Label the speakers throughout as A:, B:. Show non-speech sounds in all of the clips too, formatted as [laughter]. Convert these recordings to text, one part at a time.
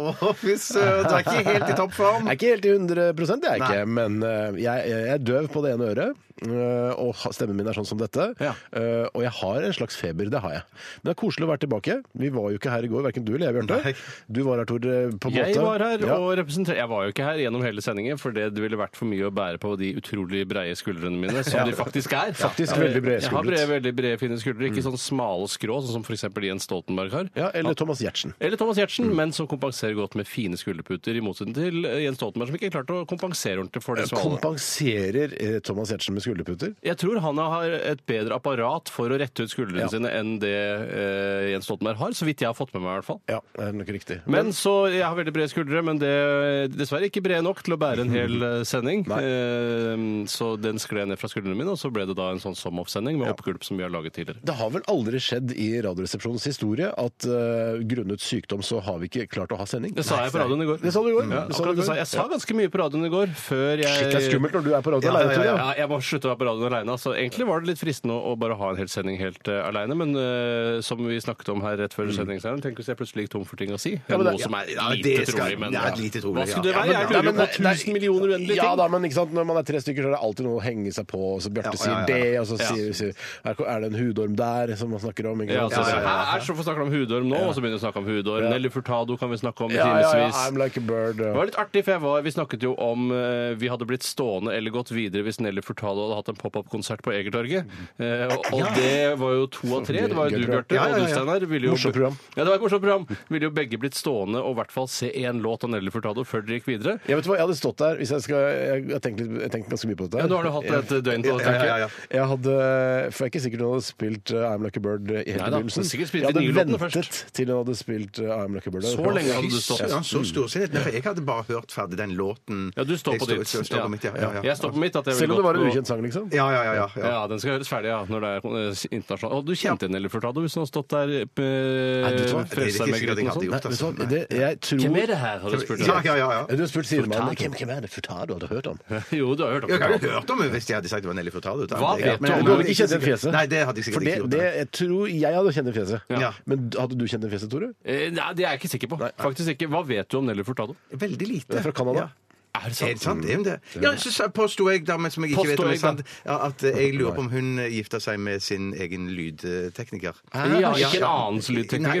A: Å, fy søren, du er ikke helt i toppform.
B: [laughs] Jeg er ikke helt i 100 det er jeg
A: Nei.
B: ikke, men eh, jeg, jeg er døv på det ene øret. eh, Og ha- stemmen min er sånn som dette.
A: Ja.
B: Eh, Og jeg har en slags feber, det har jeg. Men det er koselig å være tilbake. Vi var jo ikke her i går, verken du eller jeg,
A: Nei.
B: Bjarte. Du var her, Tor, eh, på en måte.
C: Jeg var her
B: Ja.
C: og representerte Jeg var jo ikke her gjennom hele sendingen, for det ville vært for mye å bære på de utrolig breie skuldrene mine, som de faktisk er.
B: Faktisk veldig brede
C: Jeg har
B: skuldre. Mm.
C: brede, veldig brede, fine skuldre, ikke sånn smale skrå, sånn som f.eks. Jens Stoltenberg har.
B: Ja, Mm. eller Thomas Giertsen.
C: Eller Thomas Giertsen, men som kompenserer godt med fine skulderputer, i motsetning til eh, Jens Stoltenberg, som ikke har klart å kompensere ordentlig for
B: Eh,
C: det smale.
B: Kompenserer eh, Thomas Giertsen med skulderputer?
C: Jeg tror han har et bedre apparat for å rette ut skuldrene
B: Ja.
C: sine enn det eh, Jens Stoltenberg har, så vidt jeg har fått med meg i hvert fall.
B: Ja, det er nok riktig.
C: Men så, Jeg har veldig brede skuldre, men det dessverre ikke brede nok til å bære en hel eh, [laughs] sending. Eh, Så den skled ned fra skuldrene mine, og så ble det da en sånn som-off-sending med oppgulp som vi har laget tidligere.
B: Det har vel aldri skjedd i Radioresepsjonens historie at eh, grunnet sykdom så har vi ikke klart å ha sending.
C: Det sa jeg på radioen i går.
B: Det sa du i går.
C: Ja,
B: Det sa du i
C: akkurat det
B: går.
C: sa jeg. jeg sa ganske mye på radioen i går før jeg
B: Shit, det er skummelt når du er på radioen alene, Tore.
C: Ja, jeg må slutte å være på radioen aleine. Altså, egentlig var det litt fristende å å bare ha en hel sending helt uh, aleine, men eh, som vi snakket om her rett før sendingen, Søren, tenk hvis jeg plutselig gikk tom for ting å si.
B: men
C: Noe
B: det-
C: som er
A: ja,
C: lite
A: det skal-
C: trolig, men
A: det er lite trolig,
C: Hva skulle
A: ja.
C: det være?
A: Ja, men-
C: Jeg lurer
B: Nei,
C: på
B: men-
C: tusen millioner uendelige
B: Ja
C: ting.
B: da, men ikke sant? når man er tre stykker, så er det alltid noe å henge seg på. og Så
A: Ja,
B: Bjarte
A: ja, ja, ja.
B: sier det, og så
C: Ja.
B: sier, sier er, er det en hudorm der som man snakker om? Ikke
C: Ja,
B: sant?
C: altså,
A: ja, ja, ja.
C: Æsj, hvorfor snakker du om hudorm nå? Og så begynner vi å snakke om hudorm.
B: Ja.
C: Nelly Furtado kan vi snakke om i
B: ja, ja, ja,
C: timevis.
B: I'm like a bird.
C: Det
B: Ja.
C: var litt artig, for jeg var, Vi snakket jo om eh, vi hadde blitt stående eller gått videre hvis Nelly Furtado hadde hatt en pop-up-konsert på Egertorget. Eh, og, og det var jo to av tre. Det var jo
B: Gøy
C: du,
B: program.
C: Bjarte,
A: Ja, ja,
C: og
A: ja.
C: du, Steinar. ville jo-
B: Morsomt program.
C: Ja, det var et morsomt program. Ville jo begge blitt stående og i hvert fall se én låt av Nelly Furtado før dere gikk videre.
B: Jeg vet hva, jeg hadde stått der hvis jeg skal Jeg jeg har tenkt, litt- jeg har tenkt ganske mye på dette.
C: Ja, nå har du hatt et døgn på det,
A: Ja,
C: tenker
A: ja,
C: jeg.
A: ja.
B: Jeg hadde, for jeg er ikke sikker hun hadde spilt uh, I'm Like a Bird i hele
C: Nei da,
B: begynnelsen.
C: hun sikkert spilte
B: Jeg hadde
C: de nye låtene
B: ventet
C: først.
B: til hun hadde spilt uh, I'm Like a Bird.
C: Så lenge hadde du
A: Fy
C: stått.
A: søren, så storsinnet. Nei, for Jeg hadde bare hørt ferdig den låten.
C: Ja, du står
A: Jeg
C: på ditt.
A: står- står på mitt, ja, ja, ja.
C: Jeg står på mitt. At jeg ville
B: Selv om det var
C: gått
B: en
C: på-
B: ukjent sang, liksom.
A: Ja, ja, ja. ja, ja.
C: Ja, den skal høres ferdig, ja. Når det er eh, internasjonalt. Og du kjente Nelly Furtado hvis hun hadde stått der
B: vet du hva?
C: eh,
B: Det
A: Det er
C: frelst
A: ikke
C: seg med
A: sikkert jeg
C: gryten og
A: hadde
C: sånn.
B: Nei,
A: gjort
B: vet du hva,
A: altså.
B: det, jeg tror
C: Hvem er det her, har du spurt?
A: Ja, ja, ja. ja.
B: Du har spurt sidemannen.
C: Furtado.
B: Hvem, hvem er det? Furtado? Har du hørt om?
C: [laughs] Jo, du har hørt om
A: Jeg
C: det.
A: hadde hørt om henne hvis jeg hadde sagt det var Nelly Furtado. da.
C: Hva
A: Men jeg-
C: vet
A: men
C: du om
A: jeg-
B: Du hadde
A: jeg-
B: ikke kjent det fjeset?
A: Nei, det hadde jeg sikkert
B: For det,
A: ikke gjort.
B: det,
A: nei.
B: jeg tror jeg hadde kjent det fjeset.
A: Ja.
B: Men hadde du kjent det fjeset, Tore?
C: Eh, Nei, det er jeg ikke sikker på. Faktisk ikke. Hva vet du om Nelly Furtado?
A: Veldig lite.
B: Det er fra Canada.
A: Ja.
C: Er det
A: Er det sant? Er hun det? Ja, så sa- påsto jeg da, men som jeg ikke vet om det er
C: Påstod
A: sant, ja, at eh, jeg lurer på om hun eh, gifta seg med sin egen lydtekniker.
C: Ja, ikke en annens lydtekniker,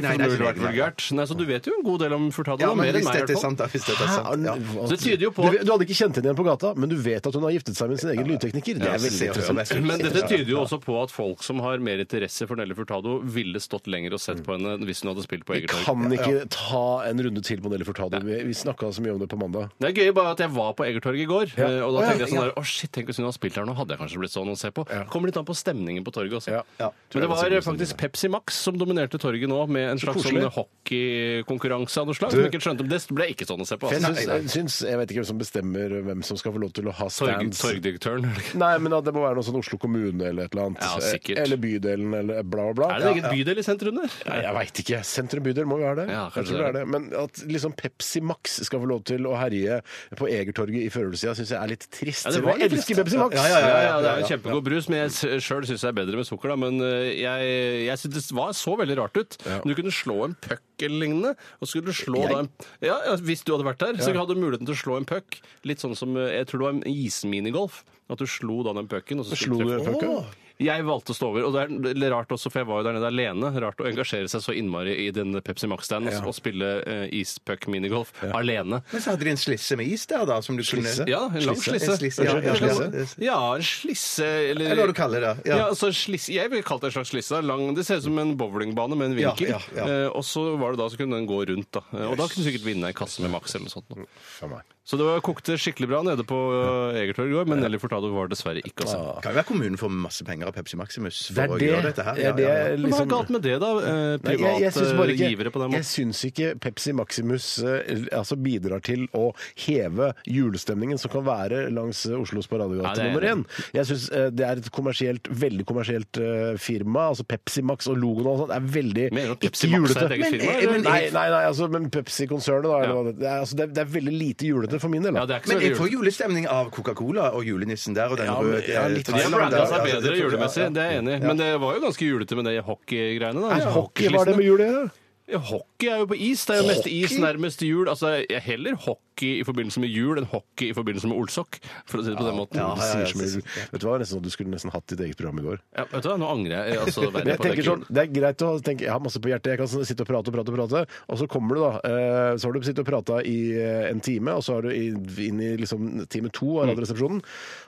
A: Nei,
C: for
A: nei,
C: det ville
A: nei,
C: vært
A: nei, nei.
C: vulgært. Nei, Så du vet jo en god del om Furtado.
A: Ja,
C: da,
A: men
C: Mer enn
A: hvis
C: meg, i
A: dette er
C: hvert fall.
A: sant, da. Hvis dette er sant. Ja.
B: Hva-
C: Så det tyder jo på
B: du, vet- du hadde ikke kjent henne igjen på gata, men du vet at hun har giftet seg med sin egen lydtekniker. Det
A: Ja,
B: er veldig
A: se og hør.
B: interessant.
C: men dette tyder jo også på at folk som har mer interesse for Nelly Furtado, ville stått lenger og sett på henne hvis hun hadde spilt på eget torg.
B: Kan ikke ta en runde til på Nelly Furtado. Vi, vi snakka så mye om det på mandag.
C: Det er gøy bare at jeg var på Egertorget i går, eh, og da
A: Å, ja,
C: tenkte jeg sånn
A: ja.
C: der, å shit, tenk hvis hun hadde spilt her nå, hadde jeg kanskje blitt sånn å se på.
B: Ja.
C: Kommer litt an på stemningen på torget også.
B: Ja, ja.
C: Men det
B: Tror
C: var
B: jeg
C: eh,
B: det er
C: faktisk Pepsi Max som dominerte torget nå, med en slags sånn
B: koselig.
C: hockeykonkurranse av noe slag. Som jeg ikke skjønte, men det ble ikke sånn å se på.
B: For
C: Altså.
B: Jeg syns, jeg, syns, jeg vet ikke hvem som bestemmer hvem som skal få lov til å ha
C: Torg,
B: stands.
C: torgdirektøren.
B: Nei, men at det må være noe sånn Oslo kommune eller et eller annet.
C: Ja, sikkert.
B: eller bydelen eller bla, bla, bla.
C: Er det en egen bydel i sentrum der?
B: Nei, jeg veit ikke. Sentrum bydel må jo være det.
C: Ja,
B: jeg
C: kanskje
B: tror det er det. Men at liksom Pepsi Max skal få lov til å herje på Egertorget i førjulstida, syns jeg er litt trist.
C: Ja, det
B: Selv
C: var
B: om jeg
C: litt
B: elsker
C: trist.
B: Pepsi Max!
A: Ja, ja, ja,
C: Ja,
A: ja,
C: ja, det er jo kjempegod brus, men jeg sjøl syns det er bedre med sukker, da. Men eh, jeg, jeg syns det var så veldig rart ut. Du kunne slå en puck eller lignende, og skulle du slå da en ja, ja, Hvis du hadde vært der, så hadde du muligheten til å slå en puck. Litt sånn som eh, jeg tror det var en isminigolf. At du slo da den pucken, og så
B: Slo du
C: skulle treffe.
B: pucken?
C: Åh! Jeg valgte å stå over, og det er litt rart også, for jeg var jo der nede alene. Rart å engasjere seg så innmari i den Pepsi Max-standen og- og spille eh, ispuck-minigolf alene.
A: Men så hadde de en slisse med is der, da. Som du
B: Slisse?
A: kunne
C: Ja, en lang
B: Slisse.
C: slisse.
A: En slisse, ja,
B: ja,
A: slisse.
C: Ja, en slisse eller,
A: Eller hva du kaller det, ja.
C: Ja. altså slisse, jeg ville kalt det en slags slisse. Lang, det ser ut som en bowlingbane med en vinkel.
A: Ja, ja, ja.
C: Eh, og så var det da så kunne den gå rundt. da. Eh, Og da kunne du sikkert vinne en kasse med Max eller noe sånt. Da.
B: For meg.
C: Så det var, eh, kokte skikkelig bra nede på uh, Egertorget i går, men Nelly Furtado var dessverre ikke å se.
A: Ah. Kan jo være kommunen får masse penger penger av Pepsi Maximus for
B: Det er
A: å
B: det,
A: gjøre dette her.
B: er det
C: Men Hva er galt med det, da? Eh,
B: Liksom- Nei, jeg- jeg
C: Private
B: syns bare ikke-
C: givere på den
B: Jeg
C: måten?
B: syns ikke Pepsi Maximus eh, altså bidrar til å heve julestemningen som kan være langs eh, Oslos
C: Ja,
B: paradegate
C: det er jeg
B: nummer
C: enig
B: én. Jeg syns eh, det er et kommersielt, veldig kommersielt eh, firma. altså Pepsi Max og logoen og sånt er veldig
C: Mener du at
B: ikke
C: Pepsi Max er et
B: julete.
C: eget
B: Men-
C: firma,
B: eh,
C: eller?
B: men- Nei, nei, nei altså, men Pepsi-konsernet, da.
C: Ja.
B: eller hva det- Det, er, altså, det, er- det er veldig lite julete for min del. da.
C: Ja, det er ikke så
A: Men jeg får
C: veldig
A: julestemning av Coca-Cola og julenissen der og den
B: Ja, men-
A: røde eh,
B: ja, litt-
C: De har
A: traileren
C: branda
A: der.
C: seg
A: Ja, det-
C: bedre julemessig, det er jeg enig i.
B: Ja.
C: Men det var jo ganske julete med de hockeygreiene. da.
B: Nei,
C: Ja,
B: hockey, hva er det med jul å gjøre?
C: Ja, Hockey er jo på is. Det er jo mest
B: Hockey?
C: is nærmest jul. Altså, jeg heller hockey i forbindelse med jul enn hockey i forbindelse med olsokk, for å si det på den måten.
B: Du
C: Ja,
A: ja,
B: sier
A: ja,
B: så mye. Vet du hva, nesten sånn at du skulle nesten hatt ditt eget program i går.
C: vet du hva, nå angrer jeg. Altså,
B: Men
C: verre
B: jeg
C: på det
B: tenker sånn,
C: ikke-
B: Det er greit å tenke Jeg har masse på hjertet, jeg kan sånn sitte og prate og prate, og prate Og så kommer du, da. eh, Så har du sittet og prata i eh, en time, og så er du i- inn i liksom time to av Radioresepsjonen,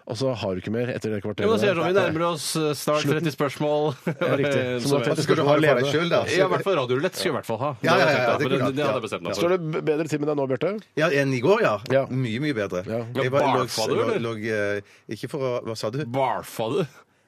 B: og så har du ikke mer etter det
C: Mm. Jo,
B: kvarteret.
C: men da sier jeg sånn, Vi nærmer oss eh, snart 30 spørsmål.
B: Ja,
C: [laughs]
B: riktig. Så
C: Som
B: nå
C: jeg-
B: tenker
A: Skal du ha det for deg
B: Leve.
A: sjøl, da?
C: Ja, i hvert fall radiorulett skulle jeg i hvert fall ha.
A: Ja, ja, ja,
C: Det hadde jeg tenkt,
A: det er
C: men
A: klart.
C: det hadde jeg bestemt meg for.
B: Står det b- bedre til med deg nå, Bjarte?
A: Ja, enn i går, ja.
B: Ja.
A: Mye, mye bedre.
B: Ja.
A: Jeg var-
C: Ja,
A: lå-
C: barfa du,
A: lå-
C: eller?
A: lå- eh, Ikke for å Hva sa du?
C: Barfa du?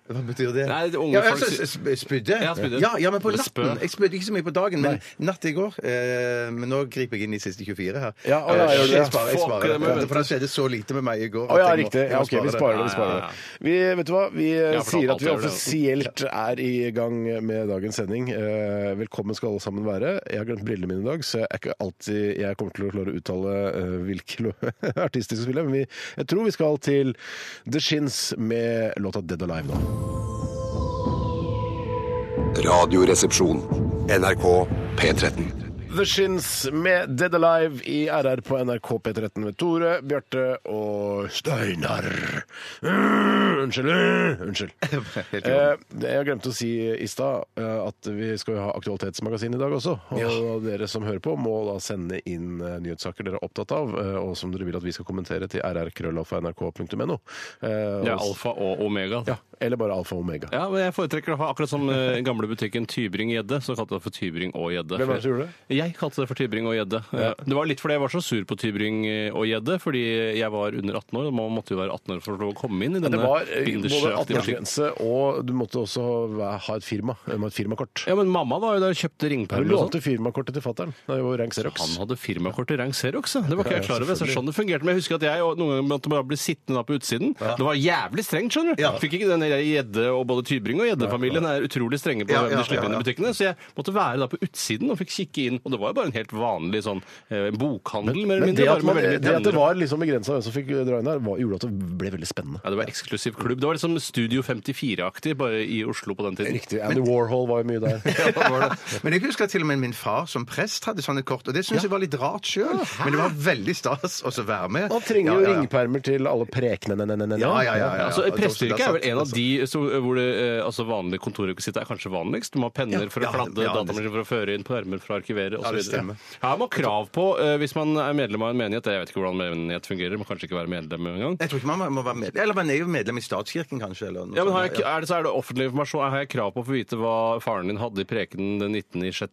A: Hva betyr det?
C: Nei, det er unge
A: ja,
C: folk
A: altså,
C: sier-
A: sp- spydde?
C: Ja, spydde.
A: Ja, ja, men på
C: Eller spø.
A: natten. Jeg spydde ikke så mye på dagen, men natt i går eh, Men nå griper jeg inn i siste 24 her.
B: Ja, å, ja,
A: Eh,
B: gjør du det?
A: Jeg sparer, jeg
C: Fuck,
A: sparer
C: det må
A: det,
C: vente.
A: for det skjedde så lite med meg i går.
B: Å ja,
A: at jeg må-
B: riktig.
A: jeg
B: Ja,
A: må
B: ok, vi
A: spare
B: sparer det. Vi,
C: Ja, ja,
B: sparer
C: ja.
B: det. vi Vet du hva? Vi eh,
C: Ja, for da
B: sier at vi
C: alt er det.
B: offisielt er i gang med dagens sending. Eh, Velkommen skal alle sammen være. Jeg har glemt brillene mine i dag, så jeg er ikke alltid jeg kommer til å klare å uttale eh, hvilke lo- [laughs] artister som spiller. Men vi, jeg tror vi skal til The Shins med låta Dead Alive nå.
D: Radioresepsjon. NRK P13.
B: The Shins med Dead Alive i RR på NRK P13 med Tore, Bjarte og Steinar. Mm, Unnskyld. mm,
C: [laughs]
B: Unnskyld.
A: Helt i orden.
B: Eh, jeg glemte å si i stad eh, at vi skal jo ha Aktualitetsmagasin i dag også. Og dere som hører på, må da sende inn eh, nyhetssaker dere er opptatt av, eh, og som dere vil at vi skal kommentere til rrkrøllalfa.nrk.no. Eh,
C: Det er
B: og-
C: alfa og omega.
B: Ja, eller bare alfa og omega.
C: Ja, men jeg foretrekker å ha akkurat som eh, den gamle butikken Tybring-Gjedde, så kalte jeg det for Tybring og Gjedde.
B: Hvem var det som gjorde det?
C: Jeg kalte det for Tybring og Gjedde. Eh, Det var litt fordi jeg var så sur på Tybring eh, og Gjedde, fordi jeg var under 18 år, og man måtte jo være 18 år for å få lov å komme inn i
B: Det
C: denne
B: var eh, både
C: bindersaktige butikken.
B: 18-årsgrense, og du måtte også væ- ha et firma. eh, med et firmakort.
C: Ja, men mamma var jo der og kjøpte
B: Du
C: ringpermer og sånn.
B: lånte firmakortet til fatter'n. Det er jo rank Xerox.
C: Han hadde firmakort i rang Xerox, ja. Det var ikke
B: Ja,
C: jeg klar over. Så
B: selvfølgelig.
C: sånn det fungerte. Men jeg husker at jeg og noen ganger måtte bare bli sittende da på utsiden. Det var jævlig strengt, skjønner du.
A: Ja.
C: Fikk ikke den der gjedde og både Tybring og gjeddefamilien er utrolig strenge på
A: Ja,
C: hvem
A: ja,
C: de slipper
A: ja,
C: inn
A: ja.
C: i butikkene. Så jeg måtte være da på utsiden og fikk kikke inn. Og det var jo bare en helt vanlig sånn eh, bokhandel, mer eller
B: Men det
C: mindre.
B: at,
C: Bare
B: man,
C: med
B: det
C: veldig mye
B: at det
C: tenner.
B: var liksom begrensa hvem som fikk dra inn der, var- gjorde at det ble veldig spennende.
C: Ja, det var eksklusiv klubb. Det var liksom Studio 54-aktig bare i Oslo på den tiden.
B: Riktig. Andy Warhol var jo mye der.
A: [laughs]
C: Ja, det var det.
A: Men jeg husker til og med min far som prest hadde sånne kort, og det syns jeg var litt rart sjøl. Men det var veldig stas å så være med.
B: Han Ah, trenger
A: Ja,
B: jo
A: ja, ja.
B: ringepermer til alle prekenene.
A: Ja, ja, ja, ja.
C: altså,
A: det er også-
C: Presteyrket
A: det
C: er
A: er
C: vel en av
A: sant.
C: de så, hvor det eh, altså, vanlige kontorrekvisitter er kanskje vanligst. Du må ha penner for å
A: ja,
C: kladde,
A: ja, det-
C: datamaskin for å føre inn, permer for å arkivere
A: Ja,
C: osv.
A: det
C: Ja,
A: stemmer.
C: man har krav på, eh, hvis man er medlem av en menighet Jeg vet ikke hvordan menighet fungerer, må kanskje ikke være medlem engang.
A: Jeg tror ikke man må være med. Eller man er jo medlem i statskirken, kanskje. Eller noe
C: Ja, men har
A: sånt,
C: jeg, er det, så er det offentlig informasjon. Har jeg krav på å få vite hva faren din hadde i prekenen den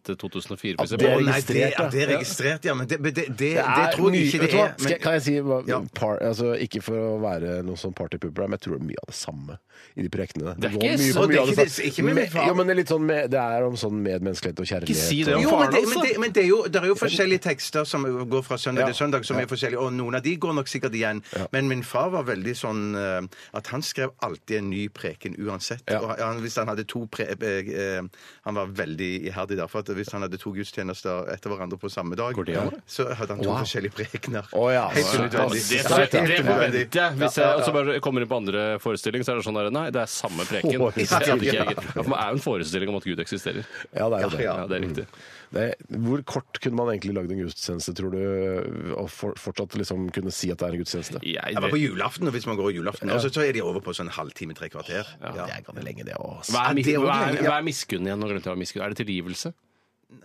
C: 19.06.2004?
B: Ja,
C: Ja,
B: det
A: Å,
B: er
A: nei, det,
B: registrert,
A: ja, det er
B: ja.
A: registrert, ja. Men det, det, det, det, tror jeg ikke
B: Vet
A: det
B: du hva?
A: er.
B: Skal, jeg- kan jeg si hva-
A: Ja.
B: par, altså, Ikke for å være noen sånn partypooper, her, men jeg tror det er mye av det samme i de prekene.
C: Det er
B: går
C: ikke
B: mye på
C: så-
B: mye
A: det er
B: av
A: ikke det-
B: samme.
A: ikke med min far.
B: Jo, men det er litt sånn med, det er om sånn medmenneskelighet og kjærlighet.
C: si det om
B: og,
A: Jo, men, det,
C: faren
A: men,
C: også.
A: det, men det, er jo, det er jo forskjellige tekster som går fra søndag
B: Ja.
A: til søndag, som er forskjellige, og noen av de går nok sikkert igjen. Men min far var veldig sånn eh, at han skrev alltid en ny preken uansett.
B: Ja.
A: Og han, hvis han hadde to pre... eh, eh, Han var veldig iherdig der, for at hvis han hadde to gudstjenester etter hverandre på samme dag,
C: det an?
A: så hadde han to forskjellige prekener.
B: Å, ja.
A: Helt
B: Ja,
A: unødvendig.
C: Det,
B: det-
C: det,
B: det-
C: forventer jeg. altså, Hvis jeg også bare kommer inn på andre forestilling, så er det sånn der, nei, det er samme preken.
B: Forestilling.
C: Det hadde ikke jeg gitt. Ja, For man er jo en forestilling om at Gud eksisterer.
B: ja, det er jo det.
C: Ja, det er riktig.
B: Det, hvor kort kunne man egentlig lagd en gudstjeneste, tror du? Og for, fortsatt liksom kunne si at det er en gudstjeneste?
C: Jeg,
A: Ja, men på julaften, og hvis man går julaften, og så, så er de over på sånn halvtime, tre kvarter. Ja.
B: Det er ganske lenge, det òg.
C: hva
A: Ja,
C: er,
A: det er jo
C: hva er,
A: lenge, ja.
C: hva er miskunn igjen? Nå glemte jeg hva miskunn er. Er det tilgivelse?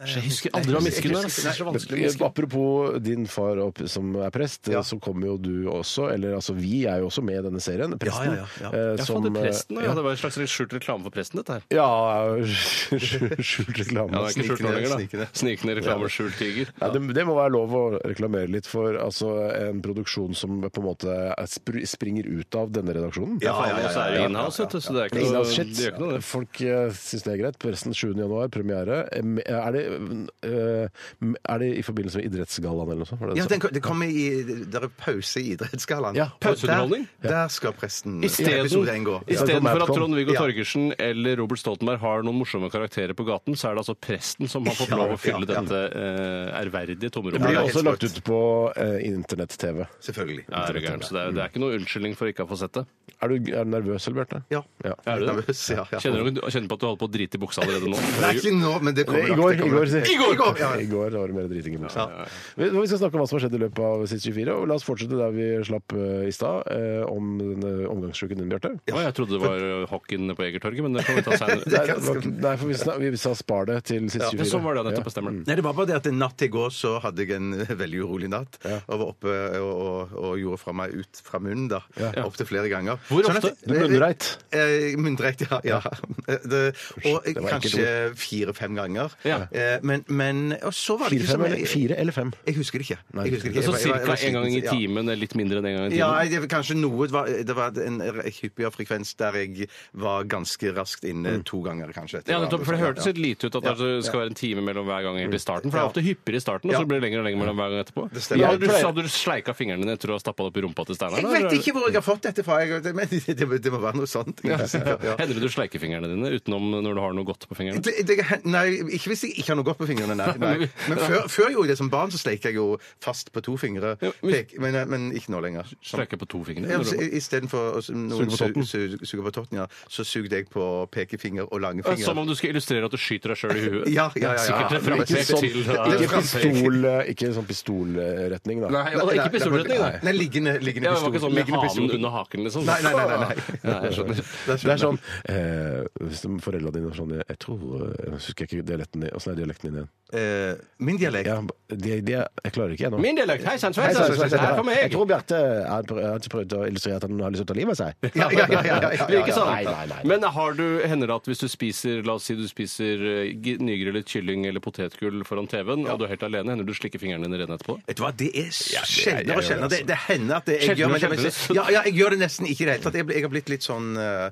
C: Jeg husker aldri hva misken er. ass. Det er så vanskelig å huske.
B: Apropos din far opp, som er prest,
A: Ja.
B: så kommer jo du også, eller altså vi er jo også med i denne serien, presten.
A: Ja, ja, ja,
B: eh,
C: Jeg
B: som,
C: fant presten,
B: eh,
C: ja. Det var en slags skjult reklame for presten, dette her.
B: Ja, [laughs] skjult reklame.
C: Ja, det er ikke skjult
A: Snikende-
C: lenger, da.
A: snikende.
C: Snikende reklame, skjult tiger.
B: Ja, det, det må være lov å reklamere litt for altså, en produksjon som på en måte er spr springer ut av denne redaksjonen.
C: Ja,
A: ja, ja,
C: Og så er det
A: ja, ja,
C: inhouse, vet du, så det er
B: Det
C: ikke
B: er
C: noe,
B: innad shit.
C: det gjør ikke noe, det.
B: Folk uh, syns det er greit. Presten 7. januar, premiere. Em, Er det, eh, er det i forbindelse med Idrettsgallaen eller noe sånt? Var det
A: Ja,
B: det
A: den, kom- det kommer i Der er pause i Idrettsgallaen.
B: Ja,
A: Og
C: pauseunderholdning.
A: Der, der skal presten episode én gå.
C: Isteden-
A: Ja.
C: Istedenfor at
B: Malcolm.
C: Trond-Viggo
A: Ja.
C: Torgersen eller Robert Stoltenberg har noen morsomme karakterer på gaten, så er det altså presten som har fått
A: Ja,
C: lov å
A: ja,
C: fylle
A: ja.
C: dette eh, ærverdige
B: Det blir
A: Ja,
B: jo
C: tomrommet.
A: helt
B: også lagt
A: sprøtt.
B: ut på eh, internett-TV.
A: Selvfølgelig.
C: Ja, er du gæren? Så det, er, det er ikke noe unnskyldning for ikke å få sett det.
B: Er, du- er du nervøs, eller, Bjarte?
A: Ja.
B: Ja.
C: Er du det?
A: Nervøs, ja, ja.
C: Kjenner du kjenner på at du holder på å drite i buksa allerede nå?
A: [laughs] Nei, ikke nå, men det kommer
B: I
A: nok,
B: går,
A: det
B: i
A: kommer
B: går,
A: nok.
B: sier jeg.
A: I går, i går, ja.
B: I går var det mer driting i buksa. Vi vi skal snakke om hva som har skjedd i løpet av sist 24, og la oss fortsette der vi slapp eh, i stad, eh, om denne omgangssjuken din, Bjarte.
C: Å, jeg trodde det var eh, hockeyen på Egertorget, men det kan vi ta
A: [laughs]
B: Nei,
C: senere.
B: det var ikke- nei, for vi, snak, vi sa spar det til sist 24.
C: Men sånn var det, nettopp bestemmer det.
A: Nei, det var bare det at en Natt til i går så hadde jeg en [laughs] veldig urolig natt. Og var oppe og, og, og gjorde fra meg ut fra munnen da, opptil flere ganger.
C: Hvor
A: Sånn at-
C: ofte?
B: Du munnreit.
A: Eh, Munnrett, ja. ja. Eh, Det, og
B: det var
A: kanskje fire-fem ganger.
C: Ja.
A: Eh, Men, men Og så var det
B: Fire,
A: ikke
B: fem,
A: som
B: eller, fire eller fem?
A: Jeg husker det ikke.
B: Nei,
A: Jeg husker det ikke.
C: Så
A: Jeg var- jeg var- jeg
C: ca.
A: var
C: én sånn gang i
A: sliten, ja.
C: timen, eller litt mindre enn én en gang i
A: Ja,
C: timen?
A: det, var kanskje noe det var, det var en hyppigere frekvens der jeg var ganske raskt inne to ganger, kanskje.
C: Mm. Ja, nettopp, for Det hørtes litt lite ut at
A: Ja,
C: det skal være en time mellom hver gang helt i starten. For det er ofte hyppigere i starten, og så
A: Ja.
C: blir det lenger og lenger mellom hver gang etterpå.
A: Det stemmer.
C: Ja, du, så hadde du sleika fingrene dine etter å ha stappa det opp i rumpa til Steinar?
A: Jeg
C: eller?
A: vet ikke hvor jeg har fått dette fra, jeg, men det, det, det må være noe sånt. jeg er sikker, [laughs] ja.
C: Hender det du sleiker fingrene dine utenom når du har noe godt på fingrene?
A: Det, det, nei, ikke hvis jeg ikke har noe godt på fingrene. Nei, nei. Men før, før jeg gjorde det som barn, så sleiker jeg jo fast på to fingre.
C: Ja, men-
A: Pek, men, men ikke nå lenger.
C: Sleiker på to fingre?
A: Ja,
C: når du-
A: i- Istedenfor å s- noen
B: Suge på totten.
A: su- su- suge på totten, ja, så sugde jeg på pekefinger og lange fingre.
C: Som om du skal illustrere at du skyter deg sjøl i huet?
A: Ja, ja, ja, ja.
C: Sikkert det
A: Ikke
C: frampek
A: sånn-
C: til
A: ikke
C: ja.
B: Ikke, pistol, ikke sånn pistolretning, da.
C: Nei, og det er ikke pistolretning, nei.
A: Nei, liggende, liggende
C: Ja, det var ikke sånn med
A: liggende pistol.
C: hanen under haken, liksom?
A: Nei, nei, nei, nei, nei.
C: Nei, jeg skjønner.
B: Det er sånn eh, Hvis de foreldra dine er sånn Jeg tror Jeg husker ikke dialekten din. Åssen er dialekten din igjen?
A: Eh, min dialekt.
B: Ja, det, det, jeg klarer ikke, jeg nå.
C: Min dialekt! Hei sann,
B: Hei,
C: sveitser!
B: så- så-
C: Det er
B: Jeg
C: for meg!
B: tror Bjarte har har prøvd å illustrere at han har lyst til å ta livet av seg.
A: Ja, ja, ja, ja, ja, ja,
C: Det er ikke sant.
B: Nei, nei, nei.
C: Men har du, hender det at hvis du spiser la oss si du spiser eh, gi- nygrillet kylling eller potetgull foran TV-en, og du er helt alene, hender du slikker fingrene dine rene etterpå?
A: Vet du hva, Det er sjeldnere og
B: gjør
A: sjeldnere. Det, det hender at det, jeg
C: Sjeldnere
A: gjør men
C: og
A: det,
C: sjeldnere.
A: ja, ja, jeg gjør det nesten ikke i det hele tatt. Jeg, ble- jeg har blitt litt sånn uh,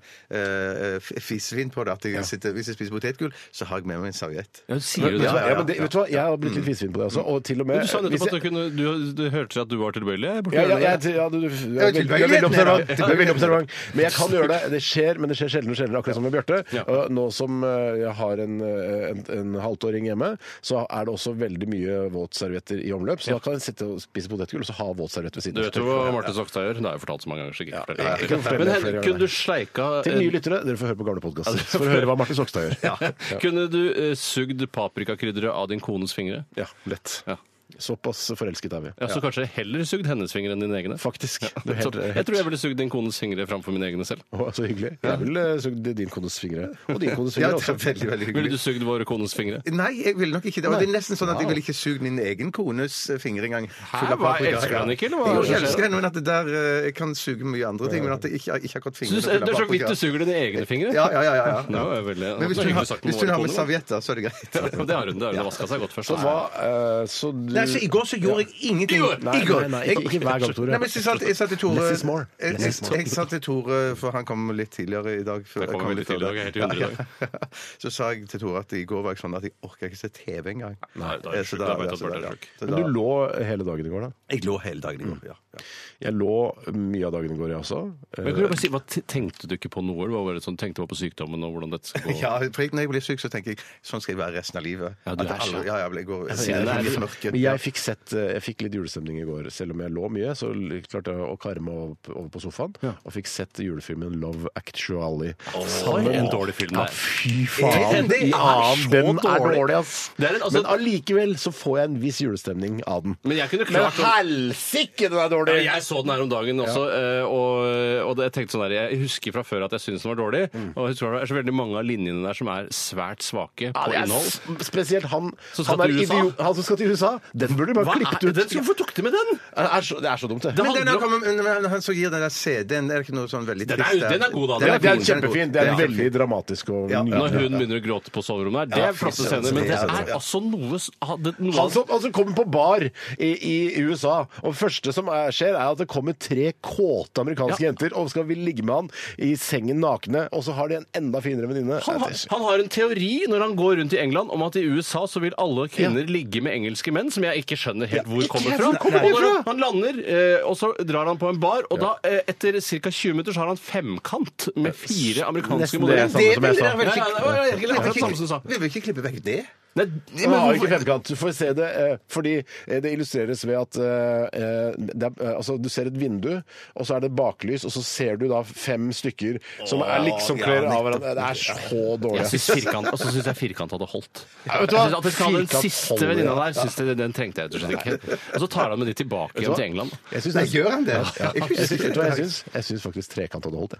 A: fisvin på det. at jeg sitter, Hvis jeg spiser potetgull, så har jeg med meg en serviett.
C: Ja, du sier jo
B: Ja, Mm.
C: det.
A: ja, ja.
B: men det, vet du hva, Jeg har blitt litt fisefin på det også. Og til og med
C: Men Du sa
B: hvis
C: nettopp at du
B: jeg-
C: kunne Du, du hørte at du var tilbøyelig? eh, borti
B: ja, ja,
C: hjørnet der.
B: jeg- ja, du, du, du, er
A: Ja,
B: veldig- du er veldig
A: tilbøyeligheten,
B: observant.
A: ja.
B: Du er veldig observant. Men jeg kan gjøre det. Det skjer, men det skjer sjeldnere og sjeldnere, akkurat som med
C: Ja.
B: Bjarte. Og Nå som eh, jeg har en, eh, en, en halvtåring hjemme, så er det også veldig mye våtservietter i omløp. Så da kan jeg sitte og spise potetgull og så ha våtserviett ved
C: Du
B: siden
C: vet jo hva Marte Sokstad gjør. Det har jeg fortalt så mange ganger. så jeg ikke forteller
B: jeg
C: det.
B: kan fortelle
C: Men
B: det
C: hen-
B: flere ganger.
C: kunne du sleika
B: Til nye lyttere, dere får høre på gamle podkaster for å høre hva Martin Sokstad gjør.
C: eh, [laughs] Kunne du eh, sugd paprikakrydderet av din kones fingre?
B: Ja, lett.
C: Ja.
B: Såpass forelsket er vi.
C: Ja, så kanskje heller sugd hennes fingre enn dine egne?
B: Faktisk.
C: Ja,
B: Det er helt-
C: så, jeg tror jeg ville sugd din kones fingre framfor mine egne selv.
B: Å, så hyggelig. Jeg vil eh, sugd din kones fingre. Og din kones
A: Ja,
B: fingre
A: det er
B: også.
A: veldig, veldig
C: Ville du
A: hyggelig.
C: sugd våre kones fingre?
A: Nei, jeg ville nok ikke det. Og det er nesten sånn at jeg
B: Wow.
A: ville ikke sugd min egen kones fingre engang. full av
C: hva,
A: paprika.
C: elsker du henne ikke, eller hva?
A: Jo, jeg elsker henne, men at det der eh, jeg kan suge mye andre ting. Men at jeg ikke, ikke har fått
C: Synes,
A: fingrene
C: det er
A: full
C: så
A: av
C: vidt
A: paprika.
C: du suger dine egne fingre.
A: Ja, ja, ja, ja, ja.
C: Det var jo veldig,
A: Men hvis
C: det var
A: hun
C: hyggelig
A: har,
C: sagt om
A: hvis hun
C: våre
A: har med
C: koner.
A: servietter, så er det greit.
C: Ja, Det har hun. det har hun vaska seg godt først.
B: Så hva eh, Så du
A: Nei, så I går så gjorde jeg ingenting.
B: Nei,
A: I går.
B: nei, nei, ikke, ikke hver gang, Tore.
A: Nei, men jeg sa til- jeg sa til Tore
B: Less is more.
A: Jeg,
B: Less is more.
A: jeg, jeg sa til Tore, for han kom litt tidligere i dag før jeg
C: Jeg
A: kom
C: kommer veldig
A: litt
C: til i
A: tidligere.
C: dag. Jeg er helt i hundre i dag.
A: [laughs] Så sa jeg til Tore at i går var jeg sånn at jeg orker ikke se TV engang.
C: Nei, da er
A: Eh,
C: jeg
A: så
C: sjuk. Da vet jeg
A: ja,
C: at
A: så
C: Bjarte er
A: ja.
C: sjuk.
A: Så
B: Men
A: da-
B: du lå hele dagen i går, da?
A: Jeg lå hele dagen i går, ja. [laughs] ja.
B: Jeg lå mye av dagen i går, jeg også. Eh,
C: Men kan du bare si, hva t- Tenkte du ikke på noe? Du var bare sånn, tenkte bare på sykdommen og hvordan dette skal gå?
A: [laughs] Ja, for jeg- Når jeg blir syk, så tenker jeg sånn skal jeg være resten av livet.
C: Ja, du
A: At
C: er
A: jeg aldri-
C: sånn.
A: ja, jeg blir- jeg går, jeg
C: ser det.
A: blir litt mørke.
B: Men Eh, jeg jeg fikk sett eh, Jeg fikk litt julestemning i går. Selv om jeg lå mye, så l- klarte jeg å karme opp, over på sofaen og fikk sett julefilmen Love Actually.
C: For en dårlig film det
B: Ja,
C: er.
B: fy
C: Er
B: faen!
C: den det?
B: Ja,
C: Er så
B: den er
C: dårlig.
B: dårlig, ass.
C: Det er en- altså-
B: Men allikevel så får jeg en viss julestemning av den.
C: Men jeg kunne
B: Men
C: klart å-
B: helsike, den er dårlig!
C: Ja, jeg så den her om dagen også, eh, og, og det, jeg tenkte sånn der, jeg husker fra før at jeg syntes den var dårlig. Og jeg tror det er så veldig mange av linjene der som er svært svake
B: Ja,
C: på
B: det er
C: innhold.
B: sp- Spesielt han,
C: Som skal
B: han, er
C: til USA.
B: idiot, han som skal til USA. Den burde du bare
C: Hva
B: klippet
C: er
B: ut.
C: den? Hvorfor tok de med den?
B: Det er så, det er så dumt, det.
C: Det
A: Men den
C: handler
A: er,
C: om-
A: kommet- men- men han som gir den der CD-en, er det ikke noe sånn veldig
C: Den er-
A: trist? der?
C: den er god, da.
B: Det er, det er
A: god, den er god.
B: kjempefin. Det er
A: Ja.
B: veldig dramatisk og
A: Ja.
C: Når
B: nydelig.
C: hun begynner å gråte på soverommet her, det
B: Ja,
C: er flotte
B: fy søren,
C: scener. Men det
B: så fint,
C: er altså noe, s- ha- det, noe
B: Han som, han som kommer på bar i, i USA, og det første som er, skjer, er at det kommer tre kåte amerikanske jenter og skal vil ligge med han i sengen nakne, og så har de en enda finere venninne.
C: han, har, han har en teori når han går rundt i England om at i USA så vil alle kvinner ligge med engelske menn, som jeg ikke skjønner helt
B: Ja,
C: hvor
B: ikke
C: kommer
B: helt
C: fra.
B: hvor kommer det
C: Og når
B: fra?
C: han- Han lander, eh, og så drar han på en bar, og da, eh, etter ca. 20 minutter, så har han femkant med fire amerikanske
B: Nesten det sånn-
C: modeller.
B: samme som jeg sa.
C: Ja, ja, det var egentlig akkurat det samme som du sa.
A: Vi vil ikke klippe vekk det.
C: Nei,
B: Men har
C: hvorfor-
B: ikke femkant. Du får se det eh, fordi eh, det illustreres ved at eh, eh, det er, eh, altså, du ser et vindu, og så er det baklys, og så ser du da fem stykker som er liksom
A: ja,
B: klær av
A: nettopp.
B: hverandre. Det er så dårlig.
C: Jeg
B: ass.
C: syns firkant, og så syns jeg firkant hadde holdt.
B: Ja,
C: Jeg
B: vet du hva?
C: synes at jeg skal ha Den
B: Firkant
C: siste
B: holder, ja.
C: venninna der, synes jeg, den trengte jeg rett og slett ikke. Og så tar han med de tilbake
B: Vet du
C: igjen
B: hva?
C: til England.
B: Jeg syns
A: Nei,
B: det-
A: gjør han det?
B: Jeg syns- vet du hva jeg syns? Jeg syns faktisk trekant hadde holdt, jeg.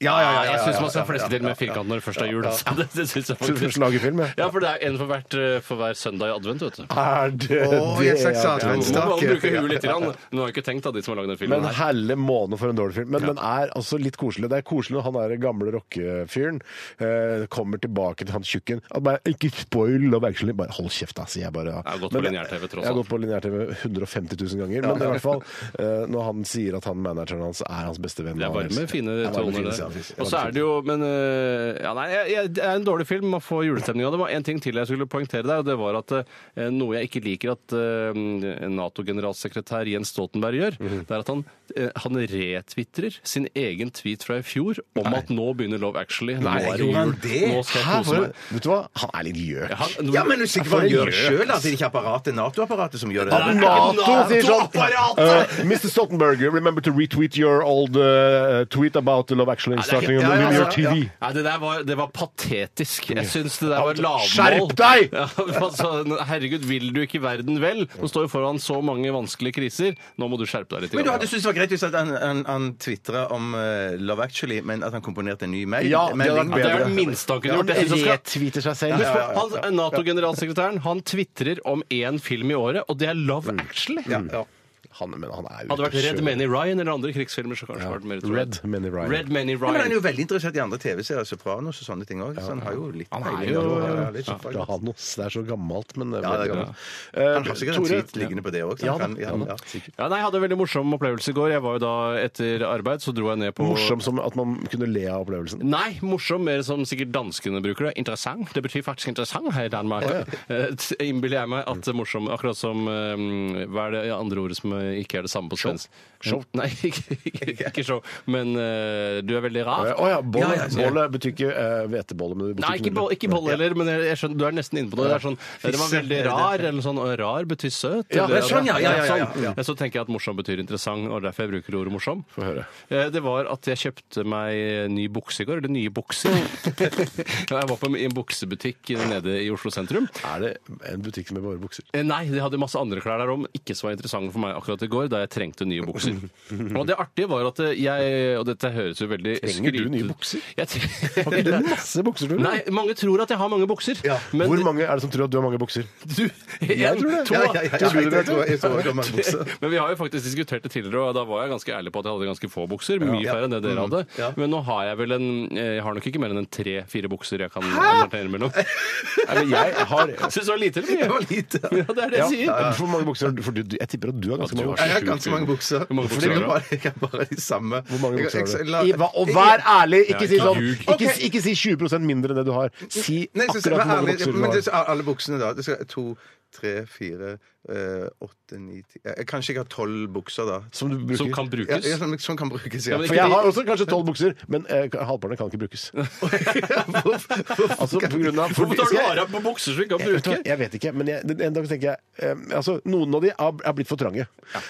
A: Ja, ja, ja. ja,
C: Jeg
A: ja,
C: syns man
A: ja,
C: skal fleske til med firkant når det først er jul. altså. Det, [laughs] det synes jeg
B: Skal du først
C: faktisk.
B: lage film, ja?
C: Ja, for det er en for, hvert, eh, for hver søndag i advent, vet du.
B: Er det
A: Å, jeg sa ikke
C: Man må bare
A: Adventstake.
C: bruke huet litt. Grann. Nå har jeg ikke tenkt at de som har lagd den filmen
B: Men
C: her.
B: helle måne for en dårlig film. Men den er altså litt koselig. Det er koselig når han der gamle rockefyren eh, kommer tilbake til han tjukken. Han bare, ikke spoil Love Actually. Bare hold kjeft, da, sier jeg bare. Ja.
C: Jeg har gått
B: Men
C: på
B: det-
C: lineær-TV tross
B: Jeg har
C: alt.
B: gått på lineær-TV 150 000 ganger. Men i hvert fall, eh, når han sier at han manageren hans er hans beste venn
C: Det er
B: og han
C: varme,
B: elsker-
C: fine
B: Det er varme,
C: toner
B: fine
C: der.
B: scener, fint.
C: Og så er det jo Men øh, ja, nei, jeg, jeg, det er en dårlig film. Man får julestemning av det. Det var en ting til jeg skulle poengtere der, og det var at øh, noe jeg ikke liker at øh, Nato-generalsekretær Jens Stoltenberg gjør,
A: Mhm.
C: det er at han, øh, han retvitrer sin egen tweet fra i fjor om at nå begynner Love Actually. Nå
A: Nei,
C: er det
A: gjorde han
C: jul.
A: det?
C: Nå skal jeg
B: Hæ,
C: kose
B: for,
C: meg.
B: vet du hva? Han er litt gjøk.
C: Han,
A: Ja, men du er sikker på
B: For
A: hva han
B: en
A: gjør
B: gjøk.
A: sjøl? At det ikke er apparatet, Nato-apparatet, som gjør det?
B: At Nato sier sånn eh, Mr. Stoltenberg, remember to retweet your old eh, tweet about Love Actually
C: Nei, det er
B: starting
C: helt-
B: on
A: ja, ja,
B: your
A: ja,
B: TV.
C: Nei, det der var, det var patetisk. Jeg syns det der var lavmål.
B: Skjerp deg!
C: [laughs] Ja, altså, herregud, vil du ikke verden vel? Nå står vi foran så mange vanskelige kriser. Nå må du skjerpe deg litt.
A: Men du
C: grann.
A: hadde syntes det var greit hvis at han, han, han tvitra om eh, Love Actually, men at han komponerte en ny mail?
B: Ja, det hadde
A: melding.
B: vært
C: Ja, det
B: bedre.
C: er det minste han kunne
B: Ja,
C: gjort. Jeg synes han skal-
B: retviter seg selv.
C: Husk på, han- altså, Nato-generalsekretæren han tvitrer om én film i året, og det er Love
B: Mm.
C: Actually.
A: Ja.
B: [laughs] Han, men han er jo
C: Hadde det vært
B: ute å
C: Red
B: kjøre.
C: Many Ryan eller andre krigsfilmer, så kanskje vært mer utrolig.
B: Red Many Ryan.
C: Red Many
A: Ja, Men han er
C: Ryan.
A: jo veldig interessert i andre TV-serier, Sopranos og sånne ting òg. Så han har jo litt
C: Han er
A: peiling,
C: jo-
A: da. Ja, ja, litt
C: Ja,
A: sånn,
B: Ja,
A: faktisk.
B: han også. Det er så gammelt, men
A: Ja, det er gammelt. Han har sikkert en tweet liggende på det òg.
B: Eh, Ja, da.
A: ja,
B: Ja, da.
A: ja.
C: Ja, nei, jeg hadde en veldig morsom opplevelse i går. Jeg var jo da etter arbeid, så dro jeg ned på
B: Morsom som at man kunne le av opplevelsen.
C: Nei, morsom, mer som sikkert danskene bruker det. Interessant. Det betyr faktisk interessant her i Danmark. Eh, t- Innbiller jeg meg at det er morsom Akkurat som eh, Hva er det andre ordet som eh, ikke er det samme på svensk? Show? Nei, [laughs] ikke, ikke, ikke show. Men eh, du er veldig
B: Å
C: rar.
B: ja, bolle.
C: Ja, ja, ja.
B: bolle betyr ikke eh, hvetebolle, men det betyr
C: Nei, ikke boll, ikke boll heller, men jeg, jeg skjønner, du er nesten inne på noe. Det er sånn, eh, det var veldig rar, eller sånn, og rar betyr søt.
B: Ja,
C: eller-
B: det er sånn,
A: ja, ja, ja, ja,
C: sånn.
A: ja.
C: Eh, Så tenker jeg at morsom betyr interessant, og derfor jeg bruker ordet morsom.
B: Få høre.
C: Eh, Det var at jeg kjøpte meg ny bukse i går, eller
B: [laughs]
C: nye bukser. Ja, jeg var på en, i en buksebutikk nede i Oslo sentrum.
B: Er det en butikk med bare
C: [laughs]
B: bukser?
C: Eh, Nei, de hadde masse andre klær der om, ikke så interessante for meg akkurat i går, da jeg trengte nye bukser.
B: [laughs]
C: Og det artige var at jeg, og dette høres jo veldig
B: Trenger du
C: skryt-
B: nye bukser?
C: Jeg
B: Har ikke
C: trenger...
B: du masse bukser, tror du?
C: Nei, mange tror at jeg har mange bukser. men
B: Hvor mange er det som tror at du har mange bukser?
C: Du, en,
B: tror det.
C: to,
A: Ja, ja, ja,
B: Tror du det,
A: jeg tror- jeg tror det var mange bukser.
C: Men vi har jo faktisk diskutert det tidligere, og da var jeg ganske ærlig på at jeg hadde ganske få bukser. Mye færre enn det dere
B: Mm.
C: hadde.
A: Ja.
C: Men nå har jeg vel en Jeg har nok ikke mer enn en tre-fire bukser jeg kan alternatere
B: [laughs]
C: mellom.
B: Nei, men jeg har
C: Syns du det var lite eller
A: Det
C: mye?
A: var lite.
C: Ja, det er det jeg sier.
B: ja, Hvor mange bukser har du? For du, jeg tipper at du har ganske
C: Ja, du
B: mange
C: har
A: Jeg har
B: bukser.
A: ganske mange bukser.
C: Hvor mange bukser
A: Fordi
C: har du?
A: bare- Jeg har bare de samme.
B: Hvor mange bukser har du?
A: Jeg- jeg-
B: Iva, og vær ærlig! Ikke si
C: Ja,
B: sånn
C: ljug.
B: ikke, ikke si 20 mindre enn det du har. Si
A: Nei, så-
B: akkurat hvor
A: vær
B: mange
A: ærlig,
B: bukser du
A: Men
B: har.
A: det er alle buksene, da. Det skal to, tre, fire eh, åtte, ni, ti eh, Kanskje jeg har tolv bukser, da.
B: Som du bruker.
C: Som kan
A: Ja,
C: brukes.
A: ja, som, som kan brukes, ja.
C: Ja, men
B: For jeg har også kanskje tolv bukser, men eh, halvparten kan ikke brukes. [laughs] Altså, på grunn av
C: Hvorfor tar du
B: Skal jeg-
C: vare på bukser som ikke kan
B: Jeg vet,
C: brukes?
B: hva, jeg vet ikke, men jeg, en dag tenker jeg eh, altså, Noen av de er, er blitt for trange.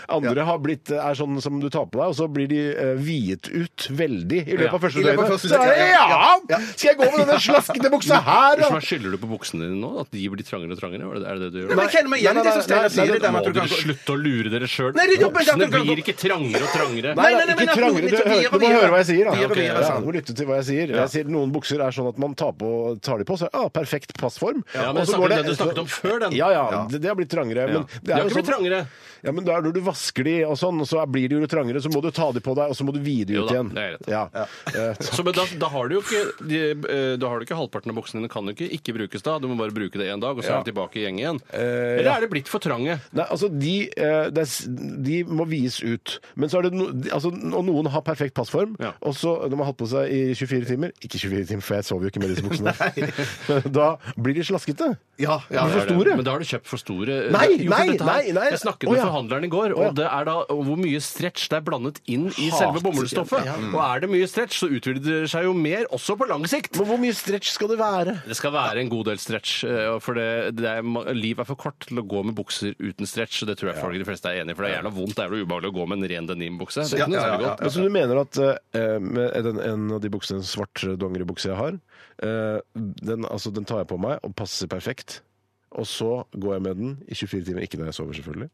B: Andre har blitt, er sånn som du tar på deg, og så blir de eh, viet ut veldig i løpet av
A: I
B: første
A: løpet av
B: døgnet.
A: første
B: Så er det,
A: døgnet, ja,
B: ja, Skal jeg gå med denne slaskete buksa her, da?
C: Hva skylder du på buksene dine nå? At de blir trangere og trangere? Er det er det, det du gjør?
A: Men jeg kjenner meg igjen i det som
B: Nei, nei,
A: Steinar
B: nei,
A: sier. det der med
C: Må
A: at du
C: dere
A: kan gå-
C: slutte å lure dere sjøl?
A: Nei, det er dubbelt,
C: Buksene
A: det er
C: blir ikke trangere og trangere.
A: Nei, nei, nei, men at
B: ikke trangere.
A: noen
B: Du,
A: litt
B: hører,
A: videre,
B: du må
A: videre.
B: høre hva jeg sier. da.
A: Videre,
C: videre,
B: ja,
A: sant.
B: du må lytte til hva jeg sier. Jeg sier Noen bukser er sånn at man tar, på, tar de på, så ja, perfekt passform.
C: Ja,
B: Og
C: men
B: så
C: snakker
B: går
C: om det du snakket om før, den.
B: Ja, ja, det, det har blitt trangere. Men det
C: De
B: er
C: har
B: jo
C: ikke blitt
B: sånn,
C: trangere.
B: ja, men da er det når du vasker de, og sånn, og så blir de jo trangere, så må du ta de på deg, og så må du vide de
C: Jo
B: ut
C: da,
B: igjen.
C: det er rett.
B: Ja. Eh,
C: Så, men da, da har du jo ikke de, eh, Da har du ikke halvparten av buksene dine kan jo ikke ikke brukes da. Du må bare bruke det én dag, og så
B: Ja.
C: er det tilbake i gjeng igjen.
B: Eh,
C: Eller
B: ja.
C: er det blitt for trange?
B: Nei, altså de, eh, det er, s- de må vies ut. Men så er det no, de- altså, og noen har perfekt passform,
C: Ja.
B: og så når man har hatt på seg i 24 timer Ikke 24 timer, for jeg sover jo ikke med disse
C: [laughs]
B: buksene. [laughs] da blir de slaskete.
A: Ja, ja,
B: Men
A: det er
B: for
A: det.
B: store.
C: Men da har du kjøpt for store eh,
B: Nei,
C: jo, for
B: nei,
C: dette her-
B: nei, nei.
C: Jeg snakket
B: Å,
C: med
B: ja.
C: forhandleren i går,
B: Å, ja.
C: og det er da og hvor mye stretch det er blandet inn i
B: Hat.
C: selve bomullsstoffet. Og er det mye stretch, så utvider det seg jo mer, også på lang sikt.
B: Men hvor mye stretch skal det være?
C: Det skal være en god del stretch, eh, for det, det er, ma- liv er for kort til å gå med bukser uten stretch. og Det tror jeg folk de fleste er enig i, for det er jævla vondt det er jævla ubehagelig å gå med en ren denimbukse. Det er ikke noe
A: Ja, ja,
C: særlig
A: ja,
B: Men
C: godt.
B: så Altså, du mener at eh, med den, en av de buksene, en svart dongeribukse jeg har, eh, den, altså, den tar jeg på meg og passer perfekt. Og så går jeg med den i 24 timer, ikke når jeg sover selvfølgelig.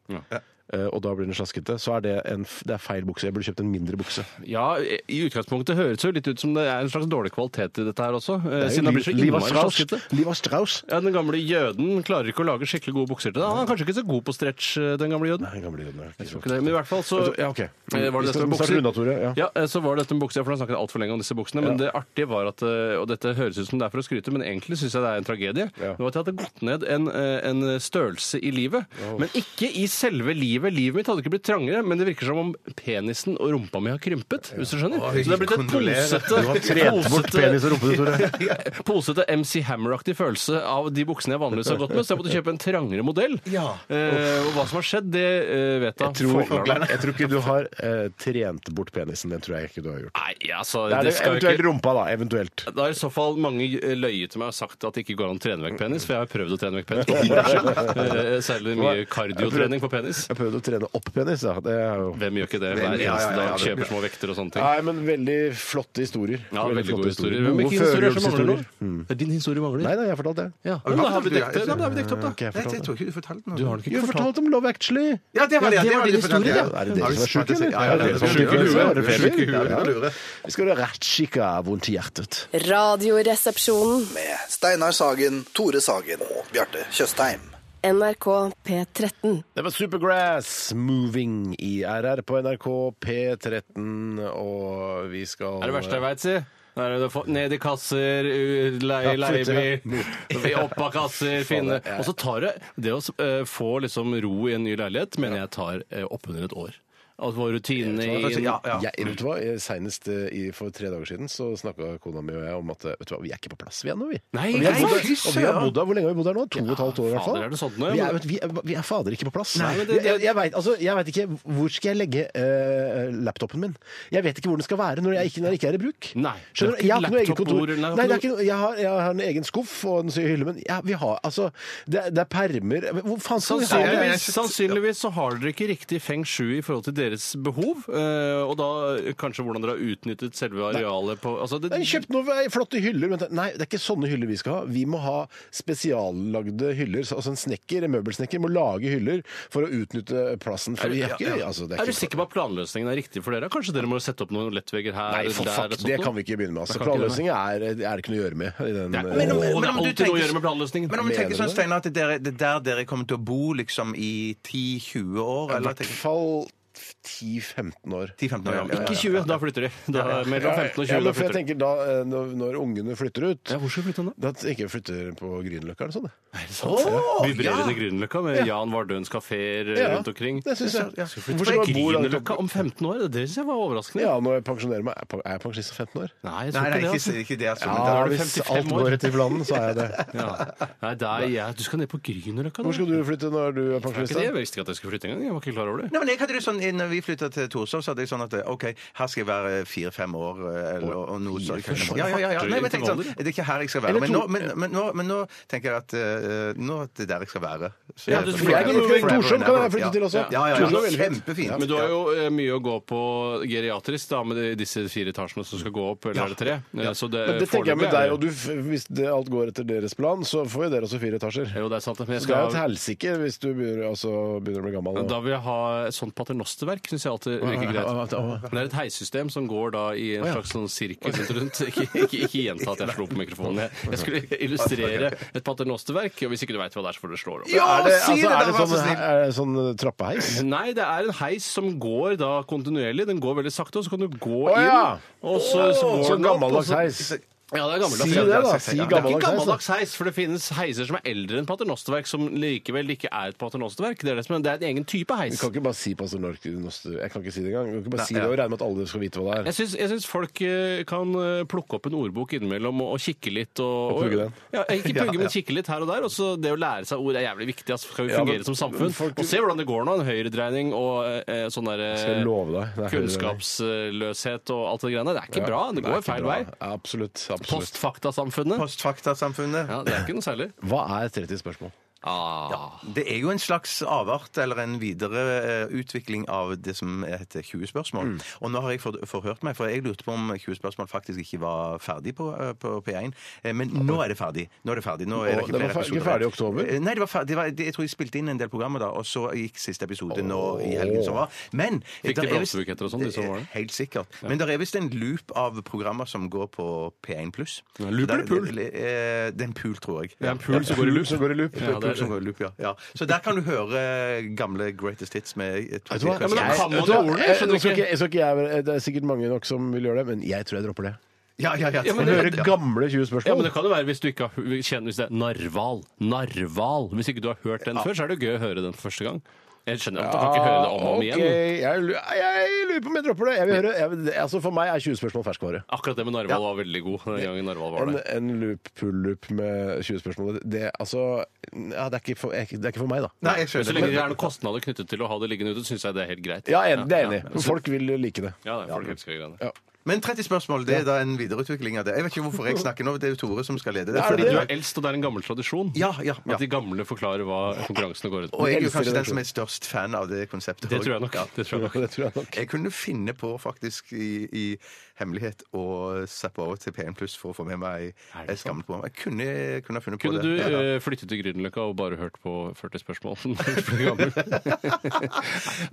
B: Eh, og da blir den slaskete. Så er det, en, f- det er feil bukse. Jeg burde kjøpt en mindre bukse.
C: Ja, i utgangspunktet høres det jo litt ut som det er en slags dårlig kvalitet i dette her også. eh, Siden det blir så
B: Liv-
C: innmari
B: Strauss.
C: slaskete.
B: Liv av Strauss.
C: Ja, Den gamle jøden klarer ikke å lage skikkelig gode bukser til deg. Han er kanskje ikke så god på stretch, eh, den gamle jøden.
B: Nei, gamle jøden er ikke
C: Jeg tror
B: så-
C: ikke det, Men i hvert fall så
B: Ja, ok.
C: Eh,
B: Vi
C: Var det
B: skal
C: dette med
B: snart
C: bukser?
B: runde av, Tore, ja.
C: eh, så var det dette med bukser, for da snakket jeg altfor lenge om disse buksene. Men det artige var at, eh, og dette høres ut som det er for å skryte, men egentlig syns jeg det er en tragedie,
B: Ja.
C: det var at jeg hadde gått ned en, eh, en størrelse i livet. Men ikke i selve livet. Livet mitt hadde ikke blitt trangere, men det virker som om penisen og rumpa mi har krympet, hvis du skjønner.
A: Oi,
C: så det er blitt et
A: kondolerer.
C: posete,
B: Trent bort penis og rumpe, du, Tore.
C: [laughs] posete MC Hammer-aktig følelse av de buksene jeg vanligvis har gått med, så jeg måtte kjøpe en trangere modell.
A: Ja.
C: Eh, og hva som har skjedd, det eh, vet jeg.
B: Jeg tror,
C: Forklaren.
B: jeg tror ikke du har eh, trent bort penisen. Det tror jeg ikke du har gjort.
C: Nei, altså,
B: Det er det,
C: skal jo
B: eventuelt rumpa, da. Eventuelt.
C: Da har i så fall mange eh, løyet til meg og sagt at det ikke går an å trene vekk penis, for jeg har prøvd å trene vekk penis. for moro skyld. Eh, Særlig mye kardiotrening på penis.
B: Jeg prøvde å trene opp penis, da. Det er jo
C: Hvem gjør ikke det hver
A: Hvem- ja, ja,
C: eneste
A: ja, ja.
C: dag? Kjøper små vekter og sånne ting.
B: Nei, men veldig flotte historier.
C: Ja, veldig
B: flotte
C: gode historier. Men
B: Gode
C: hvilke historier som mangler nå?
B: førjulshistorier.
C: Det er Din historie mangler.
B: Nei, nei, jeg har fortalt det.
C: Ja. Jo, da har vi dekt det. Nei, men da har vi dekt opp,
B: Ok, jeg
C: da.
A: Nei, jeg
B: fortalte det.
A: tror ikke du fortalte noe.
C: Du har
B: Jo,
C: den ikke
B: jeg
C: fortalt.
B: fortalte om Love Actually.
A: Ja, det var det.
C: Ja, det
A: det
C: var
A: var
C: din
A: det fortalte,
C: historie,
A: ja.
C: det.
B: Er det dere
A: Har du
B: som er
A: smart å
B: syke,
A: si- Ja, ja, det er
B: eller?
C: Er dere
A: sjuke huet.
C: som er sjuke?
A: Det er sjuke huet, det er lure.
B: Vi skal være rætskikka vondt i hjertet.
E: Radioresepsjonen.
F: Med Steinar Sagen, Tore Sagen og Bjarte Tjøstheim.
E: NRK P13.
B: Det var Supergrass Moving i RR på NRK P13, og vi skal
C: Er det verste jeg veit, si? Da er det å få- Ned i kasser, u- leie
B: Ja, flytte,
C: leiebil, opp av kasser, finne
B: ja, ja.
C: Og så tar det Det å eh, få liksom ro i en ny leilighet mener jeg tar eh, oppunder et år. At våre rutinene i
A: Ja, ja.
B: Jeg, vet du hva? Jeg- Senest eh, i, for tre dager siden så snakka kona mi og jeg om at eh, vet du hva, vi er ikke på plass vi ennå, vi.
C: Nei,
B: og vi har
C: nei,
B: bodd, her-
C: fy
B: og vi har bodd her, Hvor lenge har vi bodd her nå? To og et halvt år, i hvert fall.
C: fader, er det sånn nå, ja,
B: vi,
C: men-
B: er, vi, er, vi er fader ikke på plass.
C: Nei, men det-
B: Jeg, jeg, vet, altså, jeg vet ikke Hvor skal jeg legge eh, laptopen min? Jeg vet ikke hvor den skal være når jeg ikke, når jeg ikke er i bruk.
C: Nei,
B: Skjønner
C: det
B: du? Jeg har
C: er ikke
B: ikke noe eget
C: laptopbord,
B: kontor.
C: eller
B: Nei,
C: noe-
B: det er ikke noe, jeg, har, jeg har en egen skuff og en hylle, men ja, vi har altså Det, er- det er permer Hvor faen skal vi ha det?
C: Sannsynligvis, sannsynligvis så har dere ikke riktig feng shui i forhold til deres behov, eh, og da kanskje hvordan dere har utnyttet selve arealet på altså det,
B: Jeg kjøpte noen flotte hyller. Men nei, det er ikke sånne hyller vi skal ha. Vi må ha spesiallagde hyller. Så- Altså En snekker, en møbelsnekker må lage hyller for å utnytte plassen. For vi er ikke, altså, det er
C: Er du
B: ikke
C: sikker på at planløsningen er riktig for dere? Kanskje dere må sette opp noen lettvegger her?
B: Nei, for
C: der,
B: fuck,
C: eller sånt
B: det
C: noe?
B: kan vi ikke begynne med. Altså.
C: Det kan ikke det,
B: Planløsning er, er det ikke noe å gjøre med. I den,
C: Nei,
B: eh,
C: men,
A: om-
C: Åh, det
A: men
C: er
A: om du
C: alltid noe å
A: tenker-
C: gjøre med planløsningen.
A: Men om du
B: Mener
A: tenker
B: du
A: sånn,
B: det?
A: Steinar, at det er der dere kommer til å bo liksom i 10-20 år?
B: I
A: Eller,
B: hvert fall 10-15 år.
A: 10-15 år, ja. ja,
C: Ikke
A: ja.
C: 20, da flytter de. Da, mellom 15 og 20.
B: Ja, men
C: da
B: for jeg
C: flytter de.
B: tenker da, eh, når, når ungene flytter ut
C: Ja, hvor skal de flytte han da?
B: Da tenker jeg flytter på Grünerløkka eller sånn. jeg.
C: Vibrerende Grünerløkka med Jan Vardøens kafeer
B: Ja,
C: rundt omkring.
B: Det syns jeg.
C: Ja,
B: Hvorfor
C: Hvorfor
B: skal
C: skal
B: jeg bo langt oppe?
C: Grünerløkka om 15 år? Det synes jeg var overraskende.
B: Ja, når jeg pensjonerer meg. Er jeg- Er jeg pensjonist om 15 år?
C: Nei, jeg
A: Nei,
C: tror
A: nei,
C: ikke det.
A: ikke,
C: Altså.
A: ikke det, altså. men da
B: Ja,
A: er du
B: hvis
A: 55
B: alt går etter planen, så er jeg det.
C: [laughs] Ja. Nei, der, jeg, du skal ned på Grünerløkka nå.
B: Hvor skal du flytte når du er
C: Er
B: pensjonist?
C: ikke det?
B: da?
C: Jeg visste ikke at jeg skulle flytte engang. Jeg var ikke klar over det.
A: Nei, men jeg hadde det sånn, Når vi flytta til Torshov, så hadde jeg sånn at OK, her skal jeg være fire-fem år. eh, Eller, og noe sånt. Ja, ja, ja, ja. Nei, men jeg tenkte sånn, Det er ikke her jeg skal være. Men nå, men, men nå, men nå tenker jeg at eh, nå er det der jeg skal være. Så
C: Ja,
A: jeg-
C: du-
A: forever
C: for jeg kan-
A: and ever.
B: Torshov kan jeg
A: Ja.
B: flytte til også.
A: Ja, ja,
B: Torshov
A: ja.
B: er veldig fint.
A: Kjempefint.
C: Men du har jo eh, mye å gå på geriatrisk da, med de- disse fire etasjene som skal gå opp, eller er det tre? Eh, Så det,
B: Men det tenker jeg med
C: foreløpig er
B: deg og du, f- hvis det, alt går etter deres plan, så får jo dere også fire etasjer.
C: Jo, det er sant. Men jeg
B: Så det er jo et
C: skal,
B: helsike hvis du begynner, altså, begynner å bli gammel. og-
C: da vil jeg ha et sånt paternosterverk, syns jeg alltid virker greit. Det er et heissystem som går da i en slags sånn sirkel rundt rundt.
B: [laughs]
C: Ikke, ikke, ikke gjenta at jeg slo på mikrofonen. Jeg, jeg skulle illustrere et paternosterverk, og hvis ikke du veit hva det er, så får du slå det opp.
A: Ja,
B: Er det,
A: si
B: altså,
A: det,
B: er
A: da,
B: det
A: vær så
B: sånn,
A: snill!
B: er det sånn trappeheis?
C: Nei, det er en heis som går da kontinuerlig. Den går veldig sakte, og så kan du gå
B: Å, ja!
C: inn. Og så, så går
B: Så
C: den opp, og
B: gammeldags
C: så-
B: heis.
C: Ja, det er gammeldags.
B: Si
C: ja.
B: det, da. Si
C: Det er ikke
B: gammeldags heis. da.
C: gammeldags heis, for det finnes heiser som er eldre enn paternosterverk, som likevel ikke er et paternosterverk. Det er, det som er, det er en egen type
B: Vi
C: heis.
B: kan ikke bare si Pastor Norknoster. Jeg kan ikke si det engang. Vi kan ikke bare si
A: Nei,
B: det
A: ja.
B: og regne med at alle skal vite hva det
C: Jeg
B: er.
C: syns, jeg syns folk eh, kan eh, plukke opp en ordbok innimellom og, og kikke litt. Og,
B: Og pugge den.
C: Ja, ikke
B: [laughs]
A: Ja,
C: pugge,
A: ja.
C: men kikke litt her og der. Og så det å lære seg ord er jævlig viktig. Altså, skal vi
B: Ja,
C: fungere
B: men
C: som samfunn?
B: folk-
C: og se hvordan det går nå. En høyredreining og eh, sånn derre
B: Skal jeg love deg, det er høyredreining.
C: Kunnskapsløshet og alt det greiene. Det er ikke bra. Det går
B: er ikke
C: feil
B: bra.
C: vei.
B: Absolutt. absolutt.
C: Postfaktasamfunnet.
A: Postfaktasamfunnet.
C: Ja, det er ikke noe særlig.
B: Hva er 30 spørsmål?
C: Ah.
A: Det er jo en slags avart eller en videre eh, utvikling av det som heter 20 spørsmål. Og nå har jeg for, forhørt meg, for jeg lurte på om 20 spørsmål faktisk ikke var ferdig på, eh, på P1. Eh, Men nå er det ferdig. Nå er det ferdig. Nå er det
B: Og
A: ikke
B: det var
A: flere
B: fer- ikke
A: episoder.
B: ferdig i oktober?
A: Eh, Nei, det var ferdig. Det var, det- jeg tror jeg spilte inn en del programmer da, og så gikk siste episode nå i helgen som var. Men
C: Fikk de
A: der er visst- Eh,
C: blomsterbuketter og sånn, de som var der?
A: Helt sikkert. Men det er visst en loop av programmer som går på P1 pluss.
C: loop eller pool?
A: Det er en pool, tror jeg.
C: Det er en pool som går i loop.
B: Som går i loop.
C: Ja, det er-
A: Som går i loop, ja. ja. Så der kan du høre gamle Greatest Hits med
B: Vet du hva?
C: men da
B: Jeg-
C: kan man
B: vet du
C: jo
B: hva?
C: ordene,
B: Jeg- nå
C: skjønner
B: skal
C: du ikke?
B: ikke- jeg skal ikke jeg- Det er sikkert mange nok som vil gjøre det, men jeg tror jeg dropper det.
A: Ja, ja, ja.
C: Ja, men
B: Jeg
C: det-
B: hører gamle 20 spørsmål.
C: Ja, men det kan jo være hvis du ikke har kjenner, hvis det er narval. Narval. Hvis ikke du har hørt den før, så er det jo gøy å høre den første gang. Jeg skjønner at du kan ikke høre det om og om
B: Ah,
C: igjen.
B: Ok, Jeg, lu- jeg lurer på om jeg dropper det. Jeg vil høre, jeg, vil- altså for meg er 20 spørsmål ferskvare.
C: Akkurat det med narval var veldig god den gangen narval var
B: En,
C: der.
B: en loop, pull-loop med 20 spørsmål det, altså, ja, det, er ikke for, jeg- det er ikke for meg, da.
A: Nei, jeg
C: Men så
A: skjønner.
C: lenge det er noen kostnader knyttet til å ha det liggende ute, syns jeg det er helt greit.
B: Ja, jeg er enig, det er jeg enig. i. Folk vil like det.
C: Ja, det er folk elsker de greiene.
B: Ja.
A: Men 30 spørsmål det er da en videreutvikling av det. Jeg vet ikke hvorfor jeg snakker nå, det er jo Tore som skal lede det.
C: Fordi du er eldst, og det er en gammel tradisjon.
A: Ja, ja, ja.
C: At de gamle forklarer hva konkurransene går ut
A: Og
C: på.
A: jeg er jo
B: eldste
A: kanskje den
B: redaksjon.
A: som er størst fan av det konseptet.
C: Det
A: også.
C: tror jeg nok. Det tror jeg nok.
B: Det tror jeg nok.
A: Jeg kunne finne på faktisk i, i hemmelighet å zappe over til P1 Pluss for å få med meg
C: Er det
A: et gammelt program. Jeg kunne, kunne ha funnet på det.
C: Kunne du
A: Ja, ja.
C: eh, flyttet til Grünerløkka og bare hørt på 40 spørsmål? [laughs] Nå bare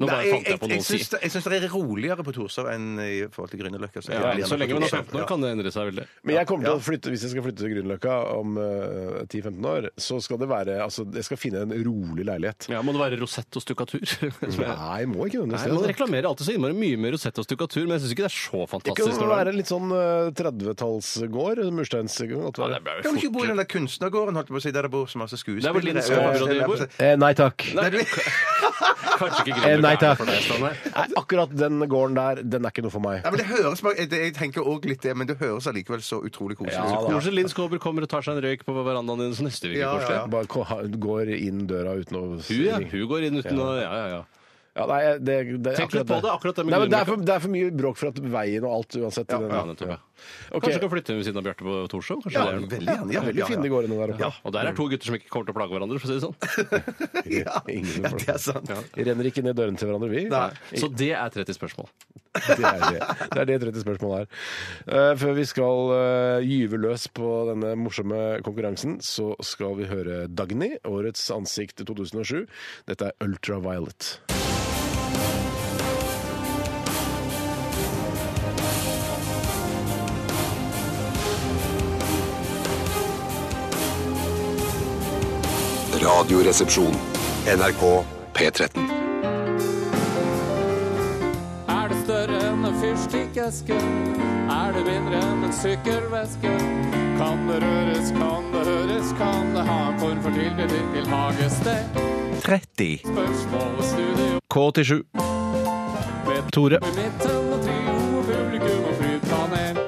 A: Nei, jeg,
C: fant
A: jeg,
C: jeg på
A: jeg,
C: noe å si.
A: syns det- jeg syns det er roligere på Torshov enn i forhold til Grünerløkka. så jeg
C: Ja,
A: blir
C: så
A: gjerne
C: lenge
A: på
C: man er
A: Torshov.
C: 15 år, kan det endre seg veldig.
B: Men jeg kommer til å flytte, hvis jeg skal flytte til Grünerløkka om eh, 10-15 år, så skal det være altså, Jeg skal finne en rolig leilighet.
C: Ja, Må det være rosett og stukkatur? [laughs] Som jeg-
B: Nei, må ikke
C: Nei, Man
B: nødvendigvis det.
C: reklamerer alltid så innmari mye med rosett og stukkatur, men jeg syns ikke det er så
B: Det kan
C: fantastisk. når
B: være
C: det er-
B: litt sånn eh, 30-tallsgård, mursteinsgård. måtte
C: Ja,
B: være.
C: det ble
A: Kan du
C: jo
A: ikke bo i den der kunstnergården, holdt jeg på å si, der det bor så masse skuespillere?
C: vel Lindskåpen,
A: Ja,
C: der de bor.
B: Eh, nei takk.
A: Nei, du-
C: fort Kanskje ikke
B: Eh, nei
C: Grünerløkka er
B: takk.
C: for deg, Steinar.
B: Nei, akkurat den gården der, den er ikke noe for meg.
A: Nei, men det høres bare, det, Jeg tenker også litt det, men det høres allikevel så utrolig koselig
B: Ja,
A: ut.
B: da.
C: Kanskje Linn Skåber kommer og tar seg en røyk på verandaen din så neste uke.
A: Ja,
C: koselig.
A: ja, ja.
B: Bare ko- ha- går inn døra uten å
C: Hun, ja. Hun går inn uten å Ja, ja, ja.
B: Ja, nei, det, det,
C: Tenk litt på det, akkurat det med
B: Nei, men det, er
C: Grünerløkka.
B: for, det er for mye bråk for at veien og alt uansett. i den-
C: ja nettopp. Ja.
B: Ok.
C: Kanskje du kan flytte ved siden av Bjarte på Torshov? Kanskje
A: Ja,
C: det er noe.
A: veldig gjerne. Ja,
B: Ja,
A: veldig
B: veldig fine
A: gjerne.
B: gårdene der oppe.
C: Og der er to gutter som ikke kommer til å plage hverandre, for å si det sånn.
A: Ja,
B: [laughs] Ingen
A: ja, det er sant.
B: Vi renner ikke ned dørene til hverandre, vi.
C: Så det er 30 spørsmål.
B: Det er det, det, er det 30 spørsmål er. Eh, før vi skal eh, gyve løs på denne morsomme konkurransen, så skal vi høre Dagny, årets ansikt 2007. Dette er Ultraviolet.
D: Radioresepsjon. NRK P13.
G: fyrstikkeske er det mindre enn en sykkelveske. Kan det røres, kan det høres, kan det ha en form for tilknytning til hagested?
A: 30.
G: Spørsmål og studio
B: K87.
G: Med
B: Tore.
G: i midten og trio og publikum og flypanel.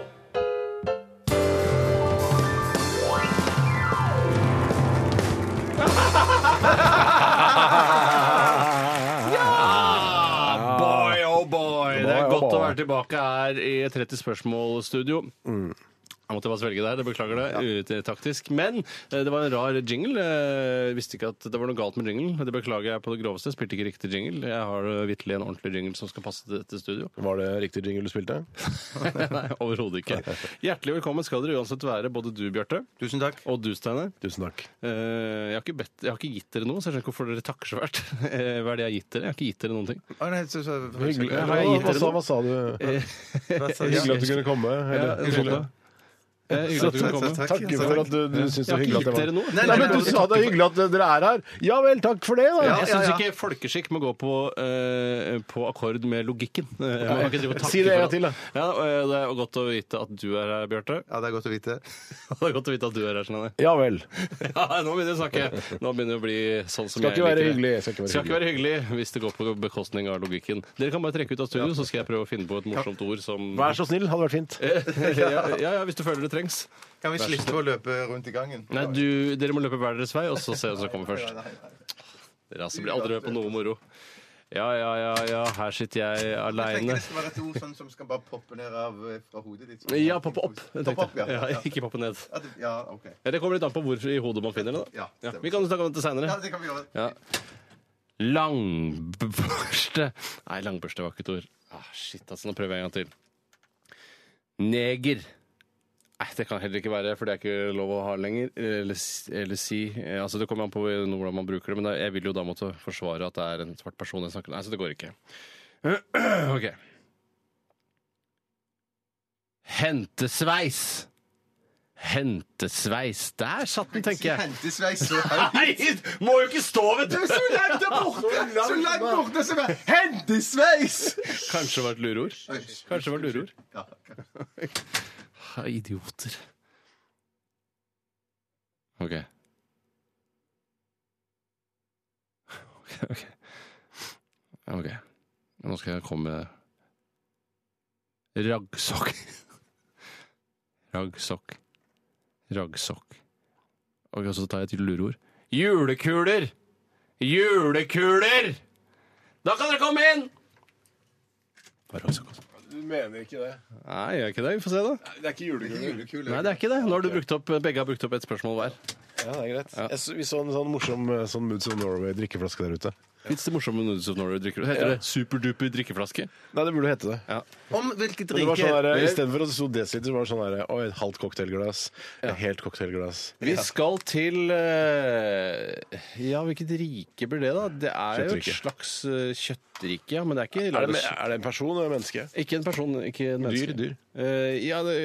C: Boy, oh boy! Det
B: Boy,
C: er
B: oh
C: godt å
B: boy.
C: være tilbake her i 30 spørsmål-studio. Jeg måtte bare svelge der, det beklager det, ute taktisk. Men eh, det var en rar jingle. Eh, Jeg visste ikke at det var noe galt med jinglen. Det beklager jeg på det groveste. Spilte ikke riktig jingle. Jeg har eh, vitterlig en ordentlig jingle som skal passe til dette studio. [laughs]
B: Var det riktig jingle du spilte?
C: Nei, overhodet ikke. Hjertelig velkommen skal dere uansett være, både du, Bjarte,
A: Tusen takk.
C: og du, Steinar.
B: Tusen takk.
C: Eh, jeg, har ikke bedt, jeg har ikke gitt dere noe, så jeg skjønner ikke hvorfor dere takker så fælt. [laughs] Eh, Hva er det jeg har gitt dere? Jeg har ikke gitt dere noen ting.
A: Å, nei, så, så,
C: Hyggelig.
B: Hva,
C: Har jeg gitt
B: hva,
C: dere
B: sa,
C: noe?
B: hva sa du?
A: Hva sa-
B: Hyggelig at du kunne komme.
C: Ja,
B: Eller,
C: det er
B: hyggelig.
C: godt, da. Eh, Hyggelig at du kunne komme.
A: Takk,
B: Takk for at du, du syns det
C: Jeg
B: var
C: har
B: hyggelig
C: ikke
B: at jeg
C: gitt dere
B: var
C: noe.
A: Nei,
B: Nei, men du sa det er hyggelig at dere er her. Ja vel, takk for det, da.
C: Jeg
A: Ja,
C: syns
A: ja.
C: ikke folkeskikk må gå på, eh, på akkord med logikken. Eh, man kan ikke drive og takke
B: Si det en gang
C: for
B: til, da.
C: alt. Ja, og, eh, det er godt å vite at du er her, Bjarte. [laughs]
A: Ja, det er godt å vite.
C: Og det er godt å vite at du er her, Snane.
B: Ja vel.
C: [laughs] Ja, nå begynner jeg å snakke. Nå begynner det å bli sånn som
B: Skal
C: jeg
B: ikke være
C: liker det.
B: hyggelig. Skal ikke
C: Skal
B: være
C: ikke
B: hyggelig.
C: være hyggelig hvis det går på bekostning av logikken. Dere kan bare trekke ut av studio, så skal jeg prøve å finne på et morsomt ord som
B: Vær så snill, hadde vært fint.
C: [laughs] ja, ja, ja, hvis du føler det trengs.
A: Kan vi slippe å løpe rundt i gangen?
C: Nei, du, dere må løpe hver deres vei, og så se hvem som kommer først. Dere altså blir aldri med på noe moro. Ja, ja, ja, ja, her sitter jeg aleine.
A: skal være et ord sånn som skal bare poppe ned eh, fra hodet ditt.
C: Ja, poppe opp. jeg tenkte. Ja, [laughs] ikke poppe ned.
A: Ja, OK.
C: Ja, Det kommer litt an på hvor i hodet man finner det. da.
A: Ja,
C: Ja, vi kan snakke om dette seinere.
A: det kan vi gjøre.
C: Ja. Langbørste Nei, langbørste var ikke et ord. Ah, shit, altså, nå prøver jeg en gang til. Neger. Nei, det kan heller ikke være, for det er ikke lov å ha lenger. Eller, s- eller si eh, Altså, Det kommer an på hvordan man bruker det, men det- jeg vil jo da måtte forsvare at det er en svart person jeg snakker Nei, så det går ikke. [clears throat] OK. Hentesveis. Hentesveis. Der satt den, tenker jeg.
A: Hentesveis så høyt.
C: [laughs] Nei, må jo ikke stå, vet du!
A: Så langt der
C: [laughs]
A: borte! Så langt borte som er Hentesveis!
C: Kanskje det var et lurord. Kanskje det var et lurord.
A: Ja,
C: Ha, [laughs] Idioter. OK. OK. ok. Ja, Ok. Nå skal jeg komme med Raggsokk. Raggsokk. Raggsokk. Ok, så tar jeg et lurord. Julekuler! Julekuler! Da kan dere komme inn! Det var raggsokk, altså.
B: Du mener ikke det?
C: Nei, gjør jeg ikke det. Vi får se, da.
B: Det er ikke julegave.
C: Nei, det er ikke det. Nå har du brukt opp, Begge har brukt opp et spørsmål hver.
B: Ja, det er greit. Jeg så, vi så en sånn morsom eh, sånn Moods of Norway-drikkeflaske der ute.
C: Fins det morsomme Nudes of Norway drikker? Heter det superduper drikkeflaske?
B: Nei, det burde hete det.
A: Om hvilke
B: Men det var sånn
A: drinker
B: der, I stedet for at det sto desiliter, så var det sånn der, å, et halvt cocktailglass. Et helt cocktailglass.
C: Vi skal til eh, Ja, hvilket rike blir det, da? Det er jo et
B: Kjøttrike.
C: slags eh, kjøttrike, ja, men det er ikke
B: Er det, er det en person eller et menneske?
C: Ikke en person, ikke en menneske.
B: dyr.
C: Eh, ja, det,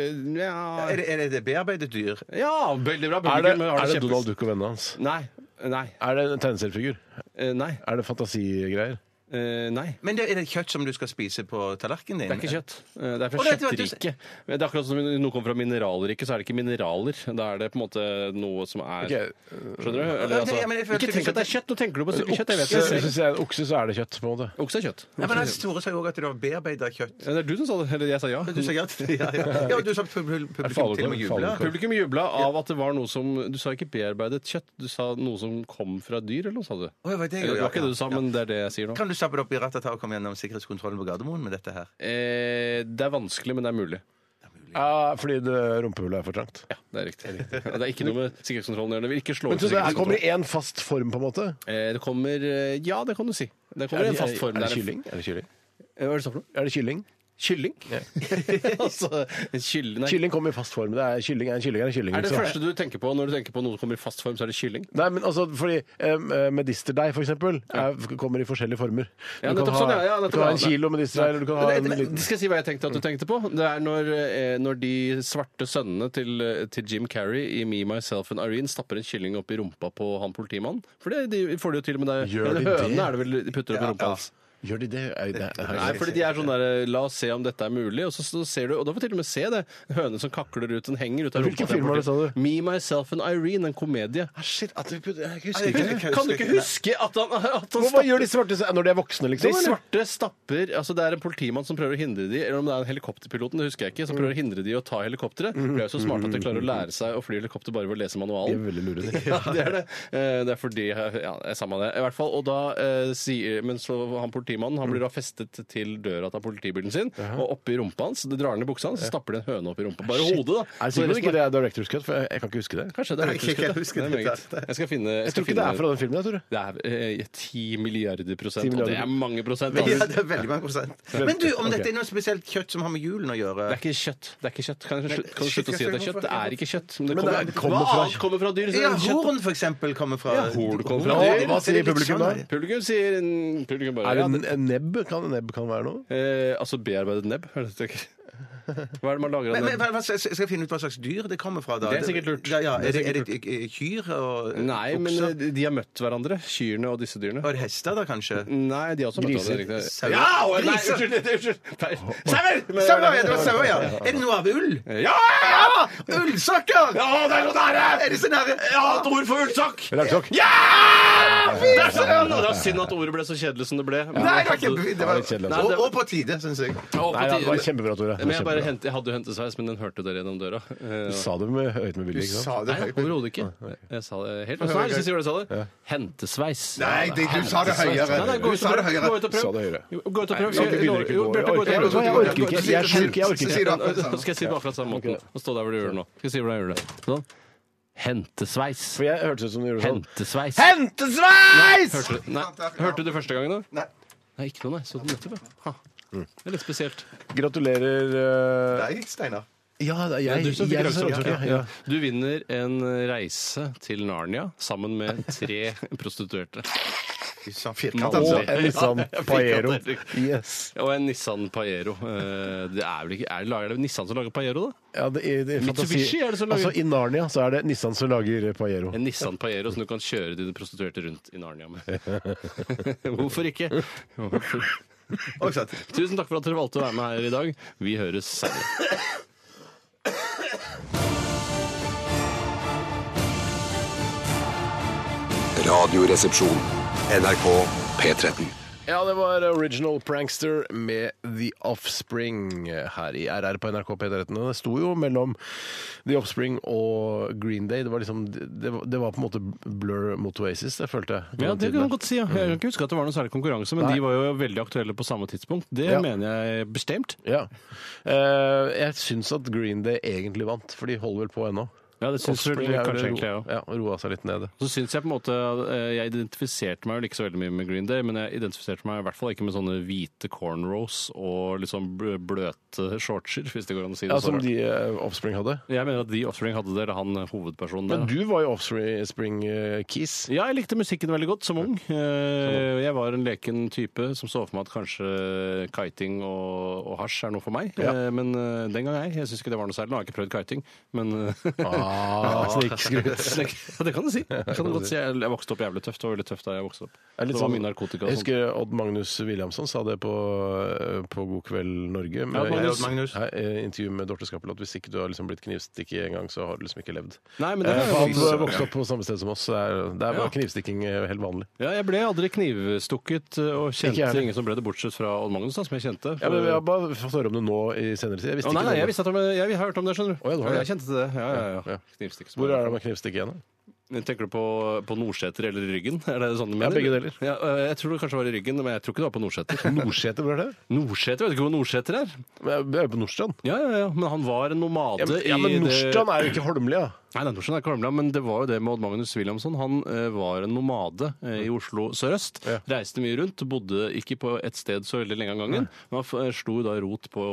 C: ja.
A: Er det- er det det bearbeidet dyr?
C: ja, veldig bra.
B: Er det,
C: publikum, men har
B: er det
C: kjempes-
B: Donald Duck og vennene hans?
C: Nei. Nei.
B: Er det en tegneseriefigur?
C: eh, Nei.
B: Er det fantasigreier?
C: eh, nei.
A: Men det, er det kjøtt som du skal spise på tallerkenen din?
C: Det er ikke kjøtt. Eh, Det er fra
A: Å, det- det- det-
C: kjøttriket. Men Det er akkurat som noe kommer fra mineralriket, så er det ikke mineraler. Da er det på en måte noe som er
B: Ok,
C: Skjønner du? Eller,
A: Ja,
C: altså,
A: ja, men jeg følte
C: ikke tenk
A: liksom
C: at det er kjøtt! Nå tenker du på et stykke kjøtt. Jeg vet
B: Okse,
C: ikke.
B: hvis jeg er en okse, så er det kjøtt, på en måte.
C: Okse er kjøtt.
A: Ja, men Hans Tore sa jo også at det var bearbeida kjøtt.
C: Ja, det er du som sa det. Eller jeg sa [laughs] ja.
A: Du sa ja. til- ja, ja. ja og du sa publikum til og med jubla.
B: falukorv.
C: Publikum jubla av at det var noe som Du sa ikke bearbeidet kjøtt, du sa noe som kom fra dyr, eller noe sa du?
A: Å, ja, var det,
C: Eller, det
A: ja,
C: var ikke
A: ja,
C: det du sa,
A: ja.
C: men det er det jeg sier nå.
A: Kan du stappe det opp i rattet og komme gjennom sikkerhetskontrollen på Gardermoen med dette her?
C: Eh, det er vanskelig, men det er mulig.
B: Ja, fordi det rumpehullet er for trangt.
C: Ja, det er riktig. Ja, det er ikke noe med sikkerhetskontrollen å gjøre. Det vil ikke slå
B: Men
C: ut
B: så det her kommer
C: sikkerhetskontrollen.
B: i en fast form, på en måte?
C: Eh, det kommer eh, Ja, det kan du si. Det kommer i en fast form.
B: Er det
C: Det er en-
B: kylling? Er det kylling?
C: Eh, Hva er det du sa for noe?
B: Er det kylling?
C: Kylling? [laughs] altså, kylling, nei.
B: Kylling kommer i fast form. Det er kylling er en kylling er en kylling.
C: Er det
B: liksom.
C: første du tenker på når du tenker på noe som kommer i fast form, så er det kylling?
B: Nei, men altså, fordi um, medisterdeig, for eksempel, er, kommer i forskjellige former.
C: Ja,
B: du,
C: nettopp
B: kan
C: sånn,
B: ha,
C: ja, ja, nettopp,
B: du kan ha en
C: ja.
B: kilo medisterdeig, eller du kan ha en
C: Men,
B: liten Mm.
C: skal jeg si hva jeg tenkte at du tenkte på? Det er når, eh, når de svarte sønnene til, eh, til Jim Carrey i Me, Myself and Irene stapper en kylling opp i rumpa på han politimannen. For det de får de jo til og med det.
B: Gjør
C: en
B: de det?
C: høne er det vel de putter opp i rumpa hans.
B: Gjør de det? Nei, det er-
C: Nei, fordi de er sånn der La oss se om dette er mulig. Og så, så ser du, og da får du til og med se det. En høne som kakler ut, den henger ut av
B: Hvilken
C: rumpa til
B: film var det, sa
C: politiet.
B: du?
C: Me, Myself and Irene, en komedie.
B: Ah, Shit, at vi putter- jeg husker ikke det.
C: Kan du ikke huske at han, at han
B: Hva
C: stapper
B: gjør de svarte så- når de er voksne, liksom?
C: de
B: eller?
C: svarte stapper altså Det er en politimann som prøver å hindre de Eller om det er en helikopterpiloten, det husker jeg ikke Som prøver å hindre de å ta
B: Mm.
C: helikopteret De er jo så smarte at de klarer å lære seg å fly helikopter Bare ved å lese manualen
B: veldig lure. de.
C: [laughs] Ja, det er det. Eh, Det er fordi Ja, det er samme det. I hvert fall. Og da eh, sier Men så han politimannen han blir
B: Mm.
C: da festet til døra til politibilen sin, og oppi rumpa hans Det drar ned i buksa hans, så stapper det en høne opp i rumpa. Bare hodet, da.
B: Er det sikkert
C: Så resten
B: ikke
C: er- liksom-
B: det er Director's Cut? For jeg, jeg kan ikke huske det.
C: Kanskje det er
A: Nei, jeg
C: riktig,
A: kan ikke
C: da.
A: huske
C: Det er
A: det.
C: meget. Jeg skal finne
B: Jeg tror ikke det er fra den filmen. jeg tror det.
C: det er eh, ti milliarder prosent,
B: 10
C: og det
B: milliarder.
C: er mange prosent. Altså, da.
A: Ja, det er veldig mange prosent. Men du, om dette er noe spesielt kjøtt som har med julen å gjøre
C: Det er ikke kjøtt. Det er ikke kjøtt. Kan du slutte, kan du slutte å si at det er kjøtt? Det er ikke kjøtt. Men det
B: Men
C: kommer,
B: det kommer
C: hva
B: fra-
C: annet kommer fra dyr? så er
A: Ja,
C: det kjøtt, da.
A: horn for eksempel kommer fra
C: horn kommer fra
A: Horn, ja,
C: dyr.
A: det er
B: Hva sier
A: litt
B: publikum da?
A: sånn,
C: Publikum sier Publikum bare
B: Er
C: ja,
B: det en nebb? Kan nebb kan være noe?
C: Eh, altså bearbeidet nebb? er det det tenker? Hva er det man lager
A: Men, men,
C: av nebb?
A: hva- hva- skal jeg finne ut hva slags dyr det kommer fra? da?
C: Det er sikkert lurt.
A: Ja, ja. Er,
C: Det
A: det,
C: er
A: er
C: sikkert
A: det eh, kyr og eh,
C: Nei, men
A: okser?
C: eh, de har møtt hverandre, kyrne og disse dyrene.
A: Og er det hester, da, kanskje?
C: Nei, de har også møtt
B: Griser.
C: hverandre.
A: Sauer.
C: Ja! og- Nei,
A: Griser.
C: unnskyld! det- unnskyld. Feil. Sauer! Men-
A: Sauer, ja, det var sauer, ja. Er det noe av ull?
C: Ja! ja!
A: Ullsokker!
C: Ja, det er så nære!
A: Er det sånn så nære?
C: Ja, et ord for ullsokk!
B: Ullsokk.
C: Ja! Der ser den! Det var synd at ordet ble så kjedelig som det ble.
A: Nei,
C: Men
A: det var
C: hadde-
A: ikke det
B: var
A: var,
B: litt kjedelig,
C: altså.
A: og, og på tide, syns jeg.
C: Og på
B: Nei, det var
C: tide-
B: kjempebra, Tore. Det var
C: Men jeg, bare
B: kjempebra.
C: hent, jeg hadde jo hentesveis, men den hørte dere gjennom døra. Eh,
B: Du sa det med høyt med vilje, ikke sant?
A: Sa det
C: Nei,
A: høyt.
C: overhodet ikke. Jeg sa det helt Hva sa jeg sist jeg sa det? Hentesveis.
A: Nei, det, du sa det høyere.
C: Nei, nei, gå
A: Du
C: ut og
A: sa det
C: prøv. Gå
A: høyere.
C: ut og
B: Sa det
C: prøv.
B: høyere.
C: Jo, Gå ut og prøv.
B: Nei, vi begynner ikke
C: Jo,
B: å gå.
C: Bjarte, gå ut og
B: Jeg
C: prøv.
B: orker ikke, jeg orker ikke. Jeg er sjuk, jeg orker
A: Si
B: ikke.
A: det akkurat
C: Nå
A: samme.
C: skal jeg si det på akkurat samme måten. Og stå der hvor du gjør det nå. Skal jeg si hvordan jeg gjør det. Sånn. Hentesveis.
B: For jeg hørtes ut som du gjorde sånn.
C: Hentesveis.
B: Hentesveis!
C: Hørte du, nei, hørte du det første gangen, da?
A: Nei.
C: Nei, ikke noe, nei. Så den nettopp, ja. Ha. Det er litt spesielt.
B: Gratulerer eh,
A: Nei, Steinar.
B: Ja, det er
C: Det er
B: jeg.
C: du som fikk
B: jeg
C: Ragnarok,
B: som-
C: tror jeg.
B: ja, ja.
C: Du vinner en reise til Narnia sammen med tre [laughs] prostituerte.
A: Sånn firkant, altså.
B: Og en Nissan Paero. Yes.
C: Og en Nissan Pajero. Eh, Det er vel ikke er det, lager, er det Nissan som lager Pajero, da?
B: Ja, det, i- det, fantasi-
C: Mitsubishi er det som lager-
B: Altså, I Narnia så er det Nissan som lager Paero.
C: En Nissan Pajero som du kan kjøre dine prostituerte rundt i Narnia med. [laughs] Hvorfor ikke?
A: Og sant.
C: Tusen takk for at dere valgte å være med her i dag. Vi høres senere.
D: Radioresepsjon. NRK P13.
B: Ja, det var Original Prankster med The Offspring her i RR på NRK P13. Det sto jo mellom The Offspring og Green Day. Det var liksom Det, var- det var på en måte blur mot Oasis, det følte jeg. på
C: Ja,
B: den
C: det
B: tiden
C: kan
B: der.
C: man godt si. Ja. Jeg kan ikke huske at det var noen særlig konkurranse, men
B: Nei.
C: de var jo veldig aktuelle på samme tidspunkt. Det
B: Ja.
C: mener jeg bestemt.
B: Ja. Eh, jeg syns at Green Day egentlig vant, for de holder vel på ennå.
C: Ja, det syns
B: Offspring er vel
C: kanskje
B: ro-
C: egentlig jeg òg.
B: ja, roa seg litt ned.
C: Så synes jeg på en måte eh, Jeg identifiserte meg jo ikke så veldig mye med Green Day, men jeg identifiserte meg i hvert fall ikke med sånne hvite cornrows og litt sånn bl- bløte shortser, hvis det går an å si det
B: Ja,
C: så
B: Som
C: rart.
B: de eh, Offspring hadde.
C: Jeg mener at de Offspring hadde det, eller han eh, hovedpersonen der.
B: Men
C: da.
B: du var jo Offspring eh, Keys.
C: Ja, jeg likte musikken veldig godt som ung. Eh, Jeg var en leken type som så for meg at kanskje kiting og, og hasj er noe for meg.
B: Ja.
C: Eh, Men eh, den gang jeg. Jeg syns ikke det var noe særlig. Nå har jeg ikke prøvd kiting, men eh,
B: Ah,
C: [laughs]
B: Snikskryt.
C: Ja, det
B: [laughs]
C: kan du si. Det kan du godt si. Jeg jeg vokste opp jævlig tøft. Det var veldig tøft da jeg vokste opp.
B: er
C: Det
B: litt
C: var
B: sånn-
C: mye narkotika. og
B: Jeg
C: sånt.
B: husker Odd Magnus Williamson sa det på, eh, på God kveld Norge. med-
C: Odd Magnus.
A: Magnus.
B: Nei, eh, intervju med Dorte Skappel at hvis ikke du har liksom blitt knivstikket en gang, så har du liksom ikke levd.
C: Nei, men det
B: Eh,
C: er
B: for han
C: jo- liksom-
B: vokste opp på samme sted som oss. så Det er, det er bare
C: Ja.
B: knivstikking eh, helt vanlig.
C: ja, jeg ble aldri knivstukket eh, og
B: Ikke jeg
C: kjente
B: heller.
C: ingen som ble det, bortsett fra Odd Magnus, da, som jeg kjente.
B: Ja, men jeg har bare fått høre om det nå i senere tid. Jeg visste
C: Eh, Å, nei,
B: ikke
C: nei,
B: det.
C: jeg, visste at, jeg, jeg har hørt om det, skjønner du.
B: Å, ja, du har det.
C: Jeg kjente til det. Ja, ja,
B: Ja.
C: ja. Knivstikk.
B: Hvor er det man knivstikker igjen? da?
C: Tenker du på, på Nordseter eller ryggen? Er det sånn
B: Ja,
C: du mener?
B: begge deler.
C: Ja, øh, jeg tror det kanskje var i ryggen, men jeg tror ikke det var på Nordseter.
B: [laughs] Nordseter, hvor er det?
C: Nordseter, vet du ikke hvor Nordseter er?
B: Men jeg- jeg er på Nordstrand.
C: Ja, ja, ja, men han var en nomade
B: Ja, men, ja,
C: i
B: men
C: det-
B: Nordstrand er jo ikke Holmlia.
C: Nei, det er Nordstrand er ikke Holmlia, men det var jo det med Odd Magnus Williamson. Han eh, var en nomade eh, i Oslo sørøst.
B: Ja.
C: Reiste mye rundt, bodde ikke på et sted så veldig lenge av gangen. Men han f- eh, slo da rot på,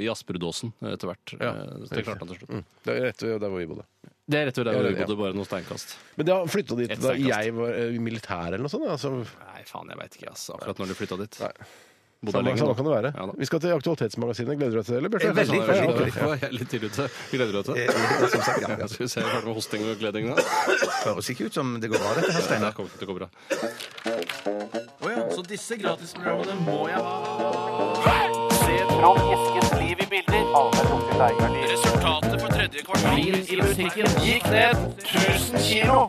C: i Asperudåsen etter hvert.
B: Ja,
C: Eh, så det klarte han til slutt.
B: Det er rett ved der hvor vi bodde.
C: Det er rett og slett der
B: Ja,
C: hvor
B: det-
C: vi bodde, bare noen steinkast.
B: Men de har flytta dit
C: Et
B: da
C: steinkast.
B: jeg var eh, i militæret eller noe sånt. Altså,
C: Nei, faen, jeg veit ikke ass, akkurat når de flytta dit.
B: Nei.
C: Bodde
B: Samme,
C: lenge
B: samme
C: nå.
B: kan det være.
C: Ja, da. Eh,
B: vi skal til Aktualitetsmagasinet. Gleder du deg til det, eller? Bjarte?
A: Veldig,
C: Ja,
A: veldig,
C: ja, ja, jeg er litt tidlig ute. Gleder du deg til det?
A: Som sagt, ja.
C: Ja, [laughs] Skal vi se, jeg er ferdig med hosting og gleding da.
A: Høres ikke ut som det går bra, dette her,
C: Nei,
A: Steinar.
C: det kommer ikke til å gå bra. Så disse gratisprogrammene må jeg ha. Resultatet på tredje kvartal i butikken gikk ned 1000 kilo.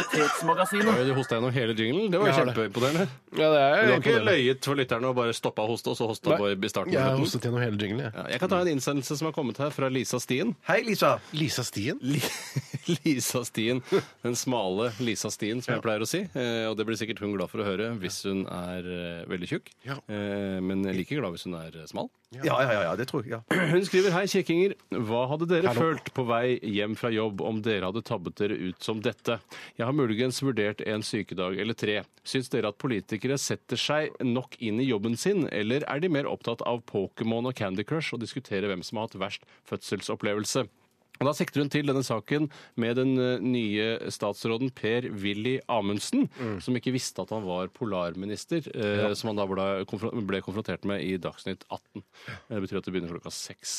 C: Aktualitetsmagasinet. Du hosta gjennom hele jinglen. Det var jo
B: Jeg har det.
C: kjempeimponerende.
B: Ja, det
C: Du
B: er
C: har ikke
B: imponerende.
C: løyet for lytterne og bare stoppa å hoste, og så hosta
B: Nei.
C: Bob i starten?
B: Jeg har
C: av slutten?
B: hostet gjennom hele jinglen, jeg.
C: Ja, jeg kan ta en innsendelse som har kommet her fra Lisa Stien.
A: Hei, Lisa.
B: Lisa Stien?
C: Li- [laughs] Lisa Stien, den smale Lisa Stien, som jeg pleier å si. Eh, og det blir sikkert hun glad for å høre hvis hun er eh, veldig tjukk.
B: Ja.
C: Eh, men like glad hvis hun er eh, smal.
A: Ja, ja, ja, ja det tror jeg. Ja.
C: Hun skriver Hei, kjekkinger. Hva hadde dere følt på vei hjem fra jobb om dere hadde tabbet dere ut som dette? Jeg har muligens vurdert en sykedag eller tre. Syns dere at politikere setter seg nok inn i jobben sin, eller er de mer opptatt av Pokémon og Candy Crush og diskutere hvem som har hatt verst fødselsopplevelse? Og Da sikter hun til denne saken med den eh, nye statsråden Per-Willy Amundsen,
A: Mm.
C: som ikke visste at han var polarminister, eh, som han da ble, konfro- ble konfrontert med i Dagsnytt 18. Det betyr at det begynner klokka seks.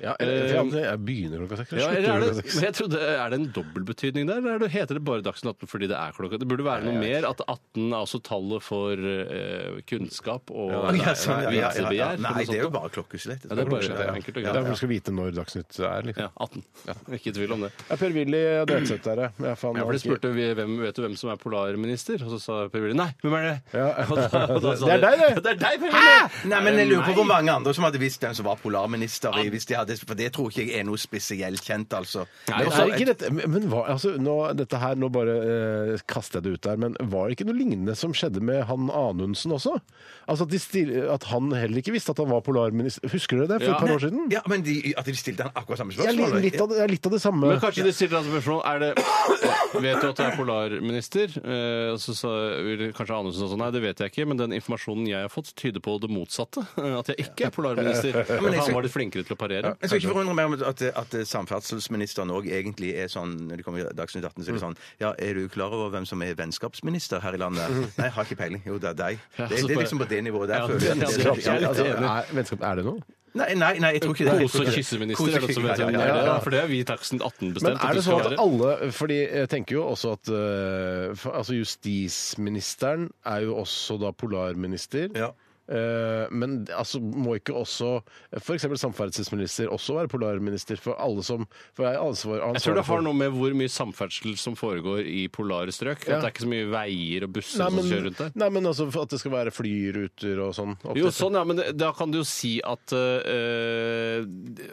B: Ja, eller, eller, jeg begynner klokka seks.
C: eh, Ja,
B: eller
C: eller er
B: slutter klokka
C: det,
B: seks.
C: men jeg trodde, er det en dobbeltbetydning der, eller er det- heter det bare Dagsnytt 18 fordi det er klokka? Det burde være noe mer at 18 er også tallet for eh, kunnskap og
A: Å, ja, sånn, ja, ja, ja, ja.
C: vinterbegjær.
A: Nei, det er jo bare klokkeslett.
C: Ja, det er bare enkelt
B: Det er
C: og greit.
B: for du skal vite når Dagsnytt er. Liksom.
C: Ja, 18. Ikke i tvil om det.
B: Ja, Per Willy Delseth der, ja. ja. Faen, det
C: Ja, for de
B: var ikke-
C: spurte vi, hvem, vet du hvem som er polarminister, og så sa Per Willy nei, hvem er det?
B: Ja.
C: [laughs] Og da- og da sa
B: Det er
C: de,
B: deg, det.
C: [laughs] Det er deg, Per Willy!
A: Nei, men jeg lurer på hvor mange andre som hadde visst hvem som var polarminister. i- Hvis de hadde, for det tror ikke jeg er noe spesielt kjent, altså.
C: Nei,
A: Men
B: Men
A: også-
B: er ikke dette, men- men hva, altså, nå, dette her, nå bare eh, kaster jeg det ut der, men var det ikke noe lignende som skjedde med han Anundsen også? Altså at, de stil, at han heller ikke visste at han var polarminister. Husker dere det for
C: Ja.
B: et par år siden?
A: Ja, men de, at de stilte han akkurat samme
B: Ja,
A: spørsmål?
B: litt, av, det- det er litt av det samme.
C: Men kanskje de stiller deg spørsmål er det, Vet du at du er polarminister? Eh, og så sa vil kanskje Anundsen også nei, det vet jeg ikke, men den informasjonen jeg har fått, tyder på det motsatte. [laughs] eh, At jeg ikke er polarminister.
A: men jeg
C: Han
A: skal-
C: var litt flinkere til å parere.
A: Jeg skal ikke forundre meg om at, at samferdselsministeren òg egentlig er sånn når det kommer i Dagsnytt 18,
C: Mm.
A: så er det sånn Ja, er du klar over hvem som er vennskapsminister her i landet? Nei, jeg har ikke peiling. Jo, det er deg.
C: Mm. Ja,
A: Det,
C: altså,
A: det er
C: bare-
A: liksom på det nivået
C: Ja,
A: der. føler jeg at det
C: det- ja,
A: er
C: det- jeg er litt
B: altså,
C: enig.
B: er, vennskap, er det noe?
A: Nei, nei, nei, jeg tror ikke det. Jeg
C: Kose-
A: tror
C: og
A: ikke det.
C: kysseminister er det som
A: Kose-
C: vet
A: ja,
C: hvem
A: ja,
C: det
A: ja, ja.
C: er. ja, For det er vi i Dagsnytt 18
B: Men
C: bestemt. at
B: er det
C: skal
B: sånn at
C: være.
B: alle Fordi jeg tenker jo også at eh, for- altså justisministeren er jo også da polarminister.
A: Ja.
B: Eh, men altså, må ikke også f.eks. samferdselsminister også være polarminister for alle som For jeg er ansvar, ansvarlig
C: Jeg tror det har
B: for-
C: noe med hvor mye samferdsel som foregår i polare strøk.
B: Ja.
C: At det er ikke så mye veier og
B: Nei,
C: busser som
B: men,
C: kjører rundt der.
B: nei, men altså for at det skal være flyruter og sånn. opp
C: Jo,
B: til-
C: sånn, ja, men da kan du jo si at eh,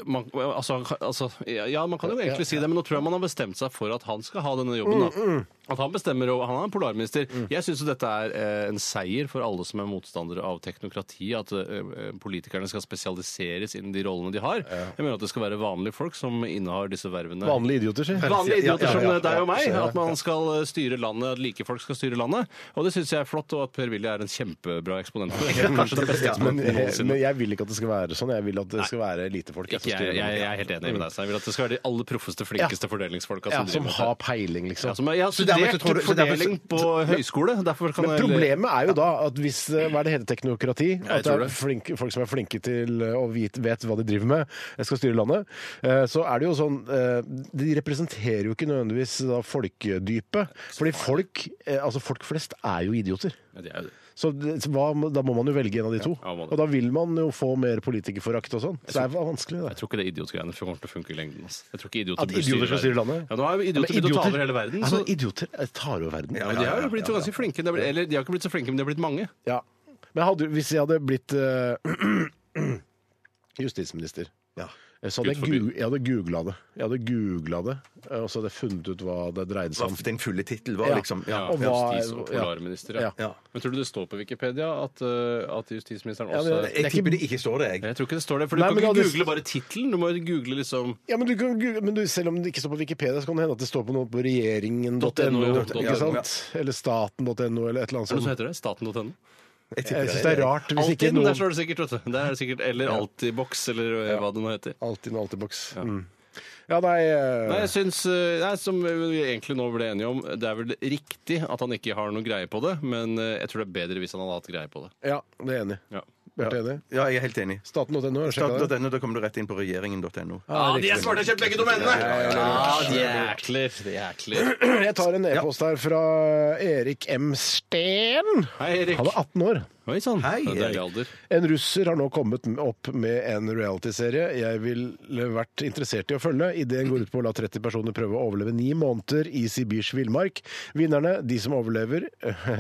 C: man, altså, altså, Ja, man kan jo egentlig si det, men nå tror jeg man har bestemt seg for at han skal ha denne jobben.
B: Mm,
C: Da. At han bestemmer, og han er polarminister. Jeg syns dette er eh, en seier for alle som er motstandere av teknokrati, at eh, politikerne skal spesialiseres innen de rollene de har. Jeg mener at det skal være vanlige folk som innehar disse vervene.
B: Vanlige idioter, sier
A: Ja, ja,
C: Vanlige idioter som
A: ja, ja.
C: deg og meg. At man skal eh, styre landet, at like folk skal styre landet. Og det syns jeg er flott, og at Per Willy er en kjempebra eksponent for det. eh, Kanskje den beste
A: Ja,
B: Men, eh,
C: eksponenten
B: men
C: noensinne.
B: jeg vil ikke at det skal være sånn. Jeg vil at det skal være lite folk.
C: Ikke, jeg, jeg, jeg er helt enig med deg, Stein. Jeg vil at det skal være de aller proffeste, flinkeste fordelingsfolka
B: Ja,
C: som
B: som
C: driver med
B: har
C: dette.
B: peiling, liksom.
C: Ja, som jeg har
A: Så dermed så tror
C: studert
A: du- så dermed så-
C: fordeling på høyskole. Derfor kan
B: Men
C: jeg-
B: problemet er jo da at hvis det hva er det hele teknokrati, at det
C: tror
B: er
C: det.
B: flinke, folk som er flinke til eh, å vite, vet hva de driver med, skal styre landet, eh, så er det jo sånn eh, De representerer jo ikke nødvendigvis da folkedypet. Fordi folk, eh, altså folk flest er jo idioter.
C: Ja, det er jo det.
B: Så det- så hva, må- da må man jo velge en av de to.
C: ja, man må
B: og
C: det.
B: da vil man jo få mer politikerforakt og sånn. Så det er vanskelig, det.
C: Jeg tror ikke det idiotgreiene kommer til å funke i lengden. Altså. Jeg tror ikke idioter
B: At
C: bør
B: idioter skal styre landet?
C: Ja, nå er jo
B: Men
C: idioter begynt å ta over hele verden.
B: ja,
C: Så,
B: men idioter eh, tar over verden.
C: ja, men de har jo blitt ganske flinke. Det er, vel- eller de har ikke blitt så flinke, men de har blitt mange.
B: Ja. Men hadde, hvis jeg hadde blitt eh, [clears throat] justisminister
A: Ja.
B: Eh, så hadde jeg,
C: Gud forby.
B: gu- jeg hadde googla det. Jeg hadde googla det, eh, og så hadde jeg funnet ut hva det dreide seg
A: Hva
B: om.
A: Den fulle tittel var
B: Ja.
A: liksom ja.
B: Og hva-
C: justis- og
B: ja.
C: polarminister, ja.
B: Ja.
A: Ja.
C: Men tror du det står på Wikipedia at, uh, at justisministeren
B: Ja,
C: også
B: men-
A: Jeg tipper det ikke står det, jeg.
C: Jeg tror ikke det står det, for
B: Nei,
C: du
B: men
C: kan
B: da-
C: ikke google bare tittelen. Du må jo google liksom
B: Ja, men, du kan, google- men du, selv om det ikke står på Wikipedia, så kan det hende at det står på noe på regjeringen.no.
C: Ja,
B: Ikke sant? Eller staten.no, eller et eller annet
C: Er det noe som
B: sånt.
C: heter det? Staten.no?
A: Jeg tipper
B: Jeg syns det er rart hvis ikke
C: Altinn, der
B: noen
C: står det sikkert. vet du. Der er det sikkert Eller Altibox, eller uh, hva det nå heter.
B: Alltid en altiboks. Mm. Ja, nei, eh,
C: Nei, jeg synes, uh, nei, Som vi egentlig nå ble enige om, det er vel eh, riktig at han ikke har noe greie på det, men uh, jeg tror det er bedre hvis han hadde hatt greie på det.
B: Ja, det er jeg enig. i.
C: Ja.
B: Bjarte enig?
A: Ja, jeg er helt enig.
B: Staten.no. har sjekket det.
A: Stat.no, da kommer du rett inn på regjeringen.no.
C: Ah, de er smarte og kjøpt begge domenene! Ah, de jækler. De jækler.
B: Jeg tar en e-post her fra Erik M. Steen.
C: Hei, Erik.
B: Han er 18 år.
C: Oi sann.
A: Hei,
C: Det er
A: Erik.
C: deilig alder.
B: En russer har nå kommet opp med en realityserie jeg ville vært interessert i å følge. Ideen går ut på å la 30 personer prøve å overleve ni måneder i sibirsk villmark. Vinnerne, de som overlever, [laughs]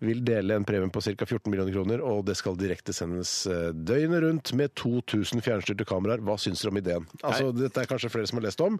B: vil dele en premie på ca. 14 millioner kroner, og det skal direktesendes eh, døgnet rundt med 2000 fjernstyrte kameraer. Hva syns dere om ideen? Altså, dette er kanskje flere som har lest om.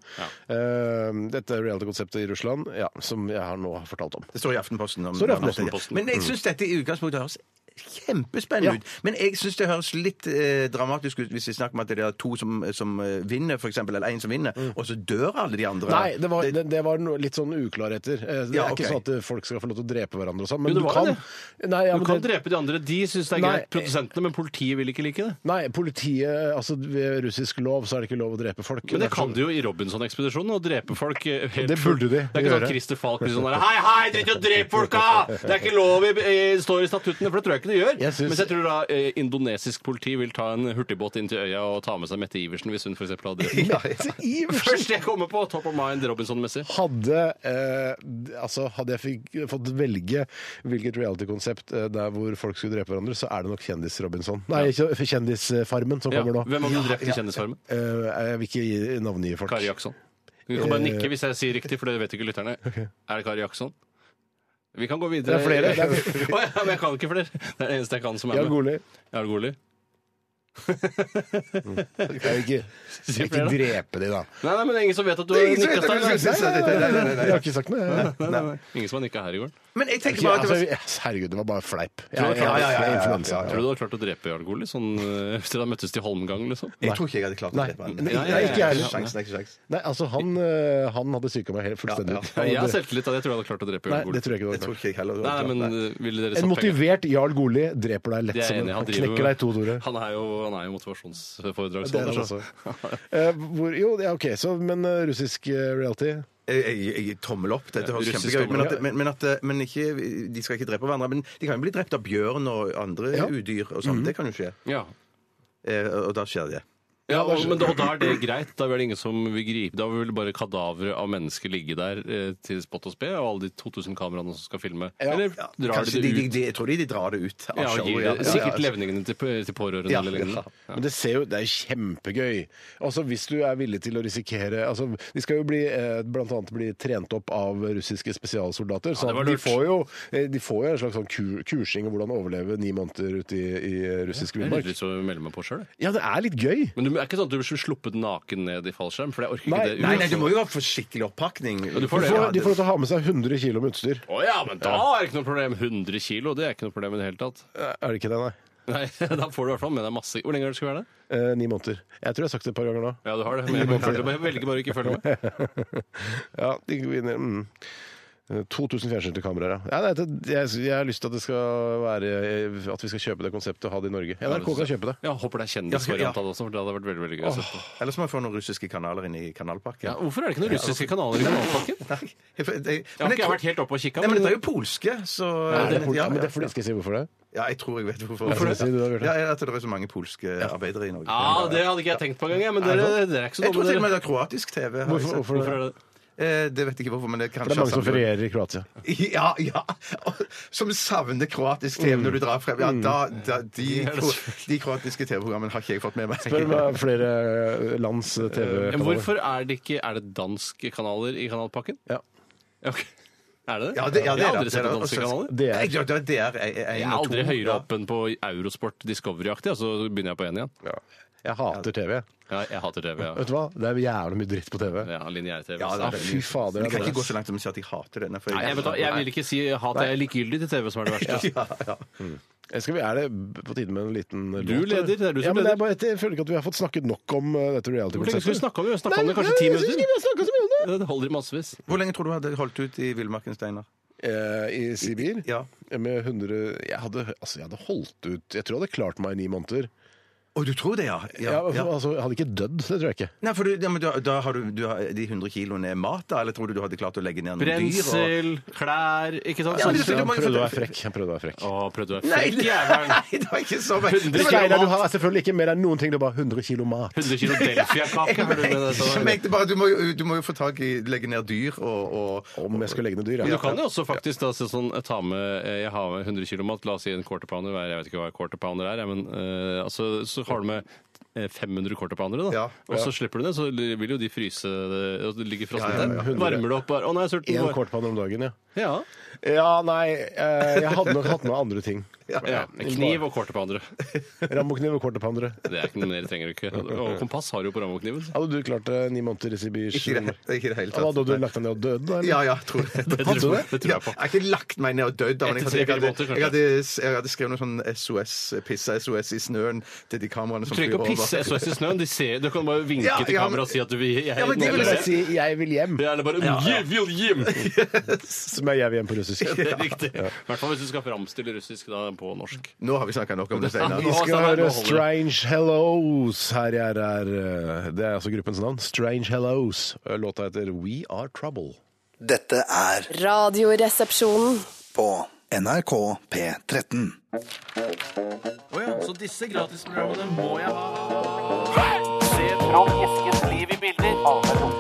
B: Eh, Dette reality-konseptet i Russland, ja, som jeg har nå har fortalt om.
A: Det står i Aftenposten. Om,
B: Står i Aftenposten.
A: Men
C: Mm.
A: jeg syns dette i utgangspunktet høres kjempespennende
B: Ja.
A: ut. Men jeg syns det høres litt eh, dramatisk ut hvis vi snakker om at det er to som, som eh, vinner, for eksempel, eller én som vinner, og så dør alle de andre.
B: Nei, det var, det, det var noe- litt sånn uklarheter. Eh, Det
A: Ja,
B: er ikke
A: ok.
B: sånn at eh, folk skal få lov til å drepe hverandre og sånn, men
C: Jo, det
B: du
C: var
B: kan
C: det.
B: Nei, ja,
C: Du
B: men
C: kan
B: det-
C: drepe de andre. De syns det er
B: Nei.
C: greit, produsentene, men politiet vil ikke like det.
B: Nei, politiet Altså ved russisk lov så er det ikke lov å drepe folk.
C: Men det
B: Derfor-
C: kan de jo i Robinson-ekspedisjonen, å drepe folk. eh, Helt
B: Det burde de
C: Det er ikke
B: gjøre.
C: sånn Christer Falk blir sånn der, Hei, hei, drit i å drepe folka! Det er ikke lov i, i, står i statuttene, for det tror jeg ikke det gjør.
B: Jeg syns-
C: Mens jeg tror da eh, indonesisk politi vil ta en hurtigbåt inn til øya og ta med seg Mette Iversen hvis hun f.eks. har
B: [laughs]
C: drept
B: Mette Iversen!
C: Først jeg kommer på, top of mind Robinson-messig.
B: Hadde, eh, altså, hadde jeg fikk, fått velge hvilket reality-konsept eh, der hvor folk skulle drepe hverandre, så er det nok Kjendis-Robinson. Nei, ikke Kjendisfarmen som
C: Ja.
B: kommer nå.
C: Hvem har du drept i Kjendisfarmen?
B: Eh, jeg vil ikke gi navngi folk.
C: Kari Jaksson. Du kan
B: Eh,
C: bare nikke hvis jeg sier riktig, for det vet ikke lytterne. Er det Kari Jaksson? Vi kan gå videre.
B: Det er flere, det er
C: [laughs] Å ja, men jeg kan ikke flere. Det er det eneste jeg kan som er
B: Jarl
C: med.
B: Goli.
C: Jarl Goli.
B: Jeg vil ikke, jeg vil ikke drepe de, da.
C: Nei, nei, men det er ingen som vet at du har nikka
A: vet at
C: der.
A: du-
B: Nei,
C: [laughs]
B: nei, nei, nei, nei, nei, jeg har ikke sagt noe.
C: Nei, nei, nei. Ingen som har nikka her i går.
A: Men jeg tenker
B: Ikke,
A: bare at
B: altså,
A: det var...
B: jeg- herregud, det var bare fleip. Jeg,
C: Ja,
B: jeg, jeg,
C: ja, ja,
B: jeg,
C: ja, ja,
B: er
C: ja.
B: influensa.
C: Tror du du har klart å drepe Jarl Goli [laughs] sånn eh, etter at de møttes til Holmgang, liksom?
A: Jeg tror ikke jeg hadde klart å drepe han.
B: Nei,
C: nei,
A: Nei, nei,
C: ikke jeg
A: ikke
B: heller.
A: sjans, nei, ikke sjans.
B: Nei, altså han, eh, han hadde psyka meg helt fullstendig ut.
C: Jeg har selvtillit av det. Jeg tror jeg hadde klart å drepe
B: Nei,
C: Jarl
B: det tror jeg
C: Goli.
B: ikke.
A: Jeg
B: det
A: tror
B: var.
A: ikke jeg heller.
C: Nei, men eh, ville
B: En
C: dere satt penger?
B: motivert Jarl Goli dreper deg lett
C: Det er
B: som
C: jeg
B: en
C: enig i.
B: Han
C: Han driver-
B: knekker deg i to, Tore.
C: Han er jo, han er
B: Det er
C: jo motivasjonsforedragsholder.
B: han
C: altså. så-
B: også. [laughs] Eh, hvor, jo, ja, OK, så Men eh, russisk eh, reality?
A: Jeg, jeg, jeg tommel opp. Dette høres
C: Russisk
A: kjempegøy ut. Men,
C: tommel
A: at, men, men, at, eh, men ikke, de skal ikke drepe hverandre. Men de kan jo bli drept av bjørn og andre
B: Ja.
A: udyr og sånn.
C: Mhm.
A: Det kan jo skje.
C: Ja.
A: Eh, og da skjer det.
C: Ja, og, men da, og da er det greit. Da vil ingen som vil gripe Da vil bare kadaveret av mennesker ligge der eh, til spott og spe, og alle de 2000 kameraene som skal filme. Eller
A: Ja,
C: drar
A: kanskje
C: de det
A: de, de,
C: ut?
A: de, jeg tror de, de drar det ut. av
C: Ja, og
A: showet,
C: gir
A: ja.
C: det,
A: Ja,
C: sikkert
A: ja.
C: levningene til, til pårørende
A: Ja,
C: eller lignende.
A: ja.
B: Men det ser jo, det er kjempegøy. Altså Hvis du er villig til å risikere altså De skal jo bli eh, blant annet bli trent opp av russiske spesialsoldater. Så
C: det var
B: de,
C: lurt.
B: får jo, eh, de får jo en slags sånn kur, kursing i hvordan overleve ni måneder ute i, i russisk
C: Jeg har
B: villmark.
C: lyst til å melde meg på sjøl.
B: Ja, det er litt gøy.
C: Men det er ikke sånn at du blir sluppet naken ned i fallskjerm? For jeg orker
B: Nei,
C: ikke det.
A: Nei, nei, det må jo være for skikkelig oppakning.
C: du
B: Du
C: får det,
B: får,
A: Ja,
B: de får lov til å ha med seg 100 kg med utstyr.
C: Å ja, men da er det ikke noe problem. 100 kilo, det er ikke noe problem i det hele tatt.
B: Er det ikke det, nei?
C: Nei, [laughs] Da får du i hvert fall med deg masse Hvor lenge er det du skal være der?
B: Eh, ni måneder. Jeg tror jeg har sagt det et par ganger nå.
C: Ja, du har det. Men jeg, men jeg velger bare å ikke følge med.
B: Ja, de vinner mm. 2000 fjernstyrte kameraer, ja. ja det, jeg, jeg har lyst til at det skal være eh, At vi skal kjøpe det konseptet og ha det i Norge. NRK kan kjøpe det.
C: Ja, Håper det er kjendisvariant av det også, for det hadde vært veldig veldig gøy. å se på.
A: Ellers må jeg få noen russiske kanaler inn i
C: Ja,
A: kanalpakken.
C: hvorfor er det ikke noen russiske kanaler i kanalpakken?
A: Nei, jeg, jeg, jeg, men jeg
C: Jeg har ikke
A: tror-
C: vært helt oppe og kikka.
A: Nei, men det er jo polske, så
B: Er det, ja,
A: ja,
B: men det er fordi, skal jeg si hvorfor det?
A: ja, jeg tror jeg vet hvorfor.
B: Hvorfor det? Si det da, Bjørte.
A: Ja, ja, at det er så mange polske arbeidere i Norge.
C: Ja, Ah, det hadde ikke jeg tenkt på engang, jeg, men dere, dere er ikke så
A: Jeg tror
C: dumme.
A: til og med
C: Dere.
A: det er kroatisk TV. har jeg
B: Hvorfor,
A: sett.
B: hvorfor
C: Hvorfor
B: det?
C: er det?
A: Eh, det vet jeg ikke hvorfor, men det er
B: For
A: kanskje
B: det er mange som
A: har sammenheng.
B: ferierer i [laughs] Kroatia.
A: [laughs] Ja, ja. Og Som savner kroatisk TV
B: Mm.
A: når du drar frem. Ja, da, da, de, de kroatiske TV-programmene har ikke jeg fått med meg.
B: Spør om flere eh, lands
C: Men
B: TV-kanaler.
C: hvorfor er det ikke Er det danske kanaler i kanalpakken?
B: Ja.
C: Ok. Er det det?
A: Ja, det, ja, det
C: jeg
A: er
C: har
A: det.
C: aldri sett på danske kanaler.
B: Det er-
A: Ja, det er en
C: Jeg
A: og
C: er
A: to.
C: aldri høyere opp enn på Eurosport Discovery-aktig, og så begynner jeg på én igjen.
B: Jeg hater TV.
C: Ja, jeg hater TV. Ja.
B: Vet du hva? Det er jævlig mye dritt på TV.
C: Ja, Lineær-TV.
A: Ja, det
C: Ja,
A: er
B: Fy fader.
A: Men Jeg
B: det
A: kan
B: er
A: ikke
B: dårlig.
A: gå så langt som å si at jeg hater denne. For
C: Nei, jeg, vet, da, jeg vil ikke si hat, jeg er likegyldig til TV, som er det
A: [laughs]
C: verste. altså.
A: Ja, ja.
B: Skal vi, er det på tide med en liten eh, låt?
C: leder, det er du som
B: ja, men det
C: leder.
B: er bare, Jeg føler ikke at vi har fått snakket nok om eh, dette
C: Hvor lenge skal vi
B: reality-konseptet.
C: snakke om det? Vi har snakket om det kanskje ti
B: Nei, jeg synes ikke
C: minutter.
B: vi har snakket så mye om det.
C: Det holder i massevis.
A: Hvor lenge tror du du hadde holdt ut i villmarken, Steinar?
B: Eh, I Sibir?
A: Ja.
B: Med 100 jeg hadde, altså, jeg hadde holdt ut Jeg tror jeg hadde klart meg i ni måneder.
A: Å, du tror det, ja?
B: Ja, altså, jeg hadde ikke dødd, det tror jeg ikke.
A: Nei, for du, ja, men da, da har du, du har, de 100 kiloene er mat, da? Eller tror du du hadde klart å legge ned noen dyr?
C: Brensel, klær Ikke sant?
A: Ja, men det-
C: Sånn-
B: Jeg
A: må jo
B: prøvde å
A: få-
B: være frekk. Jeg prøvde å være frekk.
C: Å, prøvde å være
A: Nei,
C: frekk,
A: det-
C: jævelen!
A: Nei, det var ikke så
B: Det
C: Det
B: var
C: kilo
B: deilig,
C: mat.
B: du har selvfølgelig ikke med deg noen ting, du har bare 100 kilo mat.
C: 100
A: [laughs]
C: kilo Delfia-kake. har du med deg,
A: Jeg
C: Steinar.
A: mente bare, du må, jo, du må jo få tak i legge ned dyr og, og
B: Om jeg skal legge ned dyr, ja.
C: Men du kan jo også faktisk da, se sånn, eh, ta med, eh, jeg har med 100 kg mat, la oss si en quarter pounder hver, jeg vet ikke hva quarter pounder er, jeg, men eh, altså, så har du med eh, 500 quarter pounder da,
A: Ja,
C: og så slipper du det, så li- vil jo de fryse, det, og det ligger frosset
A: Ja, ja,
B: ja.
C: der. Varmer det opp bare, å nei, jeg er sulten.
B: Én
C: bare-
B: kvartpanne om dagen, ja.
C: Ja,
B: Ja, nei, eh, jeg hadde nok hatt med andre ting.
C: ja. Kniv og quarter pounder.
B: Rammokniv og quarterpounder.
C: Det er ikke noe mer, trenger du ikke. Og kompass har du jo på rammekniven.
B: Hadde du klart eh, ni måneder i
A: Ikke i
B: Sibir?
A: det, ikke i det hele
B: Ja, da
A: tatt.
B: hadde du lagt deg ned og dødd, da?
A: Ja, ja, tror det.
C: [laughs] Det tror,
B: du
C: jeg- det tror
A: Ja,
C: jeg på.
A: jeg har ikke lagt meg ned og dødd. da, men Jeg, hadde-
C: Etter
A: jeg,
C: tre-fire
A: hadde-
C: måneder, kanskje.
A: jeg, hadde- jeg hadde skrevet noe sånn SOS, pissa SOS i snøen til de kameraene
C: Du
A: som flyr
C: trenger ikke å
A: over.
C: pisse SOS i snøen, de ser, du kan bare vinke
A: Ja,
C: til
A: ja, men-
C: kamera og si at du vil... Jeg,
A: Ja, men de
B: Jeg
A: vil
B: vil bare si 'jeg vil hjem',
C: Ja, eller bare, «Gi- vil
A: [laughs]
C: hjem!
B: som er 'jeg vil hjem' på russisk.
C: Det er riktig. I hvert fall hvis du skal framstille russisk da, på norsk.
A: Nå har vi snakka nok om det senere.
B: Vi
C: Nå-
B: skal
C: altså, her, nå
B: høre
C: holder det.
B: Strange Hellos. Her jeg er, eh, det er altså gruppens navn. Strange Hellos. Eh, Låta heter We Are Trouble.
F: Dette er
E: Radioresepsjonen.
F: på NRK P13.
C: Så disse gratisprogrammene må jeg ha.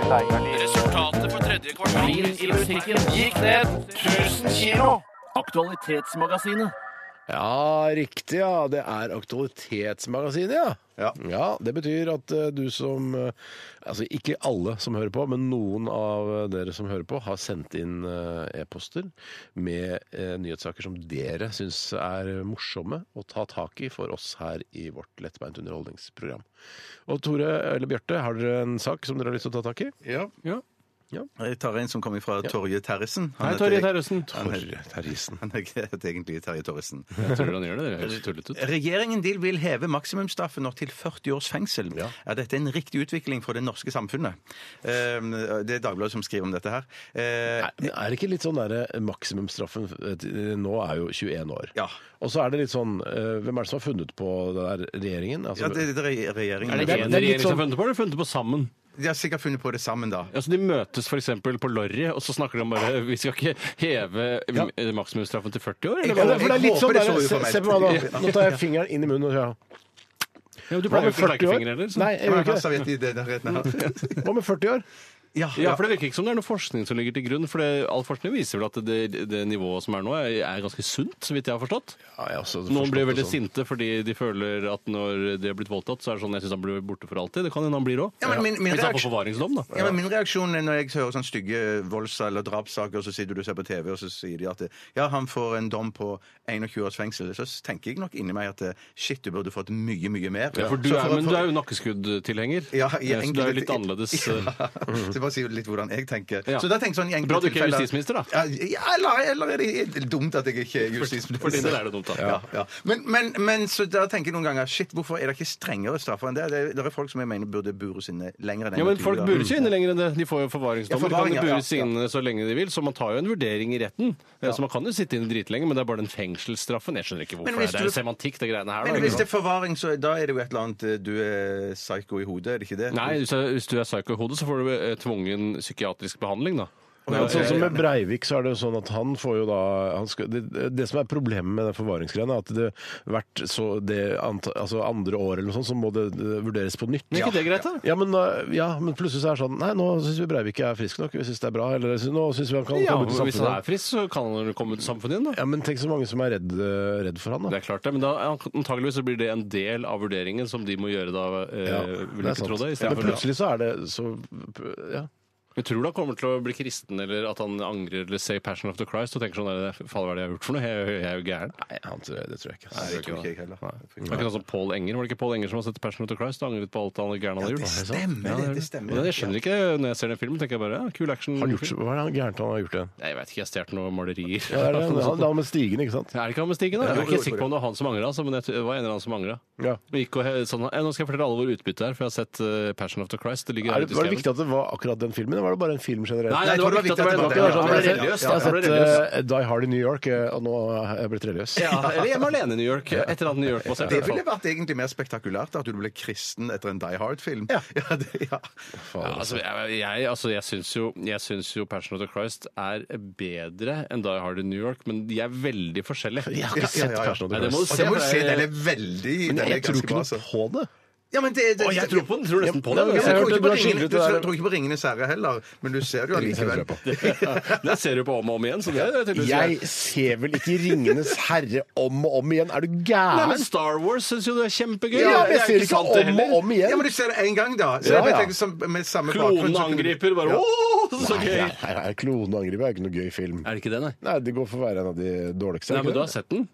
C: Resultatet på tredje kvartal gikk ned 1000 kilo. Aktualitetsmagasinet.
B: Ja, riktig. ja. Det er Aktualitetsmagasinet, ja.
A: Ja.
B: Det betyr at eh, du som eh, Altså ikke alle som hører på, men noen av eh, dere som hører på, har sendt inn eh, e-poster med eh, nyhetssaker som dere syns er morsomme å ta tak i for oss her i vårt lettbeint underholdningsprogram. Og Tore eller Bjarte, har dere en sak som dere har lyst til å ta tak i?
A: Ja.
C: Ja.
A: Jeg tar en som kommer fra Torje Terresen.
C: Hei,
A: Han
C: Torje
A: heter-
C: Terresen.
A: Han heter-
B: Torre Terjesen.
A: han heter egentlig Terje Torresen.
C: Jeg tror han gjør det. Det høres tullete ut.
A: Regjeringen de vil heve maksimumsstraffen nå til 40 års fengsel. Er dette en riktig utvikling for det norske samfunnet? Eh, Det er Dagbladet som skriver om dette her. Eh,
B: Nei, men Er det ikke litt sånn der, eh, maksimumsstraffen eh, til- Nå er jo 21 år.
A: Ja.
B: Og så er det litt sånn eh, Hvem er det som har funnet på det der regjeringen? Altså,
A: Ja, det, det er re- regjeringen.
C: Er det
B: det er
C: én
B: litt
C: regjering som
B: sånn-
C: har funnet på det, eller funnet på sammen?
A: De har sikkert funnet på det sammen, da.
C: Altså, de møtes f.eks. på Lorry, og så snakker de om bare Vi skal ikke heve
B: Ja.
C: eh, maksimumsstraffen til 40 år,
B: Ja,
C: eller
B: for det
C: hva?
B: er litt
A: Jeg
B: sånn
A: håper det
B: der,
A: så
B: se,
A: uformelt.
B: se på
A: [laughs]
B: meg nå. Nå tar jeg fingeren inn i munnen og sier
C: Ja, men du
B: Hva med
C: pleier jo ikke
B: 40
C: å leke
B: år?
C: fingre heller. så-
B: Nei, jeg gjør
A: Men
B: ikke
A: han sa vet de det der rett nå.
B: [laughs] det. Hva med 40 år?
A: Ja,
C: Ja, for Det virker ikke som det er noe forskning som ligger til grunn. for det, All forskning viser vel at det, det nivået som er nå, er, er ganske sunt, så vidt jeg har forstått.
B: altså,
C: Noen blir
B: sånn.
C: veldig sinte fordi de føler at når de har blitt voldtatt, så er det sånn jeg syns han blir borte for alltid. Det kan hende han blir òg.
A: Ja, men min- min
C: Hvis han får
A: reaksjon-
C: forvaringsdom, da.
A: Ja, men Min reaksjon er når jeg hører sånne stygge volds- eller drapssaker, så sitter du og ser på TV, og så sier de at det- ja, han får en dom på 21 års fengsel. Så tenker jeg nok inni meg at det- shit, du burde fått mye, mye mer.
C: Ja, for du
A: Så
C: er, men
A: for-
C: du er jo nakkeskuddtilhenger,
A: Ja, i
C: Eh, så du
A: enkelte-
C: er jo litt annerledes. eh.
A: [laughs] Ja, så jeg bare sier litt hvordan jeg tenker.
C: Ja.
A: Så da tenker jeg sånn i enkelte
C: Bra du ikke er
A: tilfeller-
C: justisminister, da.
A: Ja, ja, eller, eller er det dumt at jeg ikke er justisminister?
C: For din del er det dumt, da.
A: Ja, ja. Men, men, men så da tenker jeg noen ganger shit, hvorfor er det ikke strengere straffer enn det? Det, det er folk som jeg mener burde bures inne lenger enn
C: Ja, men
A: 21
C: Folk
A: da.
C: bures jo inne lenger enn det. De får jo
A: Ja,
C: forvaringsdommer. De
A: forvaring,
C: kan jo
A: ja,
C: bures
A: ja, ja.
C: inne så lenge de vil, så man tar jo en vurdering i retten. Eh, Så man kan jo sitte inne dritlenge, men det er bare den fengselsstraffen. Jeg skjønner ikke hvorfor.
A: Men
C: Det
A: hvis
C: er, det er
A: du-
C: jo semantikk, det greiene her. da. liksom.
A: Men hvis det er forvaring, så da er det jo et eller annet eh, Du er psycho i hodet, er det ikke det?
C: Nei, hvis, du- hvis du er psyko i hodet, så får du eh, tvungen psykiatrisk behandling, da.
B: Men
C: altså-
B: sånn som
A: ja, ja.
B: med Breivik, så er det jo sånn at han får jo da han skal, det, det som er problemet med den forvaringsgreia, er at det hvert så det ant, altså andre år eller noe sånt, så må det, det vurderes på nytt.
C: Men er ikke det greit, da?
B: Ja men, eh, ja, men plutselig så er det sånn Nei, nå syns vi Breivik er frisk nok. Vi syns det er bra. Eller nå syns vi han kan
C: Ja,
B: komme ut i
C: men Hvis han er
B: samfunnet.
C: frisk, så kan han jo komme ut i samfunnet igjen, da.
B: Ja, men tenk så mange som er redd, eh, redd for han, da.
C: Det er klart det, men da, antageligvis så blir det en del av vurderingen som de må gjøre da, eh,
B: Ja,
C: vil jeg ikke tro det. i stedet
B: Men
C: for
B: plutselig så er det så ja.
C: Jeg tror du han kommer til å bli kristen, eller at han angrer eller ser 'Passion of the Christ' og tenker sånn «Nei, det er- Faen, hva er det jeg har gjort for noe? Jeg, jeg er jo gæren.
B: Nei, han tror, det tror jeg ikke.
A: Nei, det tror ikke jeg heller.
C: Det er ikke noe som Paul Enger. Var det ikke Paul Enger som har sett 'Passion of the Christ' og angret på alt han gæren han har
A: Det
C: gjort?
A: stemmer, det. det
C: Og
A: stemmer.
C: det- Jeg skjønner ikke når jeg ser den filmen. tenker jeg bare, ja, kul action.
B: Har han gjort, hva er det han gærent han har gjort igjen?
C: Nei, Jeg vet ikke, jeg har stjålet noen malerier. Sånn.
B: Ja, det er det,
C: [laughs]
B: han, han med stigen, ikke sant?
C: Er det ikke han med Stigen? da?
A: Jo,
C: Jeg er
A: jo,
C: ikke sikker på om det var han som angra, altså, men jeg tror- det var en eller annen som angra.
B: Ja.
C: Gikk og he- sånn, «Eh, nå skal jeg fortelle alle hvor utbyttet er, for jeg har sett eh, 'Passion of the Christ'. Det ligger
B: Er
C: her
B: det,
C: ute i
B: var det
C: skauen.
B: viktig at det var akkurat den filmen? eller var det bare en film generelt?
C: Nei,
A: Nei,
C: det var viktig at det var sånn
A: det
C: tilbake.
A: var
C: Han ble
A: viktig.
C: religiøs.
B: Jeg har
C: Han ble
B: sett
C: religiøs.
B: eh, Die Hard i New York, eh, og nå er jeg blitt religiøs.
C: Ja, eller Hjemme alene i New York. Et eller annet New York-basert. i
A: Det
C: hvert
A: ville
C: fall.
A: vært egentlig mer spektakulært at du ble kristen etter en Die Hard-film.
B: Ja.
A: det, [laughs] ja.
C: Ja, altså, jeg jeg, altså, jeg syns jo, jeg syns jo Passion of the Christ er bedre enn Die Hard in New York, men de er veldig forskjellige. [laughs]
B: Jeg har ikke
A: Ja,
B: sett
A: ja, ja.
B: Passion of
C: Nei,
B: the
C: det må
B: Christ.
A: Og det
C: du se.
A: må du
C: for
A: si,
C: det er-
A: den er veldig den er
B: Jeg tror
A: ganske
B: ikke
A: bra,
B: noe
A: altså.
B: på det.
A: Ja, men det, det,
C: Å, jeg tror på den! Tror nesten på
A: Ja,
C: den.
A: men
B: jeg
A: du
B: hørte
A: tror ikke
B: du
A: på
B: har
A: Ringene-
B: skildret
A: du
B: det her.
A: tror ikke på Ringenes herre heller, men du ser det jo allikevel.
C: Det ser du på om og om igjen. Så det, er tydeligvis greit.
B: Jeg ser vel ikke 'Ringenes herre' om og om igjen. Er du
C: Nei, men
B: gæren?
C: Star Wars syns jo det er kjempegøy.
B: Ja, men
C: Det
B: jeg
C: er
B: ser ikke
C: sant
B: om
C: det
B: og
C: heller.
B: om
A: Ja,
B: igjen.
A: men du ser det én gang, da. Så
B: Ja,
A: jeg
B: ja.
A: tenker, som, med samme bakgrunn, så
C: Klonen
A: kunne-
C: angriper bare Åh, så
B: Nei,
C: gøy!
B: nei, nei, nei, Klonen angriper er ikke noe gøy film.
C: Er det ikke det, nei?
B: Nei, Det går for å være en av de dårligste. er
C: Nei,
B: ikke
C: men du har
B: det?
C: sett den?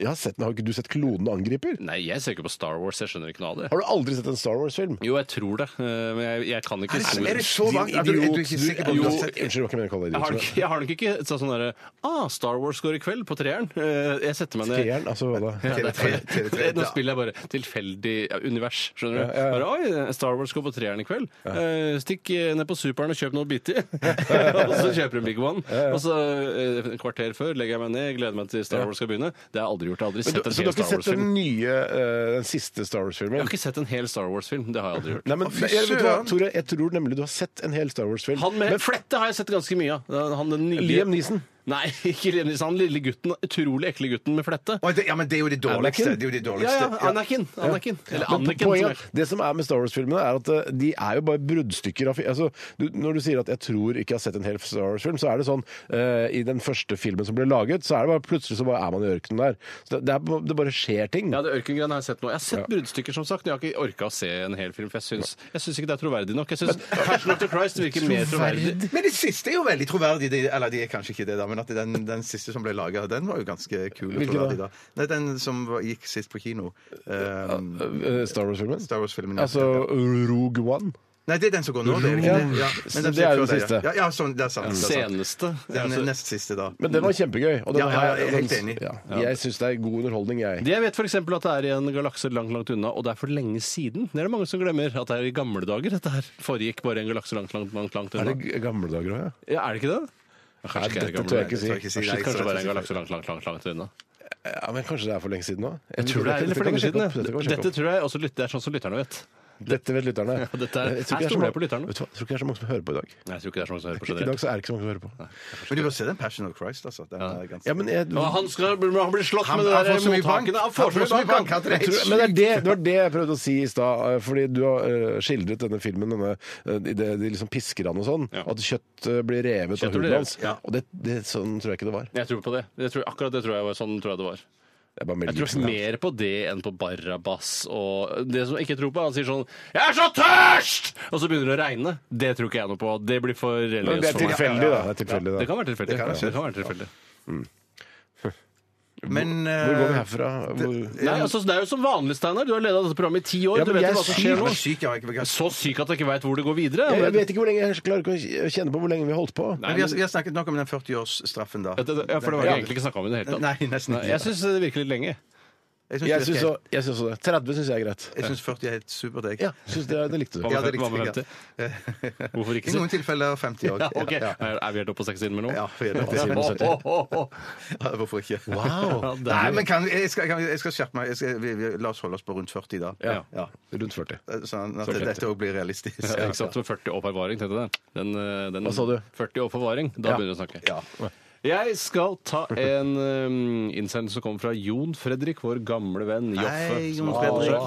B: Jeg har sett den. Har ikke du sett 'Klonen angriper'?
C: Nei, jeg ser ikke på Star Wars. Jeg skjønner ikke noe av det.
B: Har du aldri sett en Star Wars-film?
C: Jo, jeg tror det, eh, men jeg, jeg kan ikke
A: Er det- Er det så
B: Din
A: langt at du, er du ikke
B: idiot,
A: sikker på
B: du-
A: om du har
B: jo,
A: sett
B: Unnskyld, det var ikke meningen å kalle deg
C: Jeg har, nok,
B: idiot.
C: jeg har nok ikke sa sånn derre ah, Star Wars går i kveld på treeren. Eh, Jeg setter meg ned
B: Treeren, altså hva da?
A: TV3, TV3,
C: [laughs] Nå
A: ja.
C: spiller jeg bare tilfeldig ja, univers, skjønner du.
B: Ja, ja, ja.
C: Bare, Oi, Star Wars går på treeren i kveld. Eh, Stikk eh, ned på Superen og kjøp noe å
B: [laughs]
C: bite i. Og så kjøper du en Big One. Og så eh, et kvarter før legger jeg meg ned, gleder meg til Star Wars skal begynne. Det har jeg aldri gjort. Jeg har aldri
B: Men
C: sett
B: du,
C: en
B: så du
C: hel
B: har ikke
C: Star
B: sett den
C: Wars-film.
B: nye, eh, den siste Star
C: Jeg
B: Wars-filmen?
C: har ikke sett en hel Star Wars-film. Det har jeg aldri gjort.
B: Nei, men
A: fy
B: jeg, vet du hva,
A: søren.
B: Tore, jeg tror nemlig du har sett en hel Star Wars-film.
C: Han med
B: Men
C: flette har jeg sett ganske mye av. Han den nye
B: Liam Neeson.
C: Nei, [laughs] ikke Liam Neeson. Han lille gutten, utrolig ekle gutten med flette.
A: Å, det, ja, men det er jo det dårligste. Det
B: Anakin?
A: er jo det
C: Ja,
A: dårligste.
C: ja, Anakin. Anakin. Eller
B: Men
C: Anakin. som
B: poenget,
C: er-
B: det som er med Star Wars-filmene, er at eh, de er jo bare bruddstykker av fi- altså, du, Når du sier at 'jeg tror ikke jeg har sett en hel Star Wars-film', så er det sånn eh, I den første filmen som ble laget, så er det bare plutselig så bare er man i ørkenen der. Så det, det, er, det bare skjer ting.
C: Ja, det Ørkengreiene har jeg sett nå. Jeg har sett bruddstykker, som sagt. Men jeg har ikke orka å se en hel film, for jeg syns, jeg syns ikke det er troverdig nok. Jeg syns Passion of the Christ virker mer troverdig.
A: Men det siste er jo veldig troverdig. det- Eller de er kanskje ikke det, da. Men at den, den siste som ble laga, den var jo ganske kul. og
B: Hvilken
A: troverdig,
B: da?
A: da? Nei, den som var, gikk sist på kino. Um,
B: Eh, Star Wars-filmen?
A: Star Wars-filmen. ja.
B: Altså Rogue One.
A: Nei, det er den som går nå. Det er ikke
B: Ja.
A: det. Ja. Men
B: Så det
A: som før
B: er den
A: deg, ja.
B: siste.
A: Ja, ja, sånn, det er sant. Det er sant.
C: Seneste.
A: Den
C: Altså,
A: nest siste, da.
B: Men den var kjempegøy. Og den
A: Ja, ja, jeg er
B: her-
A: helt enig.
B: Ja, jeg syns det er god underholdning, jeg.
C: Det jeg vet for eksempel at det er i en galakse langt, langt unna, og det er for lenge siden. Det er det mange som glemmer. At det er i gamle dager dette her foregikk bare i en galakse langt, langt, langt, langt
B: Er
C: unna.
B: det g- gamle dager òg, ja?
C: Ja, er det ikke det?
B: Nei,
C: ikke det er
B: dette
A: det
B: tør jeg ikke
C: gamle dager,
A: tør jeg
B: si.
A: ikke si.
C: Shit,
A: Nei,
C: kanskje det
A: så-
C: bare er en galakse langt, langt, langt, langt unna.
B: Ja, men Kanskje det er for lenge siden nå?
C: Jeg tror det er
B: Dette
C: eller for
B: kan vi
C: lenge
B: sjekke
C: siden.
B: opp. Dette kan vi
C: ja.
B: sjekke opp.
C: Dette tror jeg også lyt- det er sånn som lytterne vet.
B: Dette vet lytterne.
C: Ja,
B: Jeg
C: dette er-
B: tror
C: her
B: ikke det er så
C: stoler
B: mange-
C: jeg på lytterne.
B: Vet du hva, jeg tror ikke det er så mange som hører på i dag.
C: Nei, jeg tror ikke det er sånn som
B: I
C: hører på
B: dag
C: generelt.
B: så er det ikke så mange som hører på.
A: Men du bør se den Passion of Christ, altså. Den er ganske...
B: Ja, men jeg,
C: Ja, han, skal, han blir slått
A: Han-
C: med det
A: han
C: der
A: får så mye
C: mottakene.
A: bank.
C: Han får så mye bank!
A: at det er
B: jeg tror,
A: helt
B: men det, er det, det var det jeg prøvde å si i stad. eh, Fordi du har eh, skildret denne filmen, denne, eh, de, de, de liksom pisker han og sånn.
C: Ja.
B: At kjøtt eh, blir revet
C: Kjøttet
B: av huden
C: blir revet,
B: hans.
C: ja.
B: Og det, det, sånn tror jeg ikke det var.
C: Jeg tror på det. Jeg tror, akkurat det tror jeg var sånn tror jeg det var.
B: Det er bare Mel
C: Jeg tror
B: Gibson. ja.
C: mer på det enn på Barabas. Og det som jeg ikke tror på, han sier sånn 'Jeg er så tørst!' Og så begynner det å regne. Det tror ikke jeg noe på. Det blir for
B: Men
C: religiøst
B: det er
C: for meg.
B: tilfeldig, da. Det er tilfeldig,
C: Det
B: da.
C: kan være tilfeldig.
A: kan
C: Det kan være tilfeldig.
A: Men,
B: Hvor går vi
A: eh,
B: herfra? Hvor...
C: Nei, altså, det er jo som vanlig, Steinar. Du har leda dette programmet i ti år.
B: Ja,
C: du
B: men
C: vet
B: jeg
C: jo hva
B: er
C: som skjer Altså,
A: Jeg
C: nå.
A: var syk, jeg var ikke begeistret.
C: Så syk at jeg ikke veit hvor det går videre.
B: Jeg, jeg vet ikke hvor lenge jeg klarer ikke å kj- kjenne på hvor lenge vi holdt på.
C: Nei,
A: Men vi har,
C: men-
A: vi har snakket nok om den 40-årsstraffen, da.
C: Ja, det- ja, for det var det egentlig ikke snakka om i det hele tatt.
A: Nei, nesten
C: Nei,
A: ikke.
C: Jeg syns det virker litt lenge.
A: Jeg
B: Jeg syns
A: syns
B: også jeg syns også det. 30 syns jeg er greit.
A: jeg syns 40 er helt supert, jeg.
B: Ja, syns det, det likte du.
C: Hva
A: Ja,
C: med
A: det er
C: 50? Hva med
A: riktig,
C: 50? Hvorfor
A: [laughs]
C: ikke
A: I noen tilfeller 50 òg.
C: Ja, ok. Er er vi helt oppe på 60 innimellom?
A: Ja, vi er nok det.
C: [laughs] Ja, å, å, å, å.
A: Hvorfor ikke?
C: Ja,
B: Wow!
C: det er-
A: Nei, men kan, jeg, skal, kan, vi- jeg skal skjerpe meg. Jeg skal, vi, vi, la oss holde oss på rundt 40 da.
C: Ja.
B: Rundt 40.
A: Sånn at
C: Så fint.
A: dette òg blir realistisk.
C: Ja, ikke sant? Med 40 år forvaring, tenkte jeg det. Den, eh, den,
B: Hva sa du?
C: 40 år forvaring,
B: Ja.
C: da begynner vi å snakke.
A: Ja.
C: Jeg skal ta en um, innsendelse som kommer fra Jon Fredrik, vår gamle venn Joffe.
A: Hei,
C: som
A: Jon
C: har fått
A: Fredrik.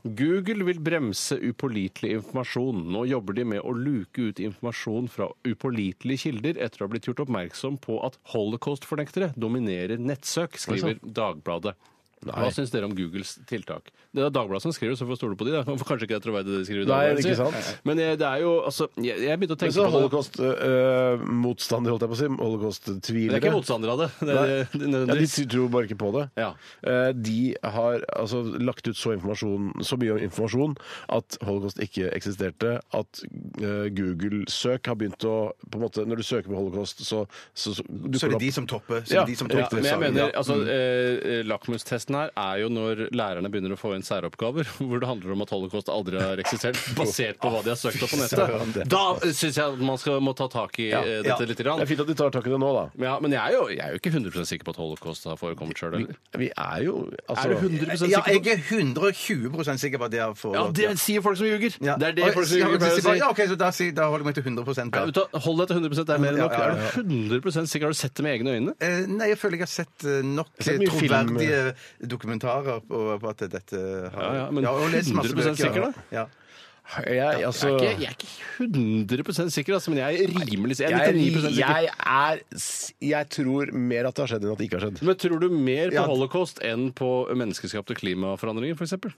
C: seg. Google vil bremse upålitelig informasjon. Nå jobber de med å luke ut informasjon fra upålitelige kilder etter å ha blitt gjort oppmerksom på at holocaust-fornektere dominerer nettsøk,
B: sånn.
C: skriver Dagbladet. Hva syns dere om Googles tiltak? Det er Dagbladet som skriver, så får stole på de. Da. Kanskje ikke det er troverdig det de skriver. i
B: Nei,
C: Dagbladet,
B: ikke
C: sier.
B: sant?
C: Men eh, det er jo altså, Jeg, jeg begynte å
B: Men
C: tenke
B: så
C: på det.
B: holocaust-motstandere, holdt jeg på å si.
C: Det er
B: Holocaust-tvilere.
C: ikke motstandere av det. det, er- det, er
B: Ja, de
C: nødvendigvis.
B: sy- tror bare ikke på det.
C: Ja.
B: Eh, De har altså lagt ut så, informasjon, så mye informasjon at holocaust ikke eksisterte. At eh, Google-søk har begynt å på en måte, Når du søker på holocaust, så, så, så
A: Så
B: dukker
A: er
B: det
A: det de
B: opp
A: som topper. Så er
B: Ja,
A: det de som
B: ja,
C: ja,
A: topper
C: men jeg
A: saken,
C: mener,
A: ja. Mm.
C: altså, eh, lakmustesten konteksten her er jo når lærerne begynner å få inn særoppgaver [laughs] hvor det handler om at holocaust aldri har eksistert, basert på hva de har søkt opp på nettet. Da syns jeg at man skal, må ta tak i eh,
A: ja.
C: dette litt.
B: Det
C: Grann.
B: er fint at de tar tak i det nå, da.
C: Ja, men jeg er, jo, jeg er jo ikke 100 sikker på at holocaust har forekommet sjøl.
B: Vi er jo altså,
C: Er du 100 sikker
A: Ja,
C: på
A: jeg er 120 sikker på at det har
C: Ja,
A: foregått.
C: det sier folk som ljuger! Det er det
A: Oi,
C: folk som
A: ja,
C: ljuger pleier å si.
A: Ja, ok, så da, sier- da holder jeg meg til 100
C: Nei,
A: da.
C: vet du hva, Hold deg til 100 det er mer enn nok.
A: Ja, ja, ja.
C: Er du 100 sikker? Har du sett det med egne øyne?
A: Eh, Nei, jeg føler jeg har sett eh, nok
B: har sett mye
A: troverdige dokumentarer på, på at dette har
C: eh. Ja, ja, men
A: og lest masse
C: 100%
A: bøker.
C: sikker, da?
A: Ja.
B: jeg, altså,
C: Jeg er ikke, jeg er ikke 100 sikker, altså, men jeg er rimelig sikker. Jeg er
B: jeg,
C: 99 sikker.
B: jeg er s- Jeg tror mer at det har skjedd enn at det ikke har skjedd.
C: Men tror du mer på
A: Ja.
C: holocaust enn på menneskeskapte klimaforandringer, f.eks.?